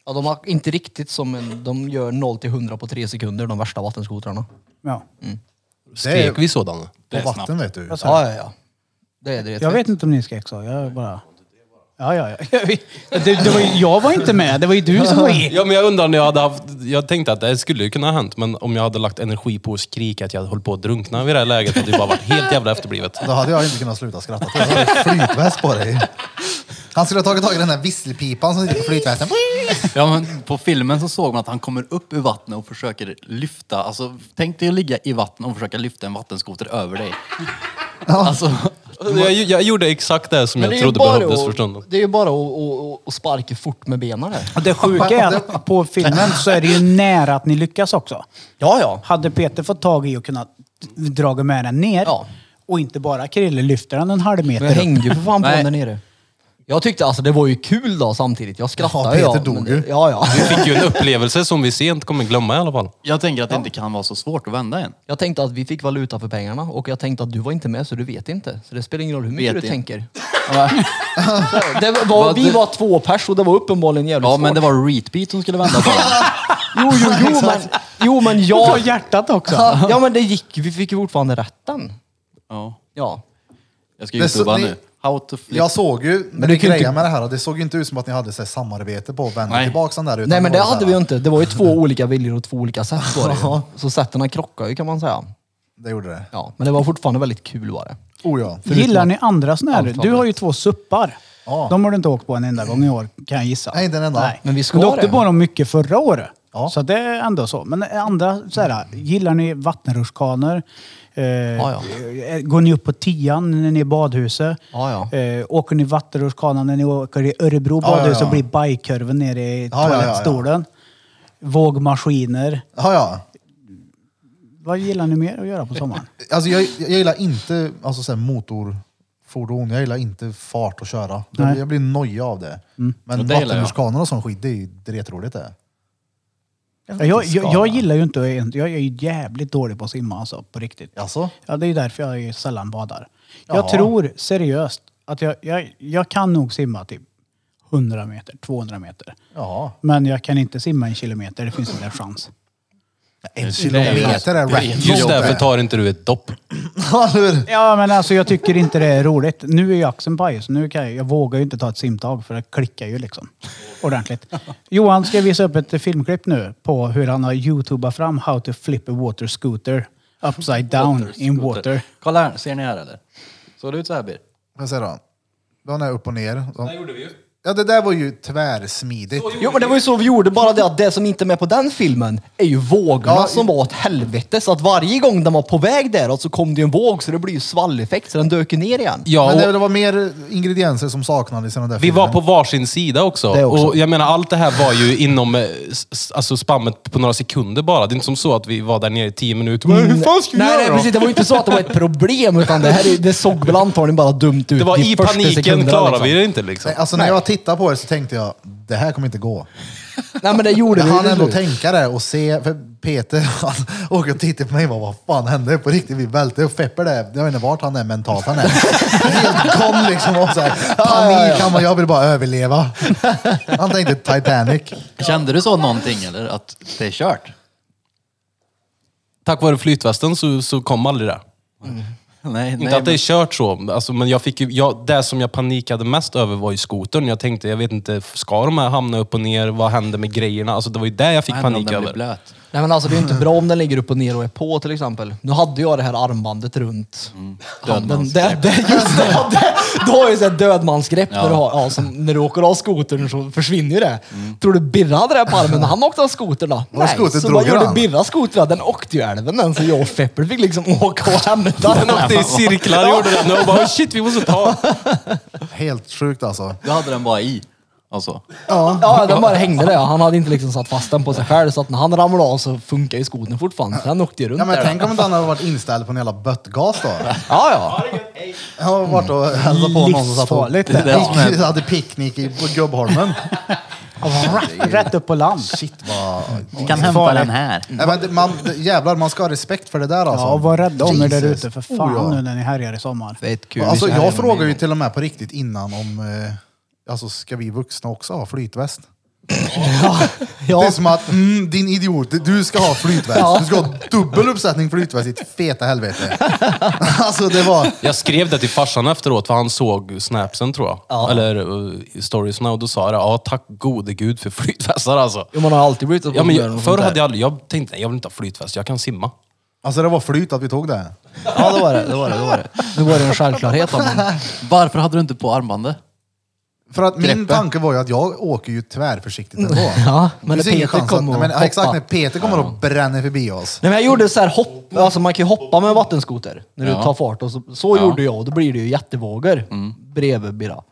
Speaker 5: Ja, de har inte riktigt som en, de gör 0 till 100 på 3 sekunder, de värsta vattenskotrarna.
Speaker 3: Ja.
Speaker 5: Mm.
Speaker 1: Det är-
Speaker 6: Skrek vi sådana?
Speaker 1: På vatten vet du.
Speaker 5: Ja, ja, ja. Det är det.
Speaker 3: Jag vet inte om ni skrek så, jag bara... Ja, ja, ja. Det, det var, ju- jag var inte med, det var ju du som var i.
Speaker 6: Ja, men jag undrar när jag hade haft... Jag tänkte att det skulle ju kunna ha hänt, men om jag hade lagt energi på att skrika att jag höll på att drunkna vid det här läget hade det bara varit helt jävla efterblivet.
Speaker 1: Då hade jag inte kunnat sluta skratta till. Jag hade flytväst på dig. Han skulle ha tagit tag i den där visselpipan som sitter på flytvästen.
Speaker 4: Ja, men på filmen så såg man att han kommer upp ur vattnet och försöker lyfta. Alltså, tänk dig att ligga i vattnet och försöka lyfta en vattenskoter över dig. Alltså,
Speaker 6: Jag, jag gjorde exakt det som
Speaker 5: Men
Speaker 6: jag
Speaker 5: det är ju
Speaker 6: trodde
Speaker 5: bara
Speaker 6: behövdes
Speaker 5: att-
Speaker 6: för stunden.
Speaker 5: Det är ju bara att- att- att sparka fort med benen där.
Speaker 3: Det sjuka är att på filmen så är det ju nära att ni lyckas också.
Speaker 5: Ja, ja.
Speaker 3: Hade Peter fått tag i och kunnat dra med den ner
Speaker 5: Ja.
Speaker 3: och inte bara Krille lyfter den en halv
Speaker 5: Men jag
Speaker 3: meter upp.
Speaker 5: hängde ju för fan på
Speaker 4: Nej.
Speaker 5: den där nere. Jag tyckte alltså det var ju kul då samtidigt. Jag
Speaker 1: Ja,
Speaker 5: skrattade
Speaker 1: Peter
Speaker 5: ju. jag,
Speaker 1: dog
Speaker 5: men-
Speaker 1: ju.
Speaker 5: Ja, ja.
Speaker 6: Vi fick ju en upplevelse som vi sent kommer glömma i alla fall.
Speaker 4: Jag tänker att det inte kan vara så svårt att vända en.
Speaker 5: Jag tänkte att vi fick valuta för pengarna och jag tänkte att du var inte med så du vet inte. Så det spelar ingen roll hur mycket
Speaker 4: Vet
Speaker 5: du
Speaker 4: inte.
Speaker 5: tänker. Det var,
Speaker 4: Vad
Speaker 5: vi
Speaker 4: det-
Speaker 5: var två pers och det var uppenbarligen jävligt
Speaker 4: Ja,
Speaker 5: svårt.
Speaker 4: men det var repeat som skulle vända på den.
Speaker 5: Jo, jo, jo, men, jo, men
Speaker 3: På
Speaker 5: jag...
Speaker 3: hjärtat också.
Speaker 5: Ja, men det gick. Vi fick ju fortfarande rätten.
Speaker 4: Ja.
Speaker 5: Ja.
Speaker 4: Jag ska
Speaker 1: Det är så-
Speaker 4: youtuba
Speaker 1: det-
Speaker 4: nu. How to flip.
Speaker 1: Jag såg ju när
Speaker 5: du
Speaker 1: ni
Speaker 5: kan ju
Speaker 1: grejade
Speaker 5: inte-
Speaker 1: med det här, det såg ju inte ut som att ni hade så här, samarbete på att vända
Speaker 4: Nej.
Speaker 1: tillbaka den där. utan
Speaker 5: Nej, men
Speaker 1: var
Speaker 5: det
Speaker 1: så här-
Speaker 5: hade vi ju inte. Det var ju två olika viljor och två olika sätt var det ju. Så sätten krockar ju kan man säga.
Speaker 1: Det gjorde det.
Speaker 5: Ja, men det var fortfarande väldigt kul var det.
Speaker 1: Oh ja.
Speaker 3: Gillar ni andra såna här? Du har ju två suppar.
Speaker 1: Ja.
Speaker 3: De har du inte åkt på en enda gång i år, kan jag gissa.
Speaker 1: Nej, inte en enda.
Speaker 5: Men vi ska
Speaker 3: du åkte
Speaker 5: det.
Speaker 3: på dem mycket förra året.
Speaker 1: Ja.
Speaker 3: Så det är ändå så. Men andra, så här, gillar ni vattenrutschkanor? Eh,
Speaker 5: Ja,
Speaker 3: eh, Går ni upp på tian när ni är i badhuset?
Speaker 5: Ja, ja.
Speaker 3: Eh, åker ni vattenrutschkana när ni åker i Örebro
Speaker 1: Ja, ja,
Speaker 3: badhus
Speaker 1: ja.
Speaker 3: och blir bajkurven nere i
Speaker 1: Ja, ja, ja, ja.
Speaker 3: toalettstolen? Vågmaskiner.
Speaker 1: Ja, ja.
Speaker 3: Vad gillar ni mer att göra på sommaren?
Speaker 1: Alltså, jag, jag gillar inte alltså, så här, motorfordon, jag gillar inte fart och köra. Det-
Speaker 3: Nej.
Speaker 1: Jag blir nojig av det. Men
Speaker 4: Och det gillar jag.
Speaker 1: vattenrutschkanor och sån skit, det är ju dretroligt det.
Speaker 3: Jag, jag, jag, gillar ju inte att- Jag är ju jävligt dålig på att simma alltså, på riktigt.
Speaker 1: Alltså?
Speaker 3: Ja, det är ju därför jag ju sällan badar.
Speaker 1: Jaha.
Speaker 3: Jag tror seriöst att jag, jag, jag kan nog simma typ 100 meter, 200 meter.
Speaker 1: Ja.
Speaker 3: Men jag kan inte simma en kilometer, det finns inte en chans.
Speaker 1: En kilometer är rätt
Speaker 6: Just
Speaker 1: långt
Speaker 6: därför
Speaker 1: det.
Speaker 6: tar inte du ett dopp.
Speaker 1: Ja, eller hur?
Speaker 3: Ja, men alltså jag tycker inte det är roligt. Nu är ju axeln paj, så nu kan jag, jag vågar ju inte ta ett simtag för det klickar ju liksom. Ordentligt. Johan ska visa upp ett filmklipp nu på hur han har youtubat fram how to flip a water scooter upside down in
Speaker 4: Scooter.
Speaker 3: water.
Speaker 4: Kolla här, ser ni här eller? Såg det ut så här Bir?
Speaker 1: Får jag se då? Den är upp och ner. Det gjorde vi ju. Ja, det där var ju tvärsmidigt.
Speaker 5: Jo men det var ju så vi gjorde, bara det att det som inte är med på den filmen är ju vågorna
Speaker 1: Ja,
Speaker 5: som var åt helvete. Så att varje gång den var på väg däråt så kom det ju en våg så det blir ju svalleffekt så den dök ju ner igen.
Speaker 6: Ja,
Speaker 1: Men det,
Speaker 6: och
Speaker 1: det var mer ingredienser som saknades i den där
Speaker 6: vi
Speaker 1: filmen.
Speaker 6: var på varsin sida också.
Speaker 5: Det också.
Speaker 6: Och jag menar, allt det här var ju inom eh, s- s- alltså spammet på några sekunder bara. Det är inte som så att vi var där nere i tio minuter. Men hur fan ska vi
Speaker 5: Mm. Nej,
Speaker 6: göra
Speaker 5: nej
Speaker 6: då?
Speaker 5: precis, det var ju inte så att det var ett problem utan det, här, är- det såg väl antagligen bara dumt ut
Speaker 6: Det var
Speaker 5: de
Speaker 6: i
Speaker 5: första
Speaker 6: paniken
Speaker 5: sekunderna,
Speaker 6: klarade
Speaker 5: liksom.
Speaker 6: vi det inte liksom.
Speaker 1: Nej, Alltså när jag tittade på det så tänkte jag, det här kommer inte gå.
Speaker 5: Nej men det gjorde
Speaker 1: Jag
Speaker 5: vi ju
Speaker 1: hann
Speaker 5: till
Speaker 1: ändå
Speaker 5: slut.
Speaker 1: tänka det och se, för Peter han åker och tittar på mig och bara, vad fan hände på riktigt? Vi välte och Fepper det, jag vet inte vart han är mentalt, han är helt kon liksom och så här, panik, han bara, jag vill bara överleva. Han tänkte Titanic.
Speaker 4: Kände du så någonting eller? Att det är kört?
Speaker 6: Tack vare flytvästen så, så kom aldrig det.
Speaker 4: Nej,
Speaker 6: Inte
Speaker 4: nej,
Speaker 6: att det är kört så, alltså, men jag fick ju, jag, det som jag panikade mest över var ju skotern. Jag tänkte, jag vet inte, ska de här hamna upp och ner? Vad händer med grejerna? Alltså, det var ju det jag fick
Speaker 4: men-
Speaker 6: panik
Speaker 4: men om den blir
Speaker 6: över.
Speaker 4: blöt.
Speaker 5: Nej men alltså det är ju inte bra om den ligger upp och ner och är på till exempel. Nu hade jag det här armbandet runt
Speaker 6: Mm.
Speaker 5: handen. Det, det, just det, ja, det, du har ju såhär dödmansgrepp när, du har, ja, som när du åker av skotern så försvinner ju det.
Speaker 6: Mm.
Speaker 5: Tror du Birra hade det här på armen när han åkte av skotern då?
Speaker 1: Var
Speaker 5: Nej,
Speaker 1: skotern
Speaker 5: så
Speaker 1: drog ur
Speaker 5: vad gjorde
Speaker 1: han?
Speaker 5: Birra skotern? Den åkte ju i älven den så jag och Feppel fick liksom åka och hämta den.
Speaker 6: Den åkte i cirklar gjorde den och bara "Oh, shit, vi måste ta.
Speaker 1: Helt sjukt alltså.
Speaker 4: Du hade den bara i. Alltså.
Speaker 5: Ja, den bara hängde där. Han hade inte liksom satt fast den på sig själv så att när han ramlade av så funkar ju skotern fortfarande. Så Den åkte ju runt
Speaker 1: Ja men
Speaker 5: där.
Speaker 1: tänk om inte han hade varit inställd på en jävla böttgas då.
Speaker 5: Ja, ja.
Speaker 1: Jag har varit och hälsat på någon som satt och
Speaker 3: Livsfarligt, det.
Speaker 1: Pick- hade picknick i på Gubbholmen.
Speaker 3: Rätt upp på land.
Speaker 1: Shit vad
Speaker 4: Ni kan hämta den här.
Speaker 1: Nej, men det- man, det- jävlar, man ska ha respekt för det där alltså.
Speaker 3: Ja, och var rädda om er där
Speaker 1: Jesus.
Speaker 3: ute för
Speaker 1: Oh,
Speaker 3: fan
Speaker 1: ja.
Speaker 3: nu när ni härjar i sommar.
Speaker 5: Fett kul.
Speaker 1: Alltså,
Speaker 5: Vi ska
Speaker 1: jag
Speaker 5: härja
Speaker 1: frågar
Speaker 5: med
Speaker 1: ju
Speaker 5: mig.
Speaker 1: till och med på riktigt innan om, eh, alltså ska vi vuxna också ha flytväst? Det är
Speaker 5: Ja,
Speaker 1: som att, mm, din idiot, du ska ha flytväst.
Speaker 5: Ja.
Speaker 1: Du ska ha dubbel uppsättning flytväst, ditt feta helvete. alltså det var,
Speaker 6: Jag skrev det till farsan efteråt för han såg snapsen tror jag.
Speaker 5: Ja.
Speaker 6: Eller uh, storiesna och då sa jag det, ja tack gode gud för flytvästar alltså.
Speaker 5: jo, man har alltid blivit
Speaker 6: Ja, men jag, förr hade jag aldrig, jag tänkte nej, jag vill inte ha flytväst, jag kan simma.
Speaker 1: alltså det var flyt att vi tog det.
Speaker 5: Ja, det var det. Det var det, det, var det. Nu var det en självklarhet. om man-
Speaker 4: Varför hade du inte på armbandet?
Speaker 1: För att min
Speaker 4: Greppet.
Speaker 1: tanke var ju att jag åker ju tvärförsiktigt ändå.
Speaker 5: Ja, men
Speaker 1: Det finns
Speaker 5: när
Speaker 1: ingen
Speaker 5: Peter
Speaker 1: chans
Speaker 5: kommer
Speaker 1: att,
Speaker 5: och
Speaker 1: men, ja, Exakt,
Speaker 5: hoppar.
Speaker 1: när Peter kommer och bränner förbi oss.
Speaker 5: Nej, men jag gjorde så här hopp, alltså man kan ju hoppa med vattenskoter när du
Speaker 4: Ja.
Speaker 5: Mm. tar fart. Och så så gjorde jag och då blir det ju jättevågor bredvid Birra.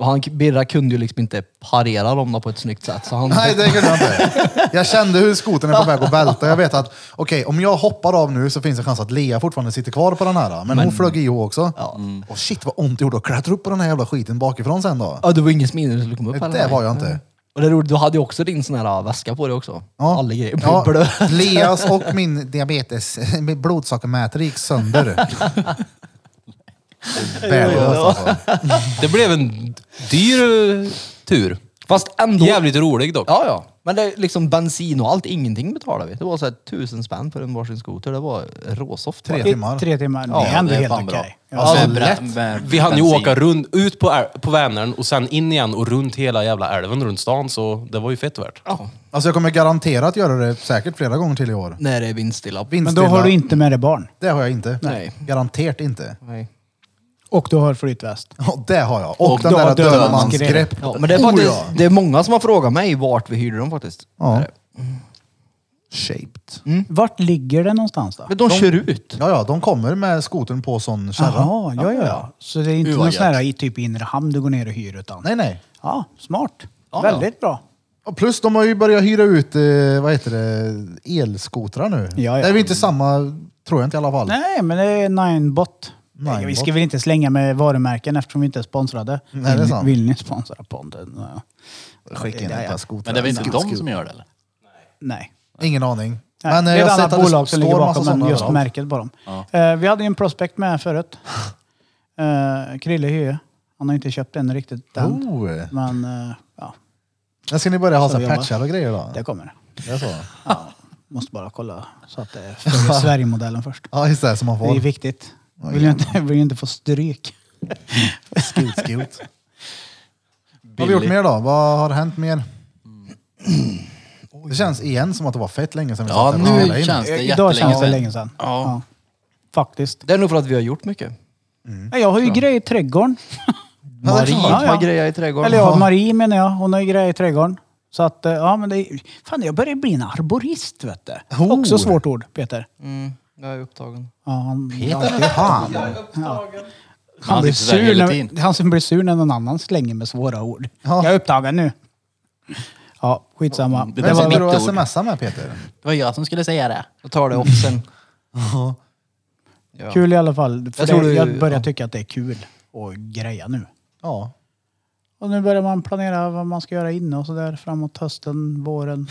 Speaker 5: Han, Birra kunde ju liksom inte parera dem då på ett snyggt sätt. Så han,
Speaker 1: Nej, det kunde jag inte. Jag kände hur skoten är på väg att välta. Jag vet att okej, om jag hoppar av nu så finns det chans att Lea fortfarande sitter kvar på den här. Men, hon flög i också. Och shit vad ont det gjorde att klättra upp på den här jävla skiten bakifrån sen då.
Speaker 5: Ja, det var ingen smidig som skulle komma upp
Speaker 1: Nej,
Speaker 5: heller.
Speaker 1: det var jag inte.
Speaker 5: Och det är roligt, du hade ju också din sån här äh, väska på dig också.
Speaker 1: Ja.
Speaker 5: Alla grejer.
Speaker 1: Ja,
Speaker 5: Blöd.
Speaker 1: Leas och min diabetes, min blodsockermätare gick sönder. Värdelöst alltså.
Speaker 6: Det blev en dyr eh, tur.
Speaker 5: Fast ändå.
Speaker 6: Jävligt rolig dock.
Speaker 5: Ja, ja. Men det är liksom bensin och allt, ingenting betalade vi. Det var så här tusen spänn för en varsin skoter. Det var råsoft. bara.
Speaker 1: Tre timmar.
Speaker 3: Tre timmar.
Speaker 5: Ja,
Speaker 3: det är ändå
Speaker 4: det är
Speaker 3: helt
Speaker 4: fan bra.
Speaker 3: okej. Ja.
Speaker 1: Alltså,
Speaker 4: Med bra-
Speaker 1: lätt.
Speaker 4: med
Speaker 6: Vi hann ju
Speaker 4: bensin.
Speaker 6: åka runt, ut på, äl- på Vänern och sen in igen och runt hela jävla älven runt stan så det var ju fett värt.
Speaker 5: Ja.
Speaker 1: Alltså jag kommer garanterat göra det säkert flera gånger till i år.
Speaker 5: När det är vindstilla.
Speaker 1: Vinstdela,
Speaker 3: Men då har du inte med dig barn.
Speaker 1: Det har jag inte.
Speaker 5: Nej.
Speaker 1: Garanterat inte.
Speaker 5: Nej.
Speaker 3: Och du har flytväst.
Speaker 1: Ja, det har jag. Och,
Speaker 3: Och
Speaker 1: den
Speaker 3: du
Speaker 1: där
Speaker 3: har
Speaker 1: dödmansgrepp.
Speaker 3: dödmansgrepp.
Speaker 5: Ja, men det är, faktiskt,
Speaker 1: Oh, ja.
Speaker 5: det är många som har frågat mig vart vi hyrde dem faktiskt.
Speaker 1: Ja.
Speaker 3: Mm.
Speaker 1: Shaped.
Speaker 3: Vart ligger det någonstans då?
Speaker 5: Men de, kör ut.
Speaker 1: Ja, ja, de kommer med skotern på sån kärra.
Speaker 3: Jaha, ja, ja, ja. Så det är inte
Speaker 5: Hur var
Speaker 3: någon sån här
Speaker 5: gött?
Speaker 3: i typ inre hamn du går ner och hyr utan?
Speaker 1: Nej, nej.
Speaker 3: Ja, smart.
Speaker 5: Ja,
Speaker 3: Väldigt bra.
Speaker 1: Och plus de har ju börjat hyra ut, eh, vad heter det, elskotrar nu.
Speaker 3: Ja, ja.
Speaker 1: Det är väl inte samma, tror jag inte i alla fall.
Speaker 3: Nej, men det är Ninebot.
Speaker 1: Ninebot.
Speaker 3: Vi ska väl inte slänga med varumärken eftersom vi inte är sponsrade.
Speaker 1: Nej, det är
Speaker 3: Vill-
Speaker 1: sant.
Speaker 3: Vill ni sponsra podden? Ja.
Speaker 1: Skicka in
Speaker 3: Ja,
Speaker 1: ett
Speaker 3: ja.
Speaker 1: par skotrar.
Speaker 4: Men det är väl inte
Speaker 1: Skot-
Speaker 4: de
Speaker 1: skot.
Speaker 4: som gör det eller?
Speaker 3: Nej.
Speaker 1: Ingen aning.
Speaker 3: Nej,
Speaker 1: Men eh,
Speaker 3: det är
Speaker 1: jag
Speaker 3: ett
Speaker 1: har sett
Speaker 3: annat
Speaker 1: att
Speaker 3: bolag
Speaker 1: det
Speaker 3: som ligger
Speaker 1: står massa
Speaker 3: bakom men
Speaker 1: sådana
Speaker 3: just
Speaker 1: överallt.
Speaker 3: märket på dem. Eh, vi hade ju en prospect med förut. Eh, Krille Hye. Han har inte köpt en riktigt än.
Speaker 1: Oh.
Speaker 3: Men eh, ja,
Speaker 1: Men ska ni börja ha
Speaker 3: Så
Speaker 1: så här
Speaker 3: jobbar.
Speaker 1: patchar och grejer då?
Speaker 3: det kommer.
Speaker 1: Det är så?
Speaker 3: Måste bara kolla så att det är för Sverigemodellen först.
Speaker 1: Ja, just det. Som man
Speaker 3: Det är
Speaker 1: får.
Speaker 3: viktigt. Vill ju inte, vill ju inte få stryk.
Speaker 1: Skot, skot. Vad har vi gjort mer då? Vad har hänt mer? Det känns igen som att det var fett länge sedan vi
Speaker 4: Ja,
Speaker 1: satt här och spelade
Speaker 4: nu
Speaker 1: in.
Speaker 4: känns det
Speaker 3: Idag känns det
Speaker 4: jättelänge
Speaker 3: länge
Speaker 4: sedan.
Speaker 3: sedan.
Speaker 4: Ja.
Speaker 3: Faktiskt.
Speaker 5: Det är nog för att vi har gjort mycket.
Speaker 1: Mm.
Speaker 3: Ja, Jag har ju grejer i trädgården.
Speaker 5: Marie
Speaker 3: klart. Ja, ja.
Speaker 5: har grejer i trädgården.
Speaker 3: Eller ja, Marie menar jag. Hon har ju grejer i trädgården. Så att, eh, ja men det är, Fan, jag börjar bli en arborist vet du.
Speaker 1: Oh.
Speaker 3: Också svårt ord, Peter.
Speaker 5: Mm, jag är upptagen.
Speaker 3: Ja, han,
Speaker 1: Fan.
Speaker 4: Han
Speaker 3: han, blir
Speaker 4: sitter där
Speaker 3: sur
Speaker 4: hela tiden.
Speaker 3: när, han som blir sur när någon annan slänger med svåra ord.
Speaker 1: Ja.
Speaker 3: Jag är upptagen nu. Ja, skitsamma.
Speaker 4: Det där
Speaker 1: Vem
Speaker 4: var
Speaker 1: sitter du och
Speaker 4: mitt ord.
Speaker 1: smsar med Peter?
Speaker 4: Det var jag som skulle säga det.
Speaker 5: Jag tar det upp sen. ja.
Speaker 3: Kul i alla fall. För
Speaker 5: Jag
Speaker 3: jag,
Speaker 5: tror
Speaker 3: det,
Speaker 5: du-
Speaker 3: jag börjar
Speaker 5: ja.
Speaker 3: tycka att det är kul att greja nu.
Speaker 1: Ja.
Speaker 3: Och nu börjar man planera vad man ska göra inne och sådär framåt hösten, våren,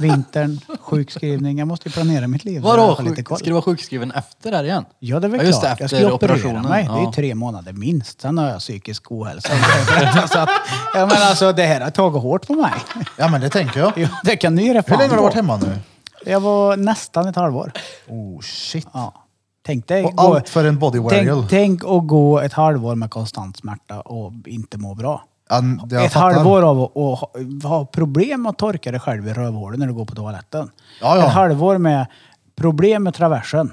Speaker 3: vintern, sjukskrivning. Jag måste ju planera mitt liv. så jag
Speaker 4: Vadå?
Speaker 3: har lite
Speaker 4: Sjuk,
Speaker 3: koll.
Speaker 4: ska du vara sjukskriven efter där igen?
Speaker 3: Ja, det är väl
Speaker 4: Ja, just
Speaker 3: klart.
Speaker 4: det,
Speaker 3: jag
Speaker 4: efter
Speaker 3: ska ju operera
Speaker 4: operationen,
Speaker 3: mig. Det är ju
Speaker 4: ja.
Speaker 3: tre månader minst. Sen har jag psykisk ohälsa. så att, ja, men alltså, det här har tagit hårt på mig.
Speaker 1: Ja, men det tänker jag.
Speaker 3: Jo, det kan du ge dig
Speaker 1: Hur
Speaker 3: fan
Speaker 1: länge har du
Speaker 3: på.
Speaker 1: varit hemma nu?
Speaker 3: Jag var nästan ett halvår.
Speaker 1: Oh shit.
Speaker 3: Ja. Tänk dig
Speaker 1: Och
Speaker 3: gå-
Speaker 1: allt för en body wearable.
Speaker 3: tänk, tänk att gå ett halvår med konstant smärta och inte må bra.
Speaker 1: Ja, det jag
Speaker 3: ett
Speaker 1: fattar.
Speaker 3: halvår av att att ha, ha problem att torka dig själv i rövhålet när du går på toaletten.
Speaker 1: Ja, ja.
Speaker 3: Ett halvår med problem med traversen.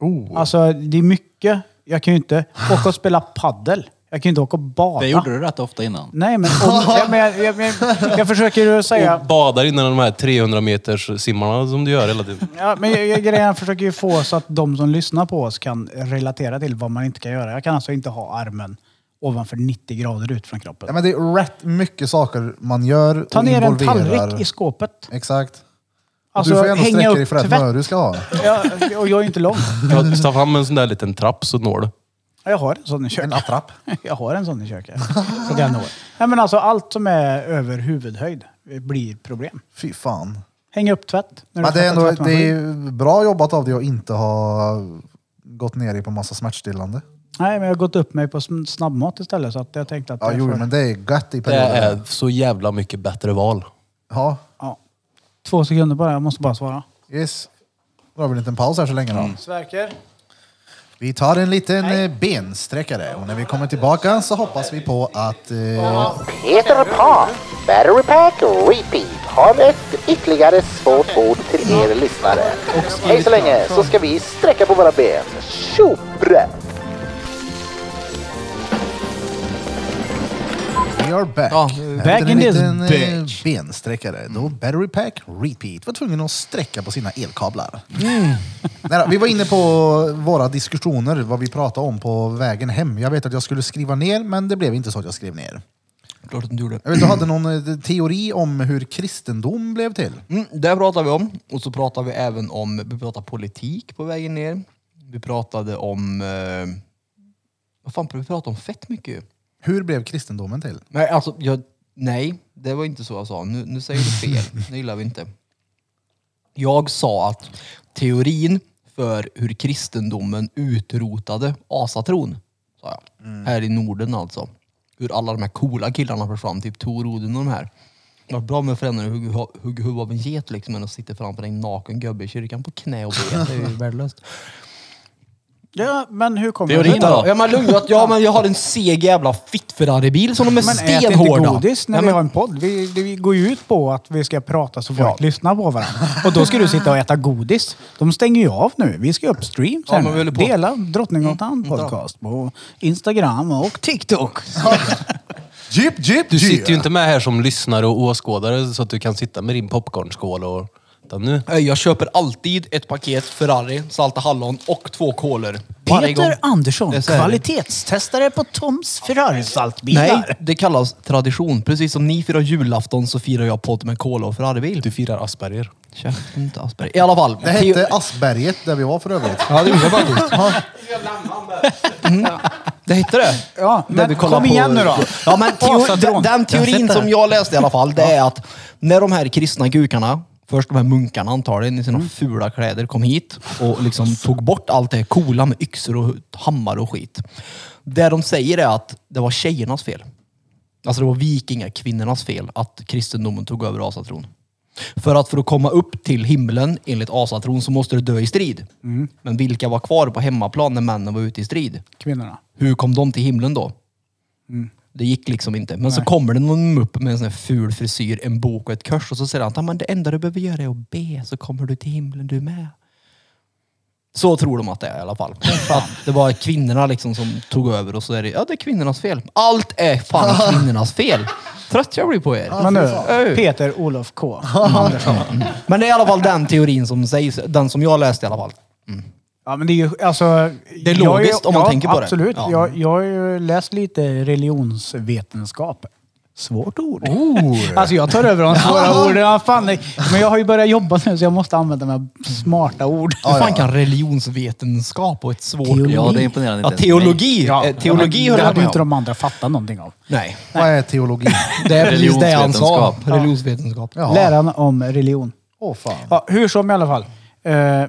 Speaker 1: Oh.
Speaker 3: Alltså, det är mycket. Jag kan ju inte åka och spela paddel. Jag kan ju inte åka och bada.
Speaker 4: Det gjorde du rätt ofta innan.
Speaker 3: Nej, men, om, jag, men, jag, jag, jag, jag försöker ju säga...
Speaker 1: Oh.
Speaker 6: Och badar innan de här 300 meters simmarna som du gör hela tiden.
Speaker 3: Ja, men jag, jag, grejen försöker ju få så att de som lyssnar på oss kan relatera till vad man inte kan göra. Jag kan alltså inte ha armen ovanför 90 grader ut från kroppen.
Speaker 1: Ja, men det är rätt mycket saker man gör
Speaker 3: Ta
Speaker 1: och
Speaker 3: ner en
Speaker 1: involverar.
Speaker 3: tallrik i skåpet.
Speaker 1: Exakt. Och
Speaker 3: Alltså,
Speaker 1: du får ändå
Speaker 3: hänga
Speaker 1: sträcka dig
Speaker 3: upp
Speaker 1: för rätt
Speaker 3: tvätt.
Speaker 1: möre du ska ha.
Speaker 3: Ja, och jag är inte lång.
Speaker 6: Jag tar fram en sån där liten trapp så når du.
Speaker 3: Ja, Jag har en sån i köket.
Speaker 1: En attrapp.
Speaker 3: Jag har en sån i köket. Så den når. Nej, men alltså, allt som är över huvudhöjd blir problem.
Speaker 1: Fy fan.
Speaker 3: Häng upp tvätt. När du
Speaker 1: Men det, är
Speaker 3: tvättar
Speaker 1: ändå,
Speaker 3: tvättmaskin.
Speaker 1: det är bra jobbat av dig att inte ha gått ner i på massa smärtstillande.
Speaker 3: Nej, men jag har gått upp mig på sn- snabbmat istället så att jag tänkte att...
Speaker 1: Ja,
Speaker 3: jag
Speaker 1: jo,
Speaker 3: får-
Speaker 1: men det är gött i
Speaker 6: Det
Speaker 1: perioder.
Speaker 6: är så jävla mycket bättre val.
Speaker 1: Ja,
Speaker 3: ja. Två sekunder bara, jag måste bara svara.
Speaker 1: yes. Då har vi en liten paus här så länge då.
Speaker 3: Mm. Sverker?
Speaker 1: Vi tar en liten eh, bensträckare och när vi kommer tillbaka så hoppas vi på att... Eh,
Speaker 8: Peter Pan, Battery Pack Repeat har ett ytterligare svårt ord till er lyssnare. Hej så länge så ska vi sträcka på våra ben. Tjobre!
Speaker 1: We are back.
Speaker 5: Ja,
Speaker 3: back
Speaker 1: Efter
Speaker 3: in
Speaker 1: en
Speaker 3: this
Speaker 1: liten, eh,
Speaker 3: bitch.
Speaker 1: bensträckare. Då battery pack repeat var tvungen att sträcka på sina elkablar. Nej, då, vi var inne på våra diskussioner, vad vi pratade om på vägen hem. Jag vet att jag skulle skriva ner, men det blev inte så att jag skrev ner.
Speaker 5: Klart att du gjorde.
Speaker 1: Jag vet, du hade någon eh, teori om hur kristendom blev till.
Speaker 5: Mm, det pratade vi om. Och så pratade vi även om, vi pratade politik på vägen ner. Vi pratade om, eh, vad fan vi pratade om fett mycket ju.
Speaker 1: Hur blev kristendomen till?
Speaker 5: Nej, alltså, jag, nej, det var inte så jag sa. Nu, nu säger du fel. Det gillar vi inte. Jag sa att teorin för hur kristendomen utrotade asatron, sa jag.
Speaker 3: Mm.
Speaker 5: Här i Norden alltså. Hur alla de här coola killarna försvann, typ Tor Odin och de här. Det var bra med förändringar hugga hu- hugga huvudet av en get liksom, än att sitta framför en naken gubbe i kyrkan på knä och be. Det är ju värdelöst.
Speaker 3: Ja, men hur kommer
Speaker 4: Teorin
Speaker 3: det
Speaker 4: då?
Speaker 5: Ja men lugn, att- ja, men jag har en seg jävla fitt-Ferrari-bil som de är
Speaker 3: Men ät inte
Speaker 5: stenhårda.
Speaker 3: godis när
Speaker 5: Ja,
Speaker 3: vi
Speaker 5: men-
Speaker 3: har en podd. Vi, det- vi går ju ut på att vi ska prata så folk lyssnar på varandra. Och då ska du sitta och äta godis. De stänger ju av nu. Vi ska upp stream
Speaker 5: Ja,
Speaker 3: sen.
Speaker 5: men vi håller på. Mm,
Speaker 3: Dela Drottninggatan podcast på Instagram och TikTok.
Speaker 1: Jeep, jeep,
Speaker 6: Du sitter ju inte med här som lyssnare och åskådare så att du kan sitta med din popcornskål och... Utan nu.
Speaker 5: Nej, Eh, Jag köper alltid ett paket Ferrari, salta hallon och två kolor. Varje gång.
Speaker 3: Peter
Speaker 5: Det
Speaker 3: Andersson,
Speaker 5: är så här.
Speaker 3: kvalitetstestare på Toms Ferrari-saltbilar.
Speaker 5: Nej, det kallas tradition. Precis som ni firar julafton så firar jag podd med kola och Ferraribil.
Speaker 6: Du firar Asperger.
Speaker 5: Käften, inte Asperger. I alla fall.
Speaker 1: Det hette Asperget där vi var för övrigt.
Speaker 5: Ja, det gjorde jag faktiskt. Mm. Det hette det?
Speaker 3: Ja,
Speaker 5: Där
Speaker 3: men
Speaker 5: vi kollar
Speaker 3: kom igen nu då.
Speaker 5: Ja, men teo- den,
Speaker 3: Asatron.
Speaker 5: den teorin som jag läste i alla fall, det är att när de här kristna gukarna, först de här munkarna antagligen, i sina
Speaker 3: Mm.
Speaker 5: fula kläder kom hit och liksom tog bort allt det coola med yxor och hammare och skit. Det de säger är att det var tjejernas fel. Alltså det var vikingakvinnornas fel att kristendomen tog över asatron. För att för att komma upp till himlen enligt asatron så måste du dö i strid.
Speaker 3: Mm.
Speaker 5: Men vilka var kvar på hemmaplan när männen var ute i strid?
Speaker 3: Kvinnorna.
Speaker 5: Hur kom de till himlen då?
Speaker 3: Mm.
Speaker 5: Det gick liksom inte. Men så kommer det någon upp med en sån här ful frisyr, en bok och ett kors och så säger han att "Ah, men det enda du behöver göra är att be så kommer du till himlen du med. Så tror de att det är i alla fall. Att det var kvinnorna liksom som tog över och så är det, ja det är kvinnornas fel. Allt är fan kvinnornas fel. Trött jag blir på er.
Speaker 3: Men nu,
Speaker 5: Öj.
Speaker 3: Peter Olof K.
Speaker 5: Men det är i alla fall den teorin som sägs, den som jag läste i alla fall.
Speaker 3: Ja, men det är ju, alltså,
Speaker 5: är
Speaker 3: jag har ju-
Speaker 5: logiskt om man
Speaker 3: ja,
Speaker 5: tänker på det.
Speaker 3: absolut.
Speaker 5: Ja.
Speaker 3: Jag, jag har ju läst lite religionsvetenskap. Svårt ord. Alltså jag tar över de svåra orden. Ja, fan, nej. men jag har ju börjat jobba nu så jag måste använda de här smarta ord.
Speaker 5: Hur fan kan religionsvetenskap och ett svårt...
Speaker 3: Teologi.
Speaker 5: Ja,
Speaker 4: Ja, det är imponerande.
Speaker 5: Ja,
Speaker 4: inte ens mig.
Speaker 5: teologi! Eh,
Speaker 3: men
Speaker 5: Teologi
Speaker 3: det
Speaker 5: höll jag
Speaker 3: hade ju
Speaker 5: med
Speaker 3: inte
Speaker 5: om.
Speaker 3: de andra fattat någonting av.
Speaker 5: Nej.
Speaker 1: Vad är teologi?
Speaker 5: Det är precis det han sa.
Speaker 4: Religionsvetenskap.
Speaker 5: Religionsvetenskap.
Speaker 1: Ja.
Speaker 3: Läran om religion.
Speaker 1: Åh fan.
Speaker 3: Ja, hur som i alla fall. Eh,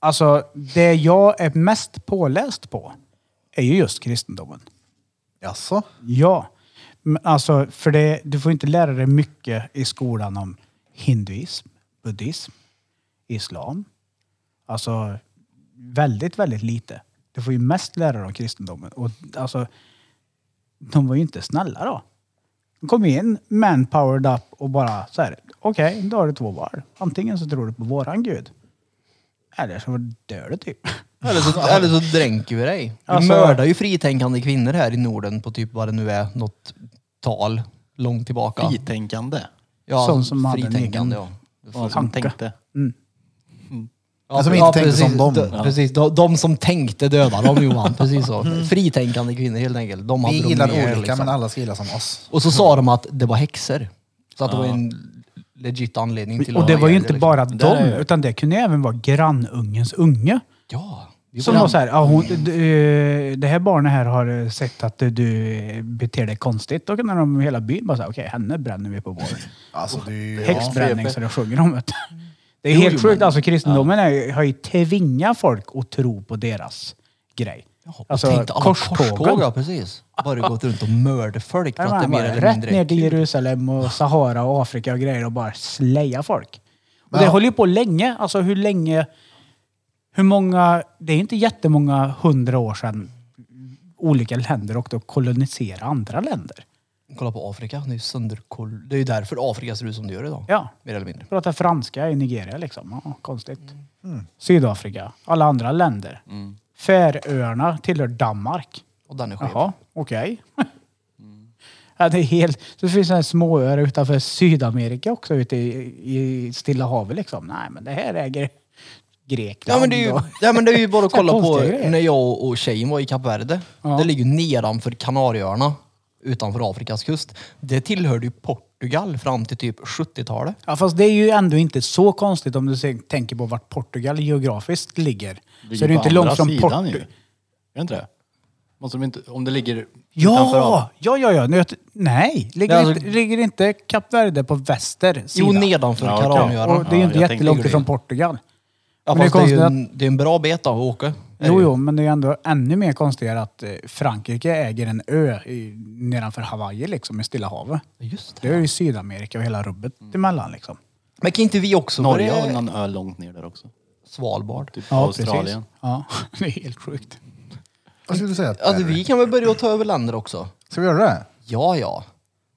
Speaker 3: alltså, det jag är mest påläst på är ju just kristendomen.
Speaker 1: Jaså?
Speaker 3: Ja. Men Alltså, för det, du får inte lära dig mycket i skolan om hinduism, buddhism, islam. Alltså, väldigt, väldigt lite. Du får ju mest lära dig om kristendomen. Och alltså, de var ju inte snälla då. De kom in, manpowered up och bara så här, okej, då har du två val. Antingen så tror du på våran gud, eller så dör du typ.
Speaker 5: Eller så, eller så dränker vi dig. Vi
Speaker 3: Alltså-
Speaker 5: mördar ju fritänkande kvinnor här i Norden på typ vad det nu är, något tal långt tillbaka.
Speaker 4: Fritänkande.
Speaker 5: ja,
Speaker 3: Sån som hade en
Speaker 5: fritänkande,
Speaker 3: egen-
Speaker 4: Ja, som
Speaker 3: Tanke.
Speaker 4: tänkte.
Speaker 5: ja.
Speaker 1: Som
Speaker 5: pre-
Speaker 1: inte tänkte som dem.
Speaker 5: De, precis, de, de som tänkte döda dem Johan. Precis så. Fritänkande kvinnor helt enkelt. De hade
Speaker 1: Vi
Speaker 5: de
Speaker 1: gillar
Speaker 5: ner,
Speaker 1: olika,
Speaker 5: liksom.
Speaker 1: men alla ska gilla som oss.
Speaker 5: Och så sa de att det var häxor. Så att det var en legit anledning till
Speaker 3: Och
Speaker 5: att
Speaker 3: det
Speaker 5: ha
Speaker 3: var ju
Speaker 5: ihjäl
Speaker 3: inte
Speaker 5: det,
Speaker 3: bara
Speaker 4: liksom. Det är
Speaker 3: dem,
Speaker 4: ju-
Speaker 3: utan det kunde ju även vara grannungens unge.
Speaker 5: Ja. vi
Speaker 3: Som
Speaker 5: var-
Speaker 3: var så här, ja, hon, d- eh, det här barnet här har eh, sett att eh, du eh, beter dig konstigt. Då kan de i hela byn bara säga, okej henne bränner vi på vår
Speaker 1: Alltså, det är ju...
Speaker 3: häxbränning så det sjunger om. Vet du. Det är helt sjukt. Alltså kristendomen är, ju- har ju tvingat folk att tro på deras grej.
Speaker 5: Ja, och
Speaker 3: Alltså
Speaker 5: tänkte alla korståg,
Speaker 3: korstågen.
Speaker 5: ja, precis. Bara gått runt och mördat folk för
Speaker 3: Där var
Speaker 5: att det är
Speaker 3: han
Speaker 5: mer
Speaker 3: bara,
Speaker 5: eller
Speaker 3: Rätt
Speaker 5: mindre
Speaker 3: ner till
Speaker 5: kul.
Speaker 3: Jerusalem och Sahara och Afrika och grejer och bara släja folk. Och det håller ju på länge. Alltså hur länge... Hur många... Det är inte jättemånga hundra år sedan olika länder åkte och koloniserade andra länder.
Speaker 5: Kolla på Afrika, det är ju sönderkoll... Det är ju därför Afrika ser ut som det gör idag.
Speaker 3: Ja.
Speaker 5: Mer eller mindre.
Speaker 3: Prata franska i Nigeria liksom. Ja, konstigt.
Speaker 5: Mm.
Speaker 3: Sydafrika. Alla andra länder. Färöarna tillhör Danmark.
Speaker 5: Och den är skev.
Speaker 3: Jaha, okej. Ja, det är helt... Så finns det småöar utanför Sydamerika också ute i, i Stilla havet liksom. Nej, men det här äger Grekland.
Speaker 5: Ja men, det är ju,
Speaker 3: och-
Speaker 5: ja men det är ju bara att kolla på
Speaker 3: Konstiga grejer.
Speaker 5: när jag och och tjejen var i Kap Verde.
Speaker 3: Ja.
Speaker 5: Det ligger ju nedanför Kanarieöarna, utanför Afrikas kust. Det tillhörde ju Portugal fram till typ 70-talet.
Speaker 3: Ja, fast det är ju ändå inte så konstigt om du se- tänker på vart Portugal geografiskt ligger. så är det ju
Speaker 4: på
Speaker 3: inte långt
Speaker 4: andra
Speaker 3: från
Speaker 4: sidan
Speaker 3: Portugal.
Speaker 4: ju. Är det inte det? Måste de inte, om det ligger utanför av-
Speaker 3: Ja! ja, ja, ja. Nu- Nej, ligger,
Speaker 5: Ja, alltså-
Speaker 3: inte, ligger inte Kap Verde på väster sida?
Speaker 5: Jo, nedanför
Speaker 4: Ja,
Speaker 5: ja,
Speaker 4: okej.
Speaker 3: Och
Speaker 5: Kanarieöarna.
Speaker 3: det är ju
Speaker 4: Ja,
Speaker 3: inte
Speaker 4: jag tänkte
Speaker 3: jättelångt
Speaker 4: det.
Speaker 3: ifrån Portugal.
Speaker 5: Ja,
Speaker 3: men det är
Speaker 5: fast det är ju
Speaker 3: konstigt
Speaker 5: en, det är en bra bit av att åka. Är det
Speaker 3: Jo,
Speaker 5: ju.
Speaker 3: jo, men det är ju ändå ännu mer konstigare att eh, Frankrike äger en ö i, nedanför Hawaii liksom, i Stilla havet.
Speaker 5: Just det.
Speaker 3: Det är ju Sydamerika och hela rubbet
Speaker 4: Mm.
Speaker 3: emellan liksom.
Speaker 5: Men kan inte vi också
Speaker 4: Norge har
Speaker 5: börja-
Speaker 4: väl någon ö långt ner där också?
Speaker 5: Svalbard.
Speaker 4: Typ
Speaker 3: Ja,
Speaker 4: Australien.
Speaker 3: precis. Ja, det är helt sjukt.
Speaker 1: Vad skulle du säga?
Speaker 5: Alltså vi kan väl börja ta över länder också?
Speaker 1: Ska vi göra det?
Speaker 5: Ja, ja.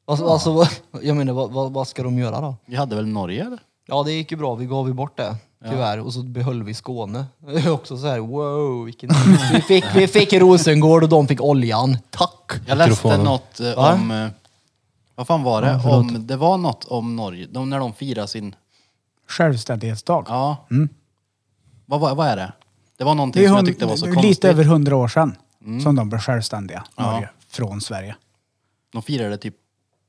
Speaker 5: Alltså, alltså vad- jag menar, vad, vad, vad ska de göra då?
Speaker 4: Vi hade väl Norge eller?
Speaker 5: Ja, det gick ju bra. Vi gav ju bort det, tyvärr. Och så behöll vi Skåne. Det är också så här, wow, vilken... vi, fick, vi fick Rosengård och de fick oljan. Tack!
Speaker 4: Jag läste
Speaker 6: Mikrofonen.
Speaker 4: något eh,
Speaker 5: Va?
Speaker 4: om... eh, Vad fan var det? om, det var något om Norge, de, när de firar sin...
Speaker 3: Självständighetsdag.
Speaker 4: Ja. Vad, vad, vad är det? Det var någonting
Speaker 3: Mm. Det är hun-
Speaker 4: som jag tyckte var så
Speaker 3: det är
Speaker 4: konstigt. Mm.
Speaker 3: Lite över hundra år sedan som de blev självständiga, Norge, från Sverige.
Speaker 4: De firade det typ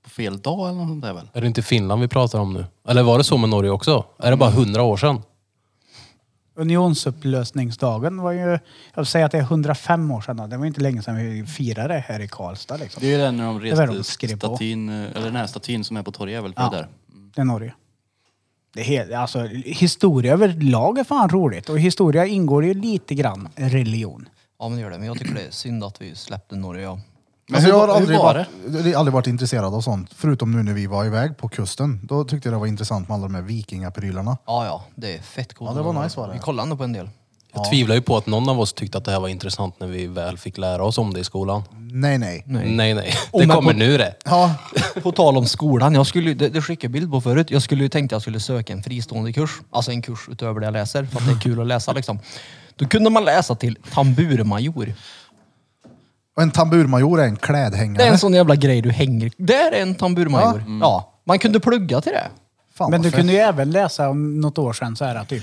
Speaker 4: på fel dag eller något sånt där väl?
Speaker 6: Är det inte Finland vi pratar om nu? Eller var det så med Norge också? Är det bara hundra år sedan?
Speaker 3: Unionsupplösningsdagen var ju, jag säger att det är 105 år sedan. då. Det var inte länge sedan vi firade det här i Karlstad liksom.
Speaker 4: Det är ju den när de
Speaker 3: är vad de
Speaker 4: reste
Speaker 3: skrev på.
Speaker 4: statyn, eh, eller den här statyn som är på torget är väl på
Speaker 3: Ja.
Speaker 4: det där?
Speaker 3: Det är Norge. Det är helt, alltså, historia överlag är fan roligt och i historia ingår ju lite grann religion.
Speaker 5: Ja, men det gör det. Men jag tycker det är synd att vi släppte Norge. Ja.
Speaker 4: Men
Speaker 1: Alltså,
Speaker 4: hur,
Speaker 1: jag har
Speaker 4: hur
Speaker 1: aldrig
Speaker 4: var
Speaker 1: varit, jag har aldrig varit intresserad av sånt, förutom nu när vi var iväg på kusten. Då tyckte jag det var intressant med alla de här vikingaprylarna.
Speaker 5: ja, ja. Det är fett coolt.
Speaker 1: Ja, det var nice, var det.
Speaker 5: Vi kollade ändå på en del.
Speaker 6: Jag tvivlar ju på att någon av oss tyckte att det här var intressant när vi väl fick lära oss om det i skolan.
Speaker 1: Nej, nej.
Speaker 6: Nej, nej. Det
Speaker 5: men
Speaker 6: kommer
Speaker 5: på-
Speaker 6: nu det.
Speaker 1: Ja,
Speaker 5: På tal om skolan, jag skulle, ju- det, det skickade jag bild på förut. Jag skulle ju tänkt att jag skulle söka en fristående kurs. Alltså en kurs utöver det jag läser, för att det är kul att läsa liksom. Då kunde man läsa till tamburmajor.
Speaker 1: och en tamburmajor är en klädhängare.
Speaker 5: Det är en sån jävla grej du hänger... Där är en tamburmajor. Ja. Man kunde plugga till det.
Speaker 1: Fan,
Speaker 3: Men du
Speaker 1: vad
Speaker 3: kunde
Speaker 1: fett.
Speaker 3: ju även läsa om något år sedan så här typ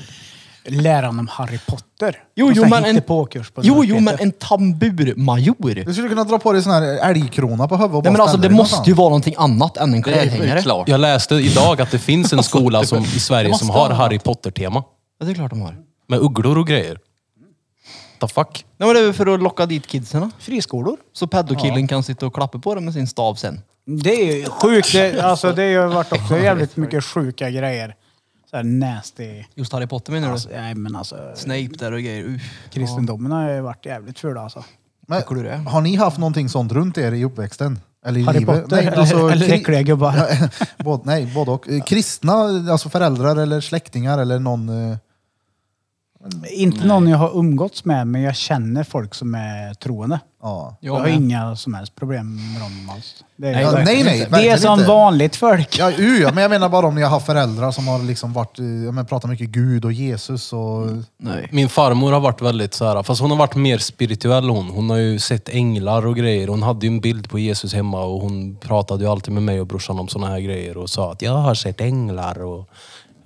Speaker 3: läran om Harry Potter.
Speaker 5: Jo,
Speaker 3: Och
Speaker 5: jo,
Speaker 3: så
Speaker 5: men en,
Speaker 3: hittepåkurs på
Speaker 5: jo, jo, men
Speaker 3: universitetet.
Speaker 5: en tamburmajor.
Speaker 1: Du skulle kunna dra på dig sån här älgkrona på huvudet och
Speaker 5: Nej, men
Speaker 1: bara
Speaker 5: alltså,
Speaker 1: ställa
Speaker 5: det
Speaker 1: dig
Speaker 5: måste ju
Speaker 1: någonstans.
Speaker 5: vara någonting annat än en
Speaker 4: det? Det är
Speaker 5: klädhängare.
Speaker 4: ju klart.
Speaker 6: Jag läste idag att det finns en skola som, i Sverige som har Harry Potter-tema.
Speaker 5: Ja, det är klart de har.
Speaker 6: Med ugglor och grejer. The fuck?
Speaker 5: Nej, men det är väl för att locka dit kidsen.
Speaker 3: Friskolor.
Speaker 5: Så peddokillen kan sitta och klappa på dem med sin stav sen.
Speaker 3: Det är ju sjukt. Det, alltså, det har ju varit också jävligt mycket sjuka grejer. Så här nasty.
Speaker 5: Just Harry Potter menar du?
Speaker 3: Alltså, nej, men alltså,
Speaker 5: Snape där och grejer. Uff.
Speaker 3: kristendomen har ju varit jävligt ful alltså.
Speaker 1: Men,
Speaker 5: Tycker du det?
Speaker 1: Har ni haft någonting sånt runt er i uppväxten? Eller i
Speaker 3: Harry
Speaker 1: livet? alltså,
Speaker 3: Potter eller, eller
Speaker 1: kri-
Speaker 3: alltså, äckliga gubbar.
Speaker 1: både, nej, både och. Eh, Kristna, alltså föräldrar eller släktingar eller någon... eh,
Speaker 3: Inte någon jag har umgåtts med, men jag känner folk som är troende.
Speaker 1: Ja.
Speaker 5: Jag
Speaker 3: Jag har
Speaker 5: med.
Speaker 3: inga som helst problem med dem alls. Det är
Speaker 1: Nej,
Speaker 3: verkligen
Speaker 1: nej, nej,
Speaker 3: inte. Det är
Speaker 1: verkligen
Speaker 3: som
Speaker 1: inte.
Speaker 3: vanligt folk.
Speaker 1: Ja, ju, ja, men jag menar bara om ni har haft föräldrar som har liksom varit, eh, ja, men pratat mycket Gud och Jesus och...
Speaker 5: Nej.
Speaker 6: Min farmor har varit väldigt så här, fast hon har varit mer spirituell hon. Hon har ju sett änglar och grejer. Hon hade ju en bild på Jesus hemma och hon pratade ju alltid med mig och brorsan om såna här grejer och sa att jag har sett änglar och,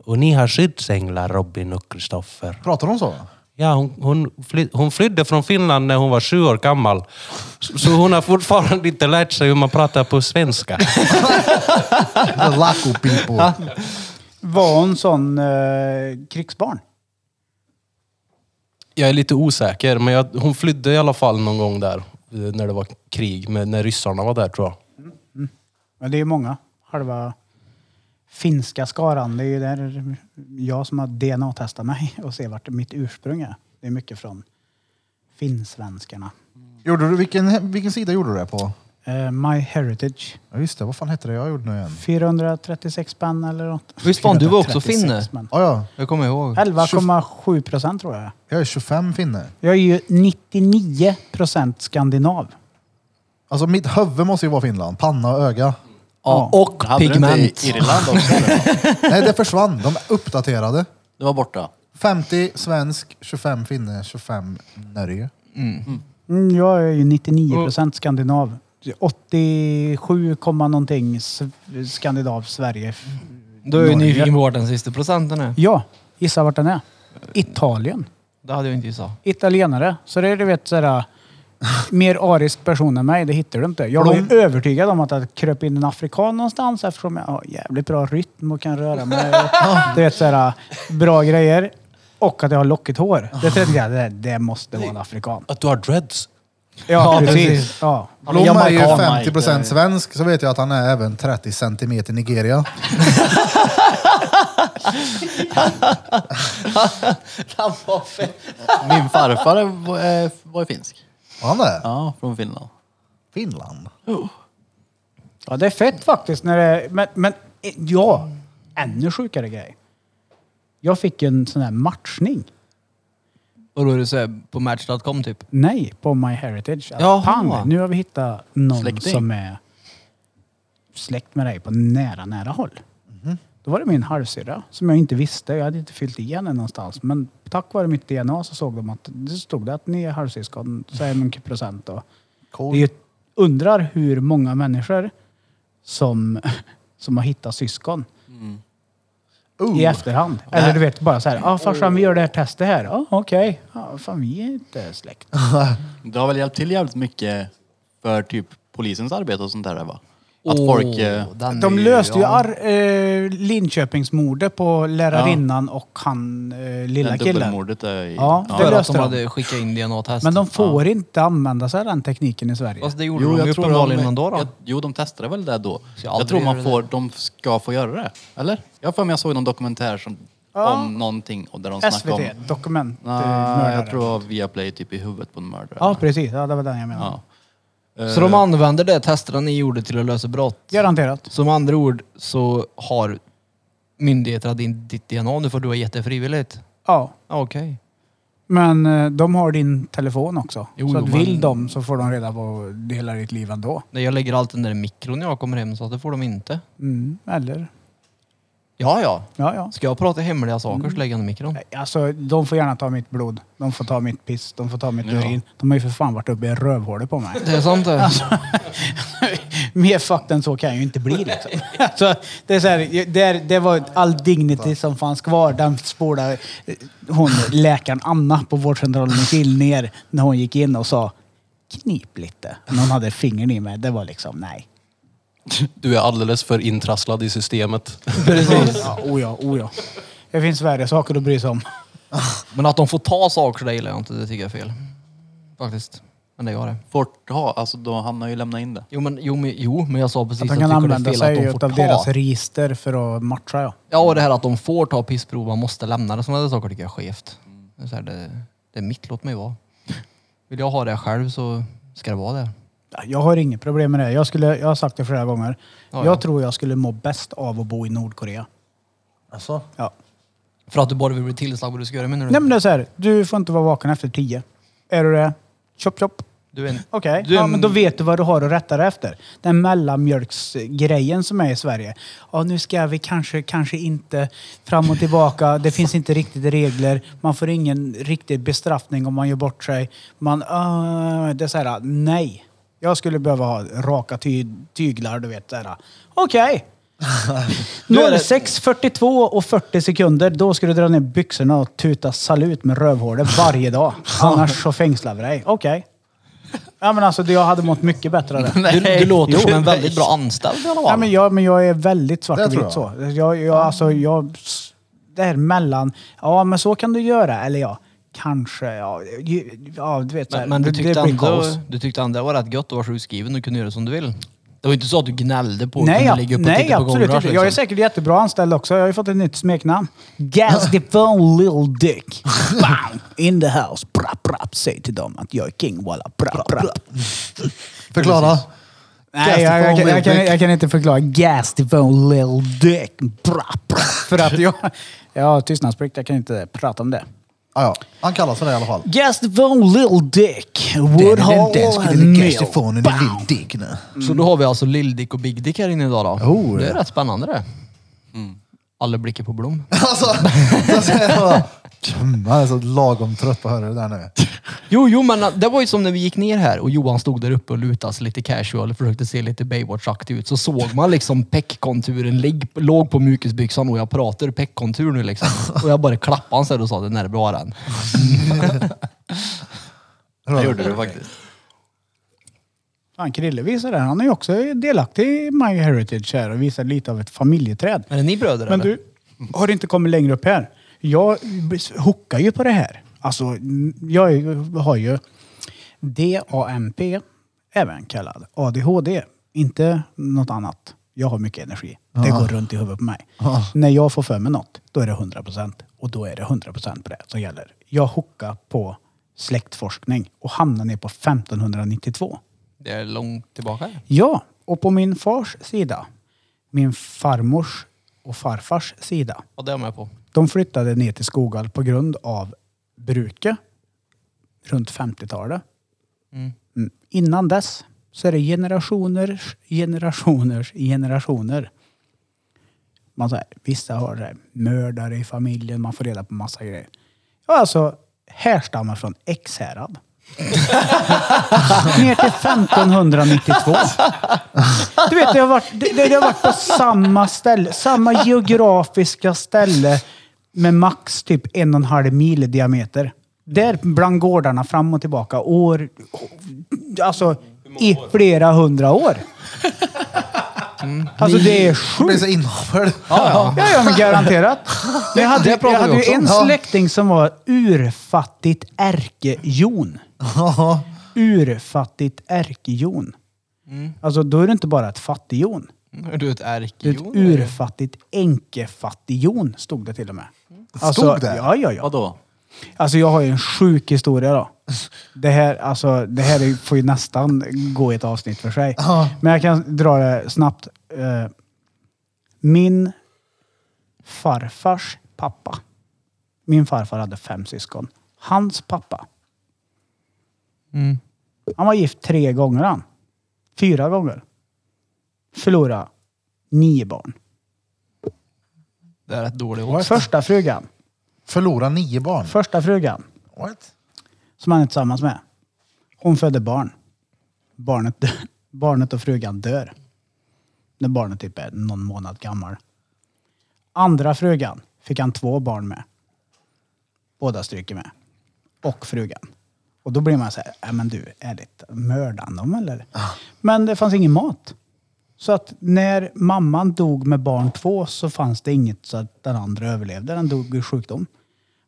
Speaker 6: och ni har skyddsänglar Robin och Kristoffer.
Speaker 1: Pratar de så?
Speaker 6: Ja, hon, hon, fly, hon flydde från Finland när hon var sju år gammal. Så så hon har fortfarande inte lärt sig hur man pratar på svenska.
Speaker 1: The Laco people.
Speaker 3: Var hon sån eh, krigsbarn?
Speaker 6: Jag är lite osäker, men jag, hon flydde i alla fall någon gång där. eh, När det var krig, med, när ryssarna var där tror jag.
Speaker 3: Men det är ju många. Halva finska skaran. Det är ju där jag som har DNA-testat mig och ser vart mitt ursprung är. Det är mycket från finnsvenskarna.
Speaker 1: Gjorde du, vilken, vilken sida gjorde du det på?
Speaker 3: Eh, My Heritage.
Speaker 1: Ja, just det, vad fan hette det jag gjorde nu igen?
Speaker 3: 436 spänn eller något.
Speaker 5: Visst fan, du var också
Speaker 3: 436
Speaker 5: finne?
Speaker 3: spänn.
Speaker 1: Ja, ja,
Speaker 5: Jag kommer ihåg.
Speaker 3: 11,7 procent tror jag.
Speaker 1: jag är 25 finne.
Speaker 3: Jag är ju 99 procent skandinav.
Speaker 1: Alltså mitt huvud måste ju vara Finland, panna och öga.
Speaker 5: Ja. Och
Speaker 4: Hade du inte
Speaker 5: pigment.
Speaker 4: i Irland också? eller?
Speaker 1: Nej, det försvann. De är uppdaterade.
Speaker 4: Det var borta.
Speaker 1: 50 svensk, 25 finne, 25 Norge.
Speaker 3: Mm, jag är ju 99 procent skandinav. 87, komma någonting S- Skandinav, Sverige. f-
Speaker 5: Du är ju
Speaker 3: Norge.
Speaker 5: nyfiken på vart den sista procenten är.
Speaker 3: Ja, gissa vart den är. Italien.
Speaker 5: Det hade jag inte gissat.
Speaker 3: Italienare. Så det är du vet sådär, mer arisk person än mig, det hittar du inte. Jag
Speaker 1: För
Speaker 3: var
Speaker 1: de-
Speaker 3: ju övertygad om att det kröp in en afrikan någonstans eftersom jag har jävligt bra rytm och kan röra mig. du vet sådär, bra grejer. Och att jag har lockigt hår. Det tänkte jag, det, det måste vara en afrikan.
Speaker 6: Att du har dreads.
Speaker 3: Ja, precis.
Speaker 5: precis.
Speaker 3: Ja.
Speaker 1: Blom är ju
Speaker 5: Jamaican,
Speaker 1: 50 procent svensk, så vet jag att han är även 30 centimeter Nigeria.
Speaker 4: Min farfar var, eh, var ju finsk.
Speaker 1: Var han det?
Speaker 4: Ja, från Finland.
Speaker 1: Finland?
Speaker 3: ja, det är fett faktiskt. När det, men, men eh, ja, ännu sjukare grej. Jag fick en sån här matchning.
Speaker 5: Och då är det så här på match.com typ.
Speaker 3: Nej, på My Heritage.
Speaker 5: Jaha.
Speaker 3: Pang, nu har vi hittat någon
Speaker 4: Släkting.
Speaker 3: som är släkt med dig på nära, nära håll. Då var det min halvsyrra som jag inte visste. Jag hade inte fyllt i henne någonstans. Men tack vare mitt DNA så såg de att det stod det att ni är halvsyskon, så är mycket procent. Och Det är ju, undrar hur många människor som, som har hittat syskon i efterhand. Eller du vet bara så här, ah, farsan vi gör det här testet här. Ah, Okej, ah, fan vi är inte släkt.
Speaker 4: Det har väl hjälpt till jävligt mycket för typ polisens arbete och sånt där va? Att folk... Eh,
Speaker 5: den
Speaker 3: De
Speaker 5: är
Speaker 3: löste ju
Speaker 5: ja.
Speaker 3: ar, eh, Linköpingsmordet på lärarinnan och han eh, lilla
Speaker 4: den
Speaker 3: killen.
Speaker 4: dubbelmordet är... i-
Speaker 3: Ja,
Speaker 5: För
Speaker 3: det
Speaker 5: att
Speaker 3: löste
Speaker 5: de
Speaker 3: de.
Speaker 5: hade skickat in DNA-test.
Speaker 3: Men de får inte använda sig av den tekniken i Sverige.
Speaker 5: Fast det gjorde de ju uppenbarligen ändå då.
Speaker 4: Jag, jo, de testade väl det då.
Speaker 5: Ska
Speaker 4: Jag,
Speaker 5: aldrig
Speaker 4: tror man
Speaker 5: göra det.
Speaker 4: får, de ska få göra det. Eller? Jag har för mig jag såg någon dokumentär som, om någonting och där de snackade om...
Speaker 3: SVT, dokument. eh,
Speaker 4: Nej,
Speaker 3: mördare.
Speaker 4: jag tror det var Viaplay typ i huvudet på en mördare.
Speaker 3: Ja, precis. Ja, det var den jag menade.
Speaker 4: Ja.
Speaker 5: Så de använder det testerna ni gjorde till att lösa brott.
Speaker 3: Garanterat.
Speaker 5: Som andra ord så har myndigheterna din, ditt DNA nu för du har gett det frivilligt.
Speaker 3: Ja.
Speaker 5: Ja, Okej.
Speaker 3: Men eh, de har din telefon också.
Speaker 5: Jo,
Speaker 3: så att
Speaker 5: jo, men-
Speaker 3: vill de så får de reda på hela ditt liv ändå.
Speaker 5: Nej, Jag lägger allt den där i mikron när jag kommer hem så att det får de inte.
Speaker 3: Mm, eller?
Speaker 5: Ja, ja.
Speaker 3: Ja, ja.
Speaker 5: Ska jag prata hemliga saker så lägger jag den i mikron.
Speaker 3: Mm. Nej, Alltså, de får gärna ta mitt blod. De får ta mitt piss. De får ta mitt urin. De har ju för fan varit uppe i rövhålet på mig.
Speaker 5: Det är sant det.
Speaker 3: Mer fucked än så kan jag ju inte bli liksom. alltså, det, är så här, det, det var all dignity som fanns kvar. Den spolade eh, hon, läkaren Anna på vårdcentralen i Kil ner när hon gick in och sa knip lite. Någon hade fingern i mig. Det var liksom nej.
Speaker 6: Du är alldeles för intrasslad i systemet.
Speaker 3: Precis. Ja, oh ja, oh ja. Det finns värre saker att bry sig om.
Speaker 5: Men att de får ta saker så det gillar jag inte. Det tycker jag är fel. Faktiskt. Men det gör det.
Speaker 4: Får ta, alltså då, han har ju lämnat in det.
Speaker 5: Jo men, jo, men, jo, men jag sa precis
Speaker 3: Att
Speaker 5: att,
Speaker 3: de
Speaker 5: jag
Speaker 3: kan
Speaker 5: tycker
Speaker 3: använda
Speaker 5: det är fel
Speaker 3: sig
Speaker 5: att de
Speaker 3: av
Speaker 5: får
Speaker 3: deras
Speaker 5: ta.
Speaker 3: register för att matcha. Ja.
Speaker 5: Ja, och det här att de får ta pissprov, man måste lämna det. Sådana där saker tycker jag är skevt. Det är, så här, det, det är mitt, låt mig vara. Vill jag ha det själv så ska det vara det.
Speaker 3: Ja, Jag har inget problem med det. Jag, skulle, jag har sagt det flera gånger.
Speaker 5: Ja,
Speaker 3: jag
Speaker 5: ja.
Speaker 3: tror jag skulle må bäst av att bo i Nordkorea.
Speaker 1: Alltså,
Speaker 3: Ja.
Speaker 5: För att du bara vill bli tillsagd vad du ska göra menar du?
Speaker 3: Nej men det är så här, du får inte vara vaken efter tio. Är du det? Chop chop.
Speaker 5: du är en...
Speaker 3: Okej,
Speaker 5: Du är
Speaker 3: ja,
Speaker 5: en-
Speaker 3: men då vet du vad du har att rätta dig efter. Den mellanmjölksgrejen som är i Sverige. Ja, nu ska vi kanske, kanske inte fram och tillbaka. Det finns inte riktigt regler. Man får ingen riktig bestraffning om man gör bort sig. Man, ah, det är så här, nej. Jag skulle behöva ha raka ty, tyglar, du vet. så här. Okej. 06, 42 och 40 sekunder, då ska du dra ner byxorna och tuta salut med rövhålet varje dag. Annars så fängslar vi dig. Okej. Ja men alltså det- jag hade mått mycket bättre av det.
Speaker 5: Du, du låter
Speaker 3: Jo.
Speaker 5: som en väldigt bra anställd i alla fall.
Speaker 3: Ja, men, jag, men jag är väldigt svart
Speaker 1: Det
Speaker 3: och
Speaker 1: tror
Speaker 3: vit så. Jag, jag, alltså, jag, det här mellan, ja men så kan du göra, eller ja, kanske, ja, ju- ja du vet så här,
Speaker 5: men, men du,
Speaker 3: det- det
Speaker 5: tyckte
Speaker 3: blir
Speaker 5: ändå,
Speaker 3: kaos.
Speaker 5: du tyckte ändå det var rätt gött att vara sjukskriven och kunde göra som du vill. Det var inte så att du gnällde på
Speaker 3: Nej,
Speaker 5: att kunde
Speaker 3: ja,
Speaker 5: ligga upp och
Speaker 3: nej
Speaker 5: titta på
Speaker 3: absolut
Speaker 5: gångrars,
Speaker 3: inte. Jag är
Speaker 5: liksom.
Speaker 3: säkert jättebra anställd också. Jag har ju fått ett nytt smeknamn. Gas the phone little dick. Bam! In the house. Brapp, brapp. Säg till dem att jag är king walla. Brapp, brapp.
Speaker 1: förklara.
Speaker 3: Nej, jag, jag, jag, jag, kan, jag kan inte förklara. Gas the phone little dick. Brapp, brapp. För att jag, jag har tystnadsplikt. Jag kan inte prata om det.
Speaker 1: Ah, ja. Han kallar sig det i alla fall.
Speaker 3: Gas the phone little dick.
Speaker 1: Den,
Speaker 3: Woodhall
Speaker 1: den skulle
Speaker 3: Mill.
Speaker 1: ligga ifrån en lill dick nu.
Speaker 5: Så då har vi alltså Lill-Dick och Big Dick här inne idag då.
Speaker 1: Oh.
Speaker 5: det är rätt spännande det. Alla blickar på Blom.
Speaker 1: Alltså, så att säga, jag bara, jag är så lagom trött på att höra det där nu.
Speaker 5: Jo, jo, men äh, det var ju som när vi gick ner här och Johan stod där uppe och lutade sig lite casual och försökte se lite Baywatch-aktig ut. Så såg man liksom peckkonturen ligg- låg på mjukisbyxan och jag pratar peckkontur nu liksom. Och jag bara klappade han så här och sa den är bra den.
Speaker 4: Det gjorde du faktiskt.
Speaker 3: Fan, Krille visar det. Han är ju också delaktig i My Heritage här och visar lite av ett familjeträd.
Speaker 5: Men är ni bröder
Speaker 3: Men
Speaker 5: eller?
Speaker 3: du, har inte kommit längre upp här? Jag hookar ju på det här. Alltså, n- jag är ju- har ju DAMP, även kallad ADHD. Inte något annat. Jag har mycket energi. Det går runt i huvudet på mig. När jag får för mig något, då är det 100 procent. Och då är det 100 procent på det som gäller. Jag hookar på släktforskning och hamnar ner på 1592.
Speaker 5: Det är långt tillbaka.
Speaker 3: Ja, och på min fars sida, min farmors och farfars sida,
Speaker 5: Ja, det är jag med på.
Speaker 3: de flyttade ner till Skoghall på grund av bruket runt 50-talet. Mm. Innan dess så är det generationers, generationers, generationer. Man säger, vissa har det här, mördare i familjen, man får reda på massa grejer. Jag alltså härstammar från Ekshärad. Ner till 1592. Du vet, det har varit, det, det har varit på samma ställe, samma geografiska ställe med max typ en och en halv mil i diameter. Där bland gårdarna fram och tillbaka år, alltså i flera hundra år. Alltså det är
Speaker 1: Jag blir
Speaker 3: sjukt.
Speaker 1: så inavlad.
Speaker 3: Ja, ja, men garanterat. Men Jag hade,
Speaker 5: Det pratar
Speaker 3: jag hade
Speaker 5: vi också
Speaker 3: ju
Speaker 5: om.
Speaker 3: en
Speaker 1: Ja.
Speaker 3: släkting som var urfattigt ärkejon.
Speaker 1: Ja.
Speaker 3: Urfattigt ärkejon. Alltså då är det inte bara ett fattigjon.
Speaker 5: Är du ett
Speaker 3: Det är ett
Speaker 5: ärkejon? eller?
Speaker 3: urfattigt änkefattigjon, stod det till och med. Alltså,
Speaker 1: Stod det?
Speaker 3: Ja, ja, ja.
Speaker 4: Vadå?
Speaker 3: Alltså jag har ju en sjuk historia då. Det här, alltså, det här är- får ju nästan gå i ett avsnitt för sig.
Speaker 1: Ja.
Speaker 3: Men jag kan dra det snabbt. Eh, Min farfars pappa. Min farfar hade fem syskon. Hans pappa. Han var gift tre gånger han. Fyra gånger. Förlorade nio barn.
Speaker 5: Det är rätt dålig odds.
Speaker 3: Första frugan.
Speaker 1: Förlora nio barn.
Speaker 3: Första frugan.
Speaker 1: What?
Speaker 3: som han är tillsammans med. Hon födde barn. Barnet, dö- barnet och frugan dör. När barnet typ är någon månad gammal. Andra frugan fick han två barn med. Båda stryker med. Och frugan. Och då blir man så här, "Nej, men du, ärligt, mördade han dem eller? Men det fanns ingen mat. Så att när mamman dog med barn två så fanns det inget så att den andra överlevde. Den dog i sjukdom.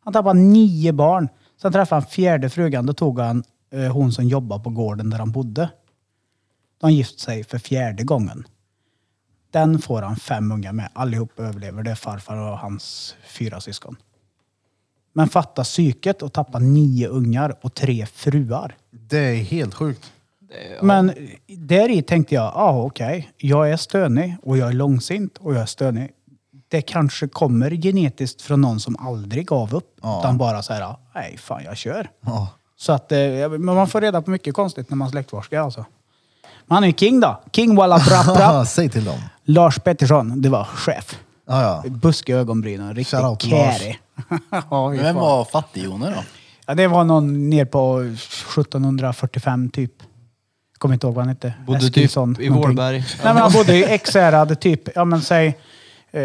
Speaker 3: Han tappade nio barn. Sen träffade han fjärde frugan. Då tog han eh, hon som jobbade på gården där han bodde. De gift sig för fjärde gången. Den får han fem unga med. Allihop överlever. Det är farfar och hans fyra syskon. Men fatta psyket och tappa nio ungar och tre fruar.
Speaker 1: Det är helt sjukt.
Speaker 3: Men där i tänkte jag, ja ah, okej, jag är stönig och jag är långsint och jag är stönig. Det kanske kommer genetiskt från någon som aldrig gav upp. Utan bara så här, ah, nej fan jag kör.
Speaker 1: Ja.
Speaker 3: Så att, eh, jag- men man får reda på mycket konstigt när man släktforskar alltså. Men han är ju king då. King walla brapp brapp.
Speaker 1: Säg till dem.
Speaker 3: Lars Pettersson, det var chef.
Speaker 1: Ja, ja.
Speaker 3: Buskiga ögonbryn och
Speaker 1: Shoutout
Speaker 3: riktigt
Speaker 1: till Lars.
Speaker 3: kärig. ja, fy fan.
Speaker 4: Vem var fattig-Jone då?
Speaker 3: Ja, det var någon ner på 1745 typ. Kommer inte ihåg vad han hette.
Speaker 5: Bodde typ
Speaker 3: Eskilsson,
Speaker 5: i
Speaker 3: någonting.
Speaker 5: Vålberg.
Speaker 3: Nej men han bodde i Ekshärad typ, ja men säg eh,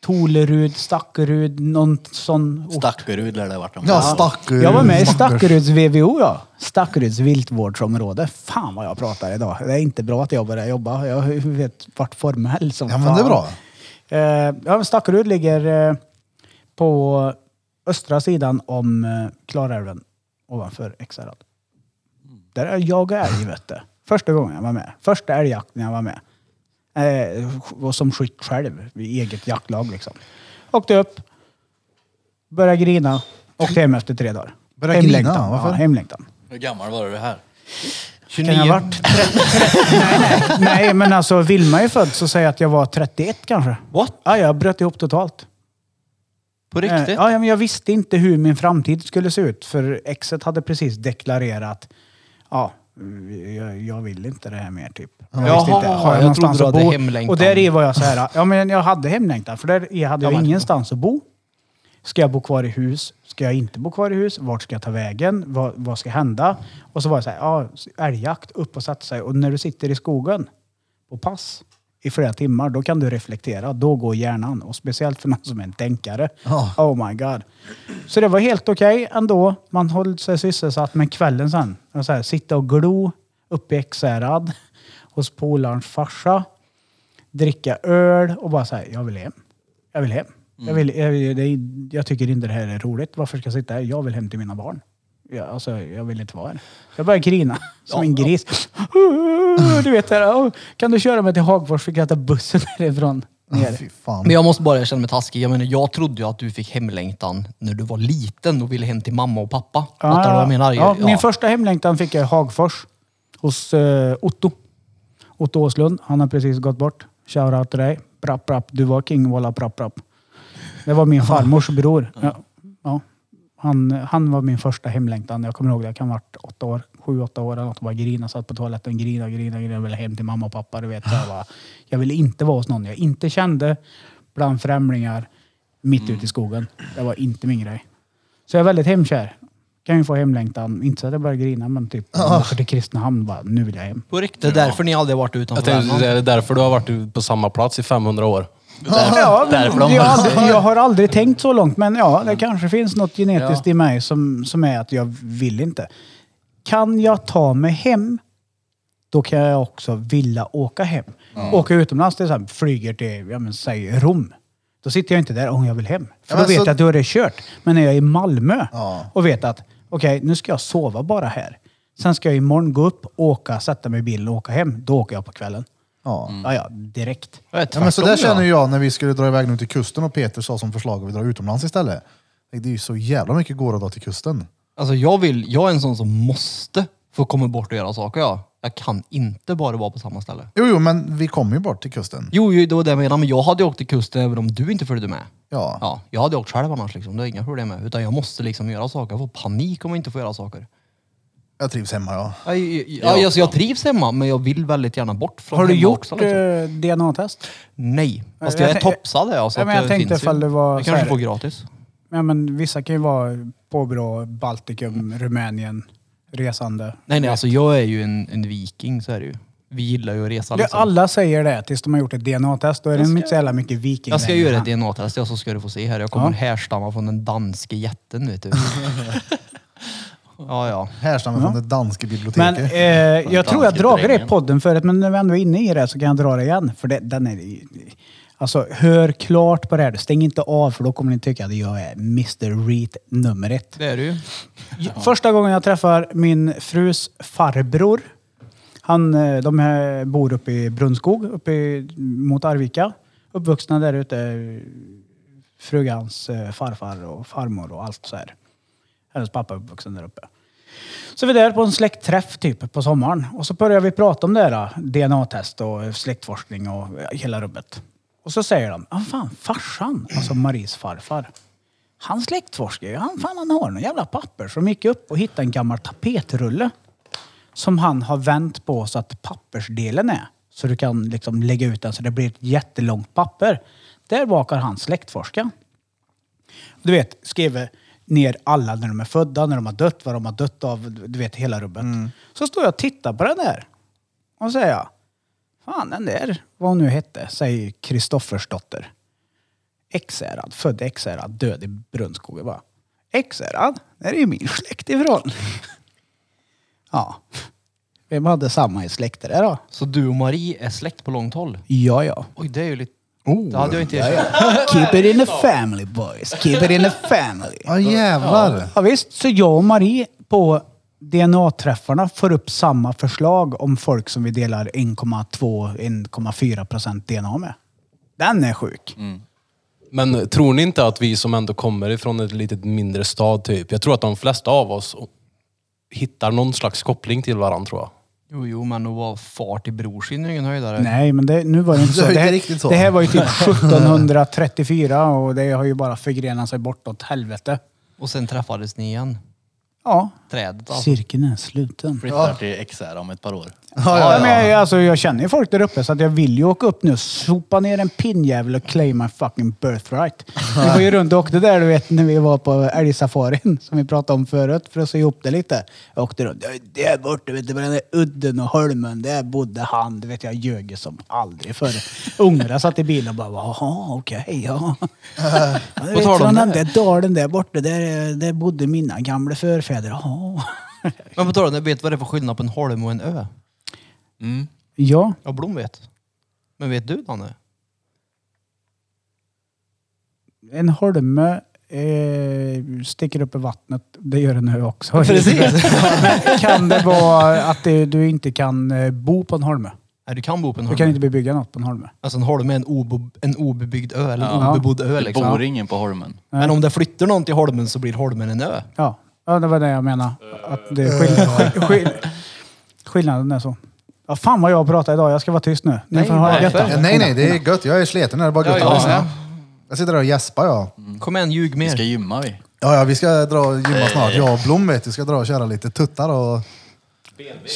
Speaker 3: Tolerud, Stackerud, någon sån ort.
Speaker 4: Stackerud lär det ha varit. om.
Speaker 1: Ja, stackarn.
Speaker 3: Jag var med i Stackeruds VVO ja. Stackeruds viltvårdsområde. Fan vad jag pratar idag. Det är inte bra att jag börjar jobba. Jag vet vart formell som
Speaker 1: Ja, men det är bra.
Speaker 3: Eh, ja, men Stackerud ligger eh, på östra sidan om eh, Klarälven ovanför Ekshärad. Där är jag och älg vet du. Första gången jag var med. Första älgjakten jag var med. Eh, och som skytt själv, i eget jaktlag liksom. Åkte upp, började grina, åkte hem efter tre dagar.
Speaker 1: Började grina?
Speaker 3: hemlängtan.
Speaker 1: Varför?
Speaker 3: Ja, hemlängtan.
Speaker 4: Hur gammal var du här?
Speaker 3: Kan jag ha varit 30? nej, nej, nej, men alltså Vilma är född så säger jag att jag var 31 kanske.
Speaker 5: What?
Speaker 3: Ja, jag bröt ihop totalt.
Speaker 5: På riktigt?
Speaker 3: Eh, Ja, ja, men jag visste inte hur min framtid skulle se ut för exet hade precis deklarerat ja, jag, jag vill inte det här mer typ.
Speaker 5: Jaha,
Speaker 3: visste inte.
Speaker 5: jag trodde du hade hemlängtan.
Speaker 3: Och där i var jag så här, ja men jag hade hemlängtan för där i hade jag ingenstans att bo. Ska jag bo kvar i hus? Ska jag inte bo kvar i hus? Vart ska jag ta vägen? Vad, vad ska hända? Och så var jag så här, ja, älgjakt, upp och sätta sig. Och när du sitter i skogen på pass i flera timmar, då kan du reflektera. Då går hjärnan. Och speciellt för någon som är en tänkare. Oh my god. Så det var helt okej ändå. Man höll sig sysselsatt. Men kvällen sen, jag så här, sitta och glo uppe i Ekshärad hos polarns farsa dricka öl och bara säga jag vill hem. Jag vill hem. Jag, vill, jag, vill- det, jag tycker inte det här är roligt. Varför ska jag sitta här? Jag vill hem till mina barn. Jag, alltså, jag vill inte vara här. Jag började grina som en gris. Du vet, det här, "Åh, kan du köra mig till Hagfors? Fick jag ta bussen härifrån ner.
Speaker 1: Fy fan.
Speaker 5: Men jag måste bara känna mig taskig. Jag menar, jag trodde ju att du fick hemlängtan när du var liten och ville hem till mamma och pappa. Fattar du vad jag menar?
Speaker 3: Ah, Ja,
Speaker 5: Ja.
Speaker 3: Min första hemlängtan fick jag i Hagfors. Hos eh, Otto. Otto Åslund. Han har precis gått bort. Shoutout till dig. Brapp, brapp. Du var king walla brapp, brapp. Det var min farmors bror. Ja. Ja. Han, han var min första hemlängtan. Jag kommer ihåg det. Jag kan ha varit åtta år. Sju, åtta år eller något. Och bara grina. Satt på toaletten. Grina, grina, grina. Jag ville hem till mamma och pappa. Du vet. Jag, bara, jag ville inte vara hos någon jag inte kände. Bland främlingar. Mitt ute i skogen. Det var inte min grej. Så jag är väldigt hemkär. Kan ju få hemlängtan. Inte så att jag börjar grina, men typ när jag åker till Kristinehamn bara, nu vill jag hem.
Speaker 5: På riktigt. Det är därför ni aldrig varit
Speaker 6: Jag
Speaker 5: utanför
Speaker 6: tänkte,
Speaker 5: Värmland.
Speaker 6: det är därför du har varit på samma plats i 500 år.
Speaker 3: Ja,
Speaker 4: därför de
Speaker 3: jag, har
Speaker 4: höll sig.
Speaker 3: aldrig, jag har aldrig tänkt så långt, men ja, det kanske finns något genetiskt i mig som, som är att jag vill inte. Kan jag ta mig hem, då kan jag också vilja åka hem. Åka utomlands, till exempel, flyger till, ja, men, säg Rom. Då sitter jag inte där om jag vill hem. För
Speaker 1: Ja,
Speaker 3: då
Speaker 1: men
Speaker 3: vet
Speaker 1: så-
Speaker 3: jag att då är det kört. Men när jag är i Malmö
Speaker 1: Ja.
Speaker 3: och vet att okej, nu ska jag sova bara här. Sen ska jag imorgon gå upp, åka, sätta mig i bilen och åka hem. Då åker jag på kvällen.
Speaker 1: Ja.
Speaker 3: Ja, ja, direkt.
Speaker 1: Ja, men så där känner ju jag när vi skulle dra iväg nu till kusten och Peter sa som förslag att vi drar utomlands istället. Det är ju så jävla mycket går att dra till kusten.
Speaker 5: Alltså jag vill, jag är en sån som måste få komma bort och göra saker ja. Jag kan inte bara vara på samma ställe.
Speaker 1: Jo, jo, men vi kommer ju bort till kusten.
Speaker 5: Jo, jo, det var det jag menade, men jag hade ju åkt till kusten även om du inte följde med.
Speaker 1: Ja.
Speaker 5: Ja, jag hade åkt själv annars liksom, det är inga problem med. Utan jag måste liksom göra saker, jag får panik om jag inte får göra saker.
Speaker 1: Jag trivs hemma, ja.
Speaker 5: Jag, jag, jag, alltså, jag trivs hemma, men jag vill väldigt gärna bort från
Speaker 3: Har du
Speaker 5: hemma
Speaker 3: gjort
Speaker 5: också, liksom.
Speaker 3: eh, DNA-test?
Speaker 5: Nej, fast
Speaker 3: Jag
Speaker 5: jag är
Speaker 3: tänk-
Speaker 5: topsad ja, så
Speaker 3: Ja,
Speaker 5: att
Speaker 3: men jag
Speaker 5: det
Speaker 3: tänkte
Speaker 5: finns ju.
Speaker 3: ifall det var
Speaker 5: Jag
Speaker 3: så
Speaker 5: kanske
Speaker 3: här-
Speaker 5: får gratis.
Speaker 3: Ja, men vissa kan ju vara påbrå Baltikum,
Speaker 5: Mm.
Speaker 3: Rumänien, resande.
Speaker 5: Nej, nej, alltså jag är ju en, en viking, så är det ju. Vi gillar ju att resa
Speaker 3: Det,
Speaker 5: liksom.
Speaker 3: alla säger det tills de har gjort ett DNA-test. Då är det inte så jävla mycket viking
Speaker 5: Jag ska
Speaker 3: längre.
Speaker 5: göra ett DNA-test, ja, alltså, så ska du få se här. Jag kommer härstamma från den danske jätten, vet du. ja, ja.
Speaker 1: Härstammar från det danska
Speaker 3: Men
Speaker 1: biblioteket.
Speaker 3: eh, jag tror jag
Speaker 4: danska
Speaker 3: dragit det i
Speaker 4: drängen.
Speaker 3: podden förut, men när vi ändå är inne i det så kan jag dra det igen. För det, den är... Alltså, hör klart på det här. Stäng inte av, för då kommer ni tycka att jag är Mr. Reet nummer ett.
Speaker 5: Det är det ju.
Speaker 3: Första gången jag träffar min frus farbror. Han, eh, de här bor uppe i Brunnskog, uppe i, mot Arvika. Uppvuxna där ute. eh, Frugans eh, farfar och farmor och allt så här. Hennes pappa är uppvuxen där uppe. Så vi är där på en släktträff typ på sommaren. Och så börjar vi prata om det här. eh, DNA-test och eh, släktforskning och eh, hela rubbet. Och så säger de, ah, fan farsan, alltså Maries farfar. Han släktforskar ju. Han, fan, han har någon jävla papper. Så de gick upp och hittade en gammal tapetrulle. Som han har vänt på så att pappersdelen är. Så du kan liksom lägga ut den så det blir ett jättelångt papper. Där bakar han släktforska. Du vet, skriver ner alla när de är födda, när de har dött, vad de har dött av, du vet hela rubbet. Så står jag och tittar på den där. Och säger jag, fan den där, vad hon nu hette, säger Kristoffersdotter. Ekshärad, född i Ekshärad, död i Brunnskog. Jag bara, Ekshärad, där är ju min släkt ifrån. ja. Vem hade samma i släkter där då?
Speaker 5: Så du och Marie är släkt på långt håll?
Speaker 3: Ja, ja.
Speaker 5: Oj, det är ju lite...
Speaker 3: Oh,
Speaker 5: det hade jag inte erkänt.
Speaker 3: Keep it in the family boys, keep it in the family.
Speaker 1: Ja, jävlar.
Speaker 3: Ja, visst, så jag och Marie på DNA-träffarna får upp samma förslag om folk som vi delar 1,2-1,4 procent DNA med. Den är sjuk.
Speaker 1: Mm.
Speaker 6: Men tror ni inte att vi som ändå kommer ifrån ett litet mindre stad typ. Jag tror att de flesta av oss hittar någon slags koppling till varandra tror jag.
Speaker 5: Jo, jo, men att vara far till bror sin är ingen höjdare.
Speaker 3: Nej, men det, nu var det inte så.
Speaker 1: Det var inte
Speaker 3: här,
Speaker 1: riktigt så.
Speaker 3: det här var ju typ 1734 och det har ju bara förgrenat sig bortåt helvete.
Speaker 5: Och sen träffades ni igen.
Speaker 3: Ja,
Speaker 5: trädet. Alltså.
Speaker 3: cirkeln är sluten.
Speaker 4: Flyttar till XR om ett par år.
Speaker 3: Ja, men jag, alltså, jag känner ju folk där uppe så att jag vill ju åka upp nu, sopa ner en pinnjävel och claim my fucking birthright. Vi var ju runt och åkte där du vet när vi var på älgsafarin som vi pratade om förut för att se ihop det lite. Jag åkte runt. "Ja, Där borta vet du på den där udden och holmen, där bodde han. Du vet jag ljög ju som aldrig förr. Ungarna satt i bilen och bara jaha okej ja. ja. Du vet,
Speaker 5: tal om
Speaker 3: från den
Speaker 5: det.
Speaker 3: där dalen där borta, där, där bodde mina gamla förfäder. Jaha.
Speaker 5: Men på tal om det, vet du vad det är för skillnad på en holm och en ö?
Speaker 3: Ja.
Speaker 5: Ja, Blom vet. Men vet du Danne?
Speaker 3: En holme eh, sticker upp i vattnet. Det gör den nu också.
Speaker 5: Precis.
Speaker 3: Men kan det vara att det, du inte kan eh, bo på en holme?
Speaker 5: Nej, du kan bo på en
Speaker 3: Du
Speaker 5: holm.
Speaker 3: kan inte bebygga något på en holme.
Speaker 5: Alltså en holm är en, obo, en obebyggd ö, eller en
Speaker 3: Ja.
Speaker 5: obebodd ö
Speaker 4: Det
Speaker 5: liksom.
Speaker 4: bor ingen på Holmen.
Speaker 5: Men om det flyttar någon till holmen så blir holmen en ö.
Speaker 3: Ja, ja det var det jag menade. Att det är skill-
Speaker 5: Eh.
Speaker 3: skill- skill- skillnaden är så. Ja, fan vad jag pratar idag. Jag ska vara tyst nu. nu
Speaker 5: Nej,
Speaker 3: får jag ha det
Speaker 5: nej,
Speaker 3: gött.
Speaker 5: för-
Speaker 1: Ja, Eh, nej, nej, det är gött. Jag är sliten. Det är bara gött att
Speaker 5: Ja,
Speaker 1: lyssna.
Speaker 5: ja.
Speaker 1: Jag sitter där och gäspar jag.
Speaker 5: Kom igen, ljug
Speaker 4: Vi ska
Speaker 5: mer.
Speaker 4: gymma vi.
Speaker 1: Ja, ja, vi ska dra och gymma snart. Jag och Blom vet, vi ska dra och köra lite tuttar och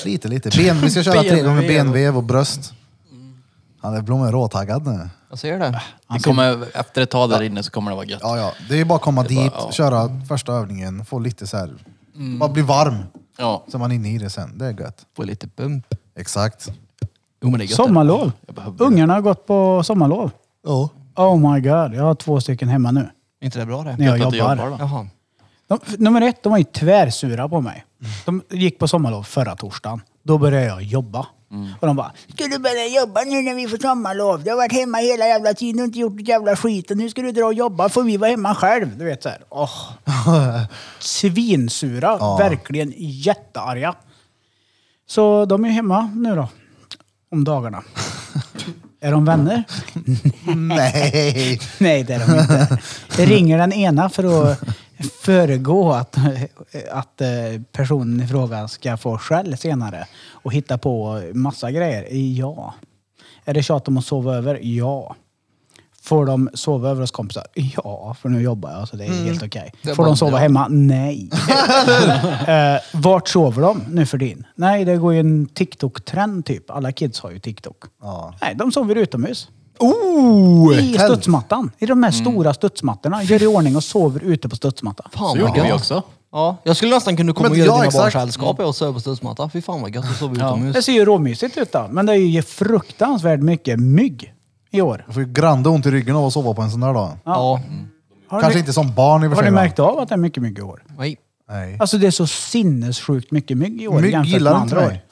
Speaker 1: slita lite. Ben, vi ska köra tre gånger
Speaker 5: Benvev.
Speaker 1: benvev och bröst. Han är, Blom är råtaggad nu.
Speaker 5: Jag ser det.
Speaker 4: Det kommer, efter ett tag där inne så kommer det vara gött.
Speaker 1: Ja, ja. Det är bara Mm. att komma dit, köra första övningen, få lite så här... Bara bli varm.
Speaker 4: Ja.
Speaker 1: Så man är inne i det sen. Det är gött.
Speaker 5: Få lite bump.
Speaker 1: Exakt.
Speaker 5: Jo men det är gött.
Speaker 3: Sommarlov.
Speaker 4: Jag behövde
Speaker 3: Ungarna har gått på sommarlov.
Speaker 1: Ja.
Speaker 3: Oh my god. Jag har två stycken hemma nu.
Speaker 5: det. Inte det bra det?
Speaker 3: När jag
Speaker 4: Gött att du
Speaker 3: jobbar.
Speaker 4: jobbar då.
Speaker 5: Jaha.
Speaker 3: De, f- nummer ett, de var ju tvärsura på mig. De gick på sommarlov förra torsdagen. Då började jag jobba. Och de bara, ska du börja jobba nu när vi får sommarlov? Du har varit hemma hela jävla tiden och inte gjort ett jävla skit. Och nu ska du dra och jobba för vi var hemma själv. Du vet så här. Åh. Svinsura. Verkligen jättearga. Så de är hemma nu då. Om dagarna. är de vänner?
Speaker 1: Nej!
Speaker 3: Nej, det är de inte. Det ringer den ena för att föregå att, att eh, personen i fråga ska få skäll senare och hitta på massa grejer. Ja. Är det tjat om att sova över? Ja. Får de sova över hos kompisar? Ja, för nu jobbar jag så det är helt okej.
Speaker 5: Mm. Det är
Speaker 3: Får
Speaker 5: bara
Speaker 3: de sova
Speaker 5: bra.
Speaker 3: hemma? Nej. eh, vart sover de nu för din? Nej, det går ju en TikTok-trend typ. Alla kids har ju TikTok.
Speaker 1: Ja.
Speaker 3: Nej, de sover utomhus.
Speaker 1: Oh!
Speaker 3: I studsmattan. I de här stora studsmattorna. Gör i ordning och sover ute på studsmattan.
Speaker 5: Fan
Speaker 4: Så gjorde
Speaker 5: vad
Speaker 4: vi
Speaker 5: gött.
Speaker 4: också.
Speaker 5: Ja, jag skulle nästan kunna komma
Speaker 1: Men
Speaker 5: och göra
Speaker 1: ja,
Speaker 5: dina barn
Speaker 1: exakt.
Speaker 5: sällskap jag och sova på studsmatta. Fy fan vad gött att sova utomhus.
Speaker 3: Det ser ju råmysigt ut då. Men det är ju fruktansvärt mycket mygg i år.
Speaker 1: Jag får ju grande ont i ryggen av att sova på en sån där dag.
Speaker 5: Ja.
Speaker 3: Har
Speaker 1: Kanske
Speaker 3: ni,
Speaker 1: inte som barn i och för
Speaker 3: Har
Speaker 1: sig.
Speaker 3: ni
Speaker 1: va?
Speaker 3: märkt av att det är mycket mygg i år?
Speaker 5: Nej.
Speaker 1: Nej.
Speaker 3: Alltså det är så sinnessjukt mycket mygg i år
Speaker 1: Mygg
Speaker 3: jämfört
Speaker 1: gillar
Speaker 3: med
Speaker 1: inte
Speaker 3: andra
Speaker 1: mig.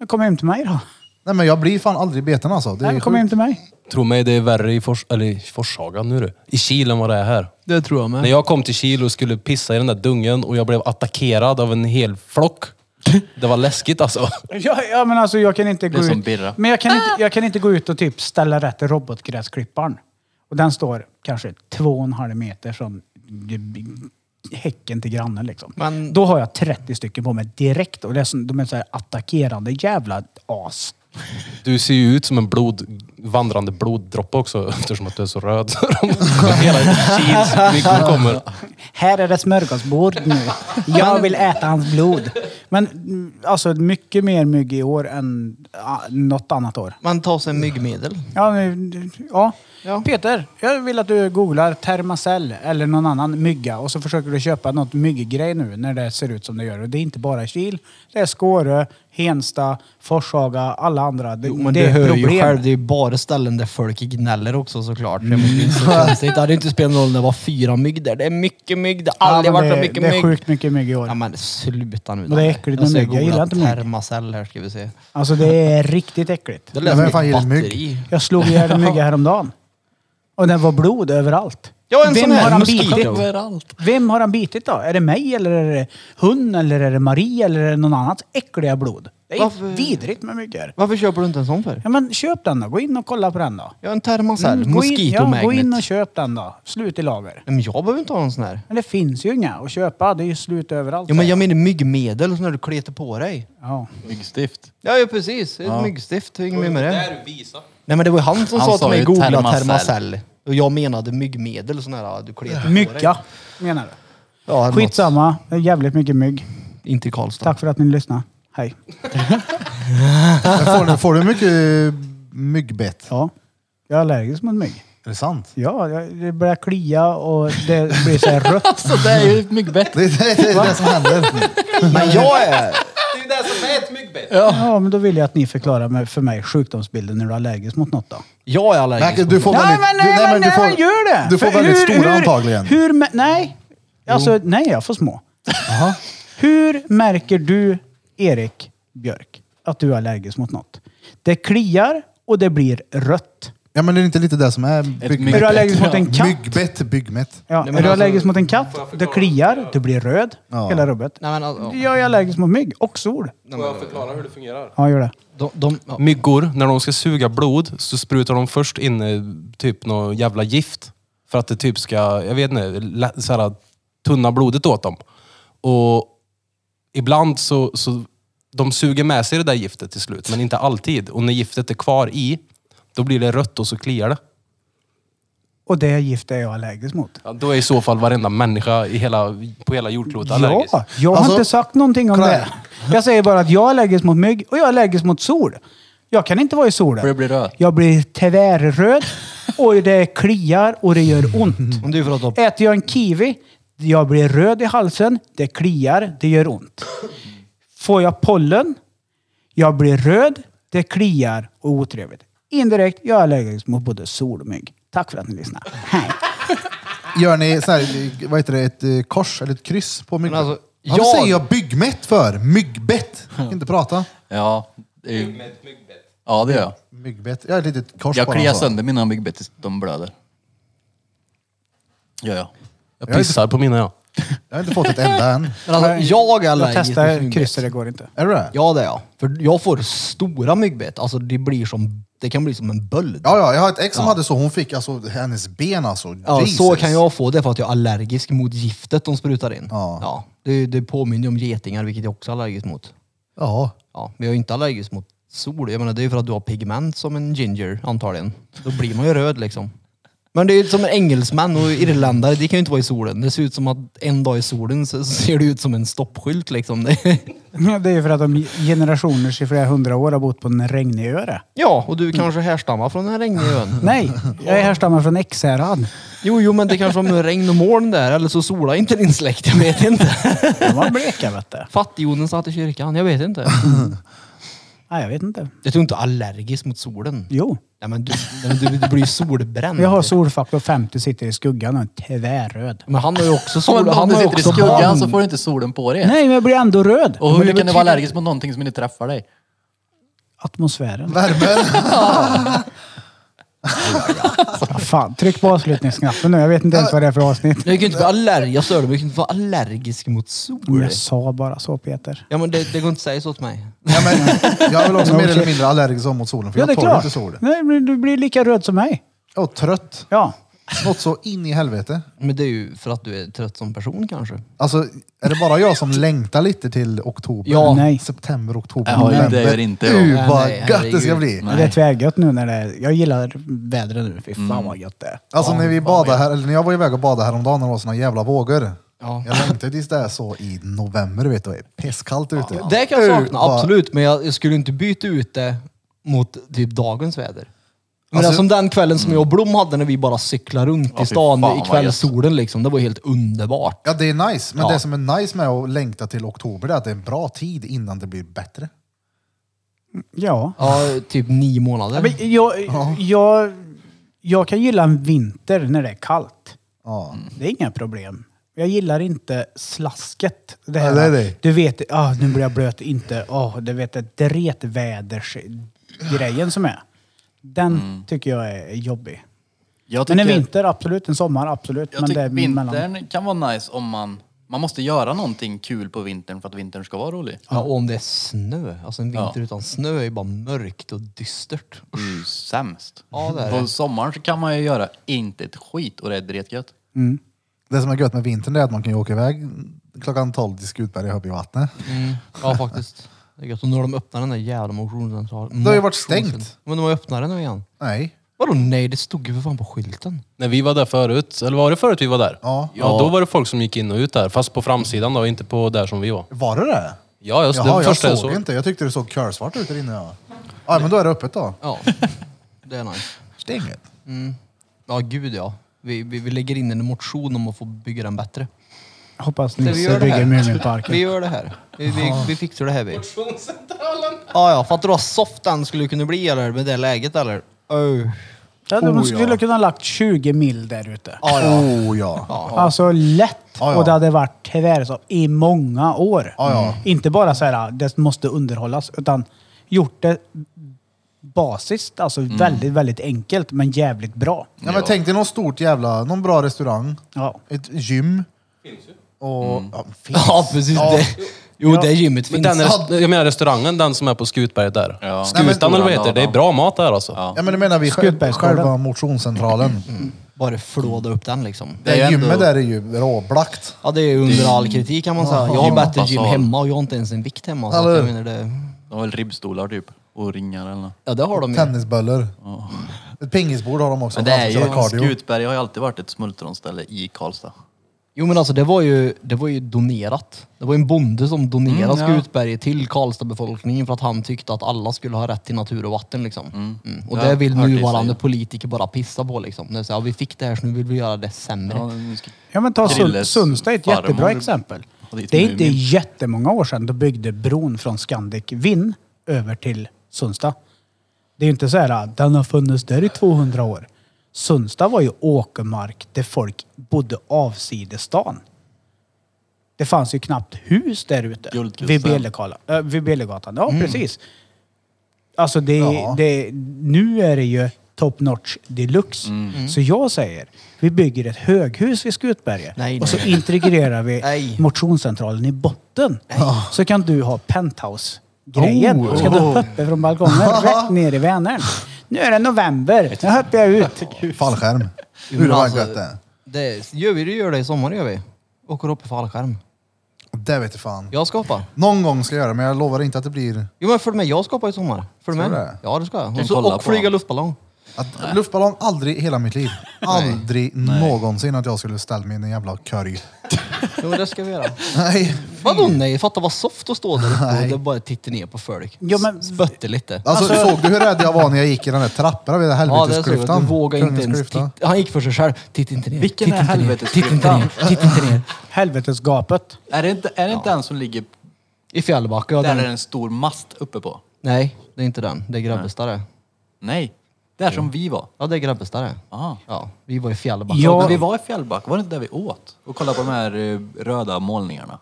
Speaker 3: år. Kom hem till mig då.
Speaker 1: Nej men jag blir fan aldrig beten alltså. Det är
Speaker 3: Nej, kom
Speaker 1: sjukt.
Speaker 3: hem till mig.
Speaker 6: Tro mig, det är värre i, Fors, eller i Forshaga nu du. I Kil än vad det är här.
Speaker 5: Det tror jag
Speaker 6: När
Speaker 5: med.
Speaker 6: jag kom till Kil och skulle pissa i den där dungen och jag blev attackerad av en hel flock. Det var läskigt alltså.
Speaker 3: Ja, ja men alltså jag kan inte
Speaker 4: Det
Speaker 3: gå
Speaker 4: är som
Speaker 3: ut.
Speaker 4: Birra.
Speaker 3: Men jag kan, inte, jag kan inte gå ut och typ ställa rätt robotgräsklipparen. Och den står kanske två och en halv meter från häcken till grannen liksom.
Speaker 5: Men-
Speaker 3: Då har jag 30 stycken på mig direkt och det är som, de är så här attackerande jävla as.
Speaker 6: Du ser ju ut som en blod, vandrande bloddroppe också eftersom att du är så röd. Så de- Hela Kils myggor kommer.
Speaker 3: Här är det smörgåsbord nu. Jag vill äta hans blod. Men mm, alltså mycket mer mygg i år än ah, något annat år.
Speaker 5: Man tar sig en myggmedel.
Speaker 3: Ja, nu- ja.
Speaker 5: Ja.
Speaker 3: Peter, jag vill att du googlar Thermacell eller någon annan mygga och så försöker du köpa något mygggrej nu när det ser ut som det gör. Och det är inte bara i Kil. Det är Skåre, Hensta, Forshaga, alla andra. Det,
Speaker 5: Jo, men
Speaker 3: det
Speaker 5: det du
Speaker 3: är
Speaker 5: hör
Speaker 3: problem.
Speaker 5: ju själv, det är ju bara ställen där folk gnäller också såklart. Det
Speaker 3: Mm.
Speaker 5: är så konstigt. Det hade ju inte spelat någon roll om det var fyra mygg där. Det är mycket mygg. Det har
Speaker 3: Ja,
Speaker 5: aldrig
Speaker 3: men
Speaker 5: varit
Speaker 3: det,
Speaker 5: så mycket
Speaker 3: det är
Speaker 5: mygg.
Speaker 3: sjukt mycket mygg i år.
Speaker 5: Ja men sluta nu.
Speaker 3: Men det är äckligt med
Speaker 5: Jag ska
Speaker 3: mygg. Jag
Speaker 5: googla
Speaker 3: gillar inte mygg.
Speaker 5: Termacell här ska vi se.
Speaker 3: Alltså det är riktigt äckligt.
Speaker 5: Det
Speaker 1: Men
Speaker 5: lät
Speaker 1: vem
Speaker 5: som
Speaker 1: fan
Speaker 5: ett
Speaker 1: gillar mygg?
Speaker 5: batteri.
Speaker 3: Jag slog ihjäl en mygga häromdagen. Och den var blod överallt.
Speaker 5: Ja, en
Speaker 3: Vem
Speaker 5: sån här
Speaker 3: har han
Speaker 5: mosquito.
Speaker 3: bitit?
Speaker 5: Överallt.
Speaker 3: Vem har han bitit då? Är det mig eller är det hund eller är det Marie eller är det någon annans äckliga blod? Det är
Speaker 5: Varför-
Speaker 3: vidrigt med myggor.
Speaker 5: Varför köper du inte en sån för?
Speaker 3: Ja men köp den då. Gå in och kolla på den då.
Speaker 5: Jag har en Termacell.
Speaker 3: Mm, gå in-
Speaker 5: Mosquito
Speaker 3: ja,
Speaker 5: Magnet.
Speaker 3: Gå in och köp den då. Slut i lager.
Speaker 5: Nej, Men jag behöver inte ha någon sån här.
Speaker 3: Men det finns ju inga att köpa. Det är ju slut överallt.
Speaker 5: Jo men jag menar myggmedel och sån där du kletar på dig.
Speaker 3: Ja.
Speaker 4: Myggstift.
Speaker 5: Ja, ja precis. Ett myggstift. Inget mer med det.
Speaker 6: visa.
Speaker 5: Nej men det var ju han som
Speaker 4: Han
Speaker 5: sa till
Speaker 4: sa
Speaker 5: mig
Speaker 4: ju
Speaker 5: googla
Speaker 4: Termacell."
Speaker 5: Termacell. Och jag menade myggmedel sån här du kletar på dig.
Speaker 3: Mygga menar du?
Speaker 5: Ja, något.
Speaker 3: Skitsamma. Det är jävligt mycket mygg.
Speaker 5: Inte i Karlstad.
Speaker 3: Tack för att ni lyssnade. Hej.
Speaker 1: Får du, får du mycket myggbett?
Speaker 3: Ja. Jag är allergisk mot mygg.
Speaker 1: Är det sant?
Speaker 3: Ja, jag- det börjar klia och det blir så här rött.
Speaker 5: Så det är ju ett myggbett.
Speaker 1: Det, det, det är det som händer.
Speaker 5: Men jag är...
Speaker 6: Det är ju det som är ett myggbett.
Speaker 3: Ja, men då vill jag att ni förklarar mig- för mig sjukdomsbilden när du är allergisk mot något då.
Speaker 5: Jag är allergisk.
Speaker 1: Nej, du får
Speaker 3: Nej,
Speaker 1: väldigt,
Speaker 3: men,
Speaker 1: du,
Speaker 3: nej,
Speaker 1: nej, men du får,
Speaker 3: man gör det!
Speaker 1: Du får
Speaker 3: För
Speaker 1: väldigt
Speaker 3: hur-
Speaker 1: stora
Speaker 3: hur-
Speaker 1: antagligen.
Speaker 3: Hur, mä- nej, alltså nej, jag får små. Hur märker du, Erik Björk, att du är allergisk mot något? Det kliar och det blir rött.
Speaker 1: Ja men det är inte lite det som är bygg,
Speaker 3: Är du allergisk mot en katt?
Speaker 1: myggbett, byggmätt?
Speaker 3: Ja, är du allergisk mot en katt? Det kliar, du blir röd,
Speaker 1: Ja.
Speaker 3: hela rubbet.
Speaker 5: Nej, men, alltså,
Speaker 3: Jag är allergisk mot mygg och sol.
Speaker 6: Får jag förklara hur det fungerar?
Speaker 3: Ja, gör det.
Speaker 5: de, de, ja.
Speaker 6: Myggor, när de ska suga blod så sprutar de först in eh, typ något jävla gift. För att det typ ska, jag vet inte, lä- så här, tunna blodet åt dem. Och ibland så, så de suger med sig det där giftet till slut, men inte alltid. Och när giftet är kvar i, då blir det rött och så kliar det.
Speaker 3: Och det gift är jag allergisk mot.
Speaker 6: Ja, då är i så fall varenda människa i hela, på hela jordklotet allergisk.
Speaker 3: Ja, jag har
Speaker 1: Alltså,
Speaker 3: inte sagt någonting om det. Jag säger bara att jag är allergisk mot mygg och jag är allergisk mot sol. Jag kan inte vara i solen.
Speaker 5: För det blir röd.
Speaker 3: Jag blir tvärröd och det kliar och det gör ont.
Speaker 5: Men det är ju för att de...
Speaker 3: Äter jag en kiwi, jag blir röd i halsen, det kliar, det gör ont. Får jag pollen, jag blir röd, det kliar och är otrevligt. Indirekt, jag är allergisk mot både sol och mygg. Tack för att ni lyssnade. Hej!
Speaker 1: Gör ni så här, vad heter det, ett eh, kors eller ett kryss på myggbett?
Speaker 5: Men alltså,
Speaker 1: Varför
Speaker 5: jag-
Speaker 1: säger jag byggmätt för? Myggbett? Jag kan inte prata.
Speaker 9: Ja, det är ju... Ja, det gör jag.
Speaker 1: Myggbett. Jag har ett litet kors alltså.
Speaker 9: Jag
Speaker 1: bara.
Speaker 9: kliar
Speaker 1: så.
Speaker 9: sönder mina myggbett tills de blöder. Gör jag.
Speaker 6: Jag pissar på mina ja.
Speaker 1: Jag har inte fått ett enda än.
Speaker 5: Men alltså, jag är
Speaker 3: Jag
Speaker 5: allergisk mot
Speaker 3: testar
Speaker 5: myggbett.
Speaker 3: krysset, det går inte.
Speaker 1: Är du det?
Speaker 5: Ja, det är jag. För jag får stora myggbett. Alltså, det blir som... Det kan bli som en böld.
Speaker 1: Ja, ja, jag har ett ex som hade så. Hon fick alltså hennes ben alltså.
Speaker 5: Ja,
Speaker 1: Jesus.
Speaker 5: så kan jag få det för att jag är allergisk mot giftet de sprutar in.
Speaker 1: Ja.
Speaker 5: det, det påminner ju om getingar, vilket jag också är allergisk mot.
Speaker 1: Ja.
Speaker 5: Ja, men jag är inte allergisk mot sol. Jag menar, det är ju för att du har pigment som en ginger, antagligen. Då blir man ju röd liksom. Men det är ju som en engelsman och irländare, de kan ju inte vara i solen. Det ser ut som att en dag i solen så ser det ut som en stoppskylt liksom. Det-
Speaker 3: Ja, Det är ju för att de generationer i flera hundra år har bott på en regnig ö. det.
Speaker 5: Ja, och du kanske härstammar från den regniga ön.
Speaker 3: Nej, jag är härstammar från Ekshärad.
Speaker 5: Jo, jo, men det kanske var med regn och moln där, eller så solar inte din släkt, jag vet inte.
Speaker 3: De var bleka vet du.
Speaker 5: Fattighjonen satt i kyrkan, jag vet inte.
Speaker 3: Nej, jag vet inte.
Speaker 5: Jag tror inte allergisk mot solen.
Speaker 3: Jo.
Speaker 5: Nej, men du, nej, men du, du blir ju solbränd.
Speaker 3: Jag har solfaktor 50, sitter i skuggan och är tvärröd.
Speaker 5: Men han har ju också
Speaker 9: Om
Speaker 5: sol.
Speaker 9: du
Speaker 5: Han har ju
Speaker 9: sitter i
Speaker 5: också
Speaker 9: skuggan
Speaker 5: barn.
Speaker 9: så får du inte solen på dig.
Speaker 3: Nej, men jag blir ändå röd.
Speaker 9: Och
Speaker 5: Men
Speaker 9: hur
Speaker 5: det
Speaker 9: kan du vara
Speaker 5: betyder-
Speaker 9: allergisk mot någonting som inte träffar dig?
Speaker 3: Atmosfären.
Speaker 1: Värmen.
Speaker 3: Ja, fan, tryck på avslutningsknappen nu. Jag vet inte ens vad det är för avsnitt.
Speaker 5: Nej, Jag kan ju inte vara allergisk. Jag stör mig. Jag kan inte vara allergisk mot sol.
Speaker 3: Jag sa bara så Peter.
Speaker 5: Ja, men det, det går inte att säga så till mig.
Speaker 1: Ja, men, jag är väl också mer eller mindre allergisk mot solen. För
Speaker 3: Ja, det är
Speaker 1: jag tål
Speaker 3: klart.
Speaker 1: inte sol.
Speaker 3: Nej, men du blir lika röd som mig.
Speaker 1: Jag är trött.
Speaker 3: Ja.
Speaker 1: Något så in i helvete.
Speaker 5: Men det är ju för att du är trött som person kanske.
Speaker 1: Alltså, är det bara jag som längtar lite till oktober?
Speaker 5: Ja.
Speaker 3: Nej.
Speaker 1: September, oktober,
Speaker 9: Ja, det
Speaker 1: november.
Speaker 9: gör inte jag.
Speaker 1: Gud
Speaker 5: Nej,
Speaker 1: vad
Speaker 5: nej,
Speaker 1: gött det ska
Speaker 5: herregud.
Speaker 1: bli!
Speaker 3: Det är tvärgött nu när det är... Jag gillar vädret nu. Fy fan vad gött det är.
Speaker 1: Alltså när vi badade här, eller när jag var iväg och badade häromdagen när det var såna jävla vågor.
Speaker 5: Ja.
Speaker 1: Jag längtade tills det är så i november vet du, och är pisskallt ute.
Speaker 5: Det kan jag sakna,
Speaker 1: Vad-
Speaker 5: absolut. Men jag, jag skulle inte byta ut det mot typ dagens väder. Men
Speaker 1: Alltså-
Speaker 5: som den kvällen som jag och Blom hade när vi bara cyklade runt i
Speaker 9: fy
Speaker 5: stan
Speaker 9: fan,
Speaker 5: i
Speaker 9: vad
Speaker 5: kvällssolen liksom. Det var helt underbart.
Speaker 1: Ja, det är nice. Men
Speaker 5: Ja.
Speaker 1: det som är nice med att längta till oktober det är att det är en bra tid innan det blir bättre.
Speaker 3: Ja.
Speaker 5: Ja, typ nio månader.
Speaker 3: Men jag, jag, jag kan gilla en vinter när det är kallt.
Speaker 1: Ja.
Speaker 3: Det är inga problem. Jag gillar inte slasket. Det här,
Speaker 1: Ja, det är det.
Speaker 3: Du vet, ah, nu blir jag blöt, inte, ah, du vet det dretvädersgrejen som är. Den tycker jag är jobbig.
Speaker 9: Jag
Speaker 3: Men en
Speaker 9: tycker-
Speaker 3: vinter, absolut. En sommar, absolut.
Speaker 9: Jag
Speaker 3: men det
Speaker 9: tycker
Speaker 3: är mellan.
Speaker 9: vintern kan vara nice om man... Man måste göra någonting kul på vintern för att vintern ska vara rolig.
Speaker 5: Ja, och om det är snö. Alltså en vinter
Speaker 9: Ja.
Speaker 5: utan snö är ju bara mörkt och dystert.
Speaker 9: Det är ju sämst.
Speaker 5: Ja, det är
Speaker 9: på
Speaker 5: det.
Speaker 9: sommaren så kan man ju göra inte ett skit och det är dretgött.
Speaker 1: Det som är gött med vintern det är att man kan ju åka iväg klockan 12 till Skutberg uppe i vattnet.
Speaker 5: Mm. Ja, faktiskt. Det är gött. Och nu har de öppnat den där jävla motionscentralen.
Speaker 1: Det har ju varit stängt.
Speaker 5: Men de har ju öppnat den nu igen.
Speaker 1: Nej.
Speaker 5: Vadå nej? Det stod ju för fan på skylten.
Speaker 6: När vi var där förut, eller var det förut vi var där?
Speaker 1: Ja.
Speaker 6: ja då var det folk som gick in och ut där. Fast på framsidan då, inte på där som vi var.
Speaker 1: Var det det?
Speaker 6: Ja, just det.
Speaker 1: Jaha, jag
Speaker 6: första
Speaker 1: såg
Speaker 6: jag såg.
Speaker 1: inte. Jag tyckte det såg körsvart ut där inne. Ja. ja, men då är det öppet då.
Speaker 5: Ja, det är nice.
Speaker 1: Stänget.
Speaker 5: Ja, gud ja. Vi, vi, vi lägger in en motion om att få bygga den bättre.
Speaker 3: Hoppas
Speaker 5: Så vi gör
Speaker 3: Nisse
Speaker 5: det här.
Speaker 3: bygger
Speaker 5: Vi
Speaker 3: Muminparken.
Speaker 5: gör det här. Vi, vi, vi fixar det här vi. Ja, ja. Fattar du vad soft den skulle kunna bli eller? Med det läget eller? Oh.
Speaker 3: Ja,
Speaker 1: Oh, ja.
Speaker 3: de skulle kunna ha lagt 20 mil där ute.
Speaker 5: Ja, ja.
Speaker 1: Oh ja.
Speaker 3: Alltså lätt.
Speaker 1: Ja, ja.
Speaker 3: Och det hade varit tvärstopp i många år. Mm.
Speaker 1: Ja, ja.
Speaker 3: Inte bara så här, det måste underhållas, utan gjort det basiskt, alltså
Speaker 1: Mm.
Speaker 3: väldigt, väldigt enkelt, men jävligt bra.
Speaker 1: ja men tänk dig någon stort jävla, någon bra restaurang,
Speaker 3: Ja.
Speaker 1: ett gym. Och, ja, finns.
Speaker 5: Mm. Ja, precis. Det. Jo, det gymmet
Speaker 6: Men
Speaker 5: finns.
Speaker 6: den rest- jag menar restaurangen, den som är på Skutberget där.
Speaker 9: Ja.
Speaker 1: Nej, men-
Speaker 6: Skutan eller vad heter det? Det är bra mat där alltså.
Speaker 1: Ja men det menar vi själva,
Speaker 3: Skutbergsgården.
Speaker 1: själva motionscentralen.
Speaker 5: Mm. Bara flåda upp den liksom.
Speaker 1: Det
Speaker 9: Det är ju
Speaker 1: gymmet
Speaker 9: ändå-
Speaker 1: där är ju råblakt.
Speaker 5: Ja, det är under all kritik kan man säga. Jag har bättre gym
Speaker 9: Gympassal.
Speaker 5: hemma och jag har inte ens en vikt hemma. Så att
Speaker 1: Eller
Speaker 5: jag
Speaker 1: hur?
Speaker 5: menar det...
Speaker 9: De har väl ribbstolar typ. Och ringar eller nåt.
Speaker 5: Ja, det har de ju.
Speaker 1: Tennisböllor. Ett pingisbord har de också.
Speaker 9: Men det
Speaker 1: för att
Speaker 9: är
Speaker 1: köra
Speaker 9: ju...
Speaker 1: cardio.
Speaker 9: Skutberg har ju alltid varit ett smultronställe i Karlstad.
Speaker 5: Jo men alltså det var ju, det var ju donerat. Det var ju en bonde som donerade
Speaker 9: Mm, ja.
Speaker 5: Skutberget till Karlstadbefolkningen för att han tyckte att alla skulle ha rätt till natur och vatten. Liksom. Mm. Och
Speaker 9: Jag
Speaker 5: det
Speaker 9: har
Speaker 5: vill
Speaker 9: hört det
Speaker 5: nuvarande
Speaker 9: sägas.
Speaker 5: politiker bara pissa på. Liksom. Det är så, här, ja, vi fick det här så nu vill vi göra det sämre.
Speaker 9: Ja, nu ska-
Speaker 3: Ja men ta Sun-
Speaker 9: Grilles
Speaker 3: Sundsta är ett
Speaker 9: farmor
Speaker 3: jättebra exempel.
Speaker 9: hade ett
Speaker 3: Det är inte
Speaker 9: Mumin.
Speaker 3: jättemånga år sedan de byggde bron från Scandic Vinn över till Sundsta. Det är ju inte så här, ah, den har funnits där i 200 år. Sundsta var ju åkermark där folk bodde avsides stan. Det fanns ju knappt hus där ute.
Speaker 9: Guldkusten.
Speaker 3: Vid Bielegala- äh, vid Bielegatan. Ja,
Speaker 9: Mm.
Speaker 3: precis. Alltså det,
Speaker 1: Ja.
Speaker 3: det, nu är det ju top notch deluxe.
Speaker 1: Mm.
Speaker 3: Så jag säger, vi bygger ett höghus vid Skutberget
Speaker 5: Nej,
Speaker 3: och så
Speaker 5: nej.
Speaker 3: integrerar vi
Speaker 5: Nej.
Speaker 3: motionscentralen i botten. Så kan du ha penthouse-grejen.
Speaker 1: Oh.
Speaker 3: Så kan du hoppa från balkongen rätt ner i Vänern. Nu är det november, nu hoppar jag ut.
Speaker 1: Fallskärm.
Speaker 5: Jo,
Speaker 1: Hur
Speaker 5: men
Speaker 1: var
Speaker 5: alltså,
Speaker 1: gött det?
Speaker 5: det, gör vi det gör det i sommar gör vi. Åker upp i fallskärm.
Speaker 1: Det vet jag fan.
Speaker 5: Jag ska hoppa.
Speaker 1: Någon gång ska jag göra det, men jag lovar inte att det blir...
Speaker 5: Jo men följ med, jag ska hoppa i sommar. Följ
Speaker 1: Ska
Speaker 5: med.
Speaker 1: du det?
Speaker 5: Ja det ska jag. Och,
Speaker 9: Kan
Speaker 5: så,
Speaker 9: kolla
Speaker 5: och
Speaker 9: på
Speaker 5: flyga
Speaker 9: dem.
Speaker 5: luftballong.
Speaker 1: Att, luftballong, aldrig i hela mitt liv. Aldrig någonsin att jag skulle ställa mig i en jävla korg.
Speaker 5: Jo det ska vi göra.
Speaker 1: Nej.
Speaker 5: Vadå nej? Fatta vad soft att stå där uppe och det bara titta ner på folk.
Speaker 3: Jo, men-
Speaker 5: Spötte lite.
Speaker 1: Alltså, såg du hur rädd jag var när jag gick i den där trappan vid
Speaker 5: Ja, det såg jag.
Speaker 1: helvetesklyftan?
Speaker 5: Du vågade inte ens
Speaker 1: Kungsklyftan.
Speaker 5: titta. Han gick för sig själv. Titta inte ner.
Speaker 9: Vilken
Speaker 5: titta
Speaker 9: är
Speaker 5: inte ner. Titta inte
Speaker 9: helvetesklyftan?
Speaker 5: ner. Titta inte ner.
Speaker 3: Helvetesgapet.
Speaker 9: Är det inte, är det inte den som ligger...
Speaker 5: I Fjällbacka. Ja,
Speaker 9: Där är
Speaker 5: den.
Speaker 9: det en stor mast uppe på?
Speaker 5: Nej, det är inte den. Det är Grabbestad det.
Speaker 9: Nej. Där som vi var.
Speaker 5: Ja, det är Grabbestad det.
Speaker 9: Aha.
Speaker 5: Ja, vi var i Fjällbacka.
Speaker 3: Ja.
Speaker 9: Men vi var i Fjällbacka, var det inte där vi åt? Och kollade på de här eh, röda målningarna.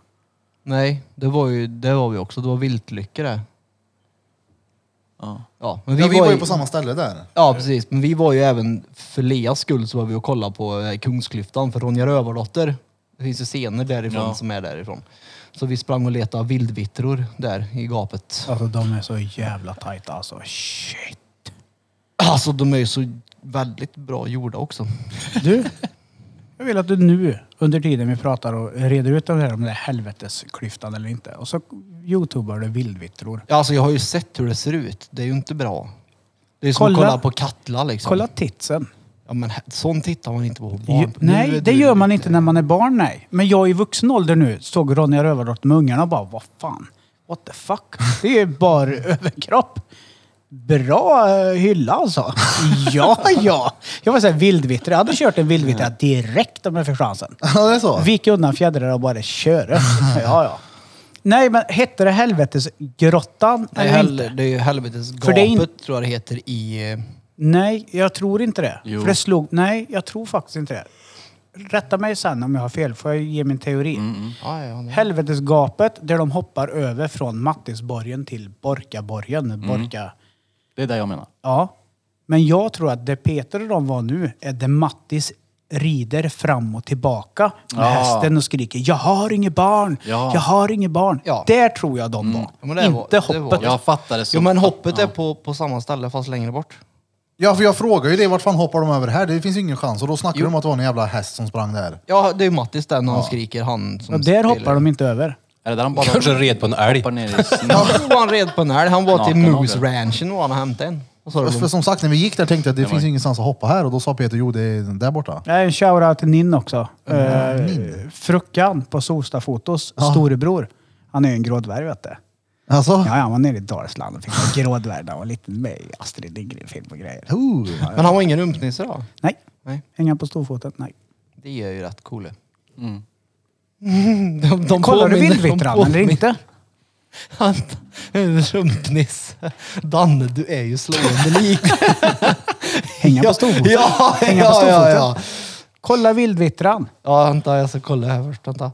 Speaker 5: Nej, det var ju, det var vi också. Det var Viltlycke det.
Speaker 9: Ja.
Speaker 5: Ja, men vi,
Speaker 1: Ja, vi var ju
Speaker 5: i-
Speaker 1: på samma ställe där.
Speaker 5: Ja, precis. Men vi var ju även, för Leas skull, så var vi och kollade på eh, Kungsklyftan för Ronja Rövardotter. Det finns ju scener därifrån
Speaker 9: Ja.
Speaker 5: som är därifrån. Så vi sprang och letade vildvittror där i gapet.
Speaker 3: Alltså de är så jävla tajta alltså. Shit.
Speaker 5: Alltså de är ju så väldigt bra gjorda också.
Speaker 3: Du, jag vill att du nu under tiden vi pratar och reder ut det här om det är helvetesklyftan eller inte. Och så youtubar du vildvittror.
Speaker 5: Ja, Alltså jag har ju sett hur det ser ut. Det är ju inte bra. Det är som att
Speaker 3: Kolla.
Speaker 5: kolla på Katla liksom.
Speaker 3: Kolla titsen.
Speaker 5: Ja men he- sånt tittar man inte på på barn.
Speaker 3: Ju,
Speaker 5: Nu
Speaker 3: nej,
Speaker 5: är
Speaker 3: det
Speaker 5: du
Speaker 3: gör man
Speaker 5: lite-
Speaker 3: inte när man är barn, nej. Men jag i vuxen ålder nu såg Ronja Rövardotter med ungarna och bara, vad fan? What the fuck? Det är ju bara överkropp. Bra eh, hylla alltså. Ja, ja. Jag var såhär vildvittra. Jag hade kört en vildvittra direkt om jag fick chansen.
Speaker 1: Ja, det är så.
Speaker 3: Vik undan fjädrar och bara köra. Ja, ja. Nej, men hette det helvetesgrottan
Speaker 5: Nej,
Speaker 3: eller
Speaker 5: hel,
Speaker 3: inte?
Speaker 5: det är ju helvetesgapet
Speaker 3: För det är in-
Speaker 5: tror jag det heter i... eh,
Speaker 3: Nej, jag tror inte det.
Speaker 9: Jo.
Speaker 3: För det slog... Nej, jag tror faktiskt inte det. Rätta mig sen om jag har fel, får jag ge min teori.
Speaker 5: Ja, ja, ja.
Speaker 3: Helvetesgapet där de hoppar över från Mattisborgen till Borkaborgen. Borka...
Speaker 9: Det är det jag menar.
Speaker 3: Ja. Men jag tror att det Peter och de var nu är där Mattis rider fram och tillbaka med
Speaker 9: Ja.
Speaker 3: hästen och skriker Jag har inget barn!
Speaker 9: Ja.
Speaker 3: Jag har inget barn!
Speaker 5: Ja. Mm.
Speaker 3: Där tror jag de var.
Speaker 5: Ja, men det
Speaker 3: Inte
Speaker 5: var- det var
Speaker 3: hoppet.
Speaker 5: det.
Speaker 9: Jag fattar det så.
Speaker 5: Jo men hoppet är på, på samma ställe fast längre bort.
Speaker 1: Ja, för jag frågar ju det. Vart fan hoppar de över här? Det finns ju ingen chans. Och då snackar de om att det var en jävla häst som sprang där.
Speaker 5: Ja det är ju Mattis där när han skriker han som
Speaker 3: Ja, där hoppar de inte över.
Speaker 9: Är det där han bara
Speaker 6: Kanske red på en älg.
Speaker 9: hoppar ner i snö?
Speaker 5: Ja, då var han red på en älg. Han var till
Speaker 9: Naken,
Speaker 5: Moose
Speaker 9: naken.
Speaker 5: Ranchen var han och hämtade en. Vad sa du?
Speaker 1: För som sagt, när vi gick där tänkte jag att det finns ingenstans att hoppa här och då sa Peter, jo det är där borta.
Speaker 3: Jag är en shoutout till Ninn också.
Speaker 5: Mm.
Speaker 3: Eh, Fruckan på Solsta Fotos storebror. Han är ju en grådvärg vet du.
Speaker 1: Alltså?
Speaker 3: Ja, ja, han var nere i Dalsland och fick en grådvärg där och lite med i Astrid Lindgren-film och grejer.
Speaker 1: Oh.
Speaker 5: Men han var ingen rumpnisse då?
Speaker 3: Nej.
Speaker 5: Nej.
Speaker 3: Hänga på storfoten? Nej.
Speaker 5: Det är ju rätt coola. Mm. De, de
Speaker 3: Kollar du
Speaker 5: påminner-
Speaker 3: vildvittran
Speaker 5: de
Speaker 3: eller inte?
Speaker 5: påminner- En rumpnisse. Danne, du är ju slående lik.
Speaker 3: Hänga på storfoten?
Speaker 5: Ja,
Speaker 3: Hänga på
Speaker 5: ja, ja,
Speaker 3: storfoten?
Speaker 5: ja.
Speaker 3: Kolla vildvittran!
Speaker 5: Ja, vänta, jag ska kolla här först. Vänta.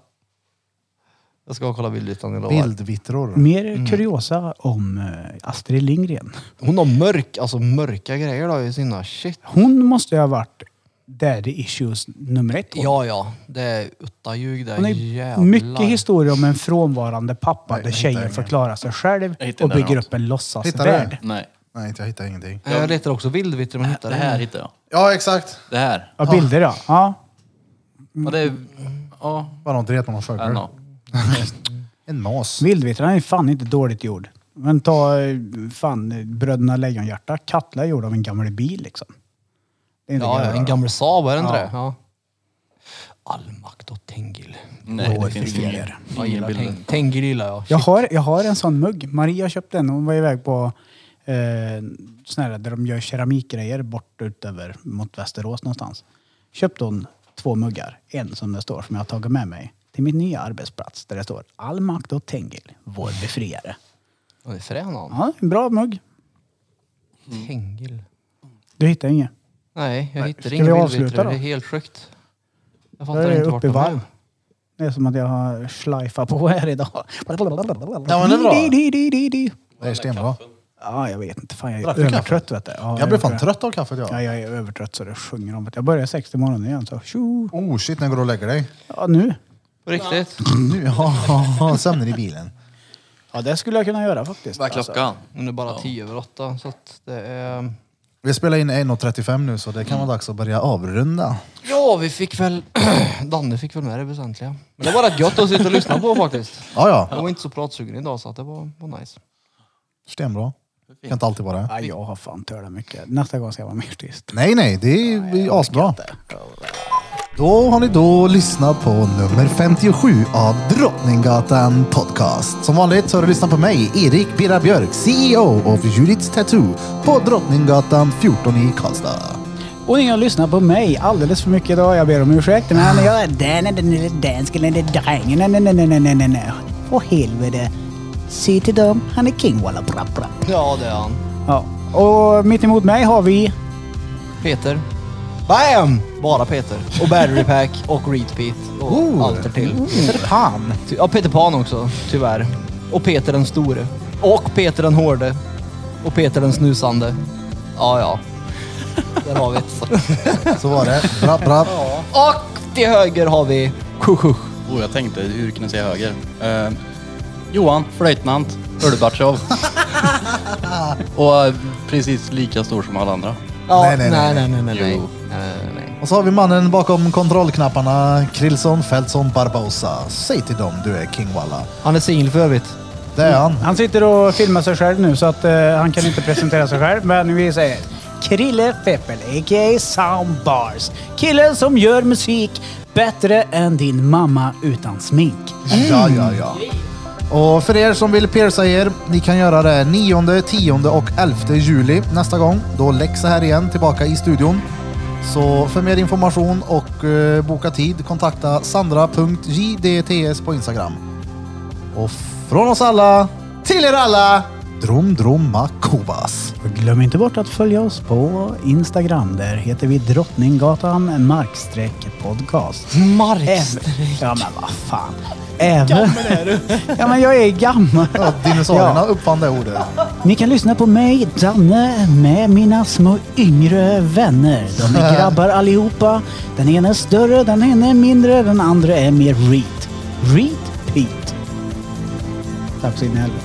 Speaker 5: Jag ska kolla bildrutan, jag lovar.
Speaker 1: Bildvittror.
Speaker 3: Mer kuriosa om eh, Astrid Lindgren.
Speaker 5: Hon har mörk, alltså mörka grejer då i sina shit.
Speaker 3: Hon måste ju ha varit daddy issues nummer ett. hon.
Speaker 5: Ja, ja. Det är utta ljug där.
Speaker 3: Hon är
Speaker 5: Jävlar.
Speaker 3: mycket historier om en frånvarande pappa där
Speaker 1: hittar
Speaker 3: tjejen
Speaker 1: ingen.
Speaker 3: förklarar sig själv
Speaker 9: Jag hittar
Speaker 3: och
Speaker 9: inte
Speaker 3: bygger
Speaker 9: något.
Speaker 3: upp en
Speaker 1: Hittar du
Speaker 3: låtsasvärld.
Speaker 1: det?
Speaker 9: Nej.
Speaker 1: Nej, inte jag hittar ingenting.
Speaker 5: Jag letar också vildvitter men hittar
Speaker 9: Det här
Speaker 5: ingen.
Speaker 9: hittar jag.
Speaker 1: Ja, exakt.
Speaker 9: Det här.
Speaker 3: Ja, bilder ja. ja.
Speaker 9: Och det är... Ja,
Speaker 1: Bara någon dret med någon
Speaker 9: I don't
Speaker 1: skörd.
Speaker 9: know.
Speaker 1: En nas.
Speaker 3: Vildvittran är fan inte dåligt gjord. Men ta eh, fan eh, Bröderna Lejonhjärta. Katla är gjord av en gammal bil liksom. Det är inte
Speaker 5: Ja, ja,
Speaker 3: gammal.
Speaker 5: en gammal Saab, är det inte
Speaker 3: Ja.
Speaker 5: det? Ja. Almakt och Tengil.
Speaker 9: Nej,
Speaker 3: Går
Speaker 9: det finns
Speaker 3: fler.
Speaker 9: ingen, ingen
Speaker 5: Jag gillar
Speaker 9: bild.
Speaker 5: Teng- Tengil gillar jag.
Speaker 3: jag, har, jag har en sån mugg. Maria köpte den. Hon var iväg på eh, sån här där de gör keramikgrejer bort utöver mot Västerås någonstans. Köpte hon två muggar. En som det står som jag har tagit med mig till min nya arbetsplats där det står Almakt och Tengil, vår befriare.
Speaker 5: Han är frän han.
Speaker 3: Ja, en bra mugg.
Speaker 5: Tengil.
Speaker 3: Du hittar inget.
Speaker 5: Mm. Nej, jag hittar
Speaker 3: Ska
Speaker 5: inga
Speaker 3: vi avsluta
Speaker 5: vildvitter.
Speaker 3: då?
Speaker 5: Det är helt sjukt. Jag
Speaker 3: Jag
Speaker 5: fattar
Speaker 3: är
Speaker 5: inte vart
Speaker 3: uppe i
Speaker 5: de är.
Speaker 3: varv. Det är som att jag har schleifat på här idag.
Speaker 1: Ja, men det är bra.
Speaker 3: Di, di, di, di, di.
Speaker 1: Det är stenbra.
Speaker 3: Ja, jag vet inte. Fan, jag
Speaker 1: Drack
Speaker 3: är
Speaker 1: du kaffe?
Speaker 3: övertrött vet du. Ja,
Speaker 1: Jag blev
Speaker 3: är
Speaker 1: fan
Speaker 3: övertrött.
Speaker 1: trött av kaffet jag.
Speaker 3: Ja, jag är övertrött så det sjunger om det. Jag börjar sex i morgon igen så tjo.
Speaker 1: Oh shit, när går du och lägger dig?
Speaker 3: Ja, nu.
Speaker 5: På riktigt?
Speaker 1: Nu, ja, sömnen i bilen.
Speaker 3: Ja, det skulle jag kunna göra faktiskt.
Speaker 9: Vad är klockan?
Speaker 5: Men det är bara tio över åtta så att det är...
Speaker 1: Vi spelar in 1.35 nu så det kan vara dags att börja avrunda.
Speaker 5: Ja, vi fick väl... Danne fick väl med det väsentliga. Men det var rätt gött att sitta och lyssna på faktiskt.
Speaker 1: Ja, ja.
Speaker 5: Jag var inte så pratsugen idag så att det var, var nice.
Speaker 1: Stenbra. Kan inte alltid vara det.
Speaker 3: Ja, jag har fan tölat mycket. Nästa gång ska jag vara mer tyst.
Speaker 1: Nej, nej, det är ju asbra. Då har ni då lyssnat på nummer 57 av Drottninggatan Podcast. Som vanligt så har du lyssnat på mig, Erik Birra Björk, CEO of Judith's Tattoo på Drottninggatan 14 i Karlstad.
Speaker 3: Och ni har lyssnat på mig alldeles för mycket idag. Jag ber om ursäkt. Men jag är den, den, den, den, den, skulle den, den, den, den, den, den, den, den, den. Åh helvete. Se till dem. Han är king walla bra bra.
Speaker 5: Ja, det är han.
Speaker 3: Ja. Och mitt emot mig har vi
Speaker 5: Peter. Bam! Bara Peter. Och Battery Pack och Reed Pete och allt därtill.
Speaker 3: Peter Pan.
Speaker 5: Ty- Ja, Peter Pan också, tyvärr. Och Peter den store. Och Peter den hårde. Och Peter den snusande. Ja, ja. Där har vi ett.
Speaker 1: Så var det. Bra, bra.
Speaker 5: Och till höger har vi Kukuch.
Speaker 9: Oh, jag tänkte, hur kunde jag säga höger? Eh, Johan, flöjtnant, Ölbatschov. och eh, precis lika stor som alla andra.
Speaker 5: Ja,
Speaker 1: Nej, nej, nej,
Speaker 5: nej, nej, nej, nej.
Speaker 9: Jo.
Speaker 5: nej, nej, nej.
Speaker 1: Och så har vi mannen bakom kontrollknapparna, Krillson Feltson Barbosa. Säg till dem du är king walla.
Speaker 5: Han är singel för övrigt.
Speaker 1: Det är han.
Speaker 3: Han sitter och filmar sig själv nu så att eh, han kan inte presentera sig själv. Men vi säger Krille Feppel, a.k.a. Soundbars. Killen som gör musik bättre än din mamma utan smink.
Speaker 1: Ja, ja, ja. Och för er som vill pierca er, ni kan göra det 9, 10 och 11 juli nästa gång. Då läxa här igen, tillbaka i studion. Så för mer information och eh, boka tid, kontakta sandra.jdts på Instagram. Och från oss alla, till er alla, Drom Drom Makobas.
Speaker 3: Och glöm inte bort att följa oss på Instagram. Där heter vi Drottninggatan markstreck podcast.
Speaker 5: Markstreck.
Speaker 3: Ja men vad fan. Även... Gammal är du. ja men jag är gammal.
Speaker 1: Ja, dinosaurierna
Speaker 3: Ja.
Speaker 1: uppfann det ordet.
Speaker 3: Ni kan lyssna på mig, Danne, med mina små yngre vänner. De är grabbar allihopa. Den ena är större, den ena är mindre, den andra är mer reet. Reet Pete. Tack så in i helvete.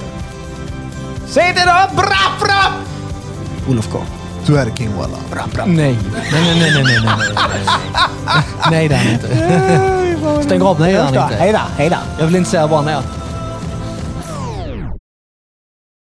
Speaker 3: Säg det då! Brapp, brapp! Olof K.
Speaker 1: Du är king walla.
Speaker 5: Nej. Nej, nej, nej, nej, nej, nej, nej, nej. Nej, det är han inte. Stäng av, nej det är han
Speaker 3: Hej då,
Speaker 5: inte.
Speaker 3: hej då, hej då.
Speaker 5: Jag vill inte säga vad han är.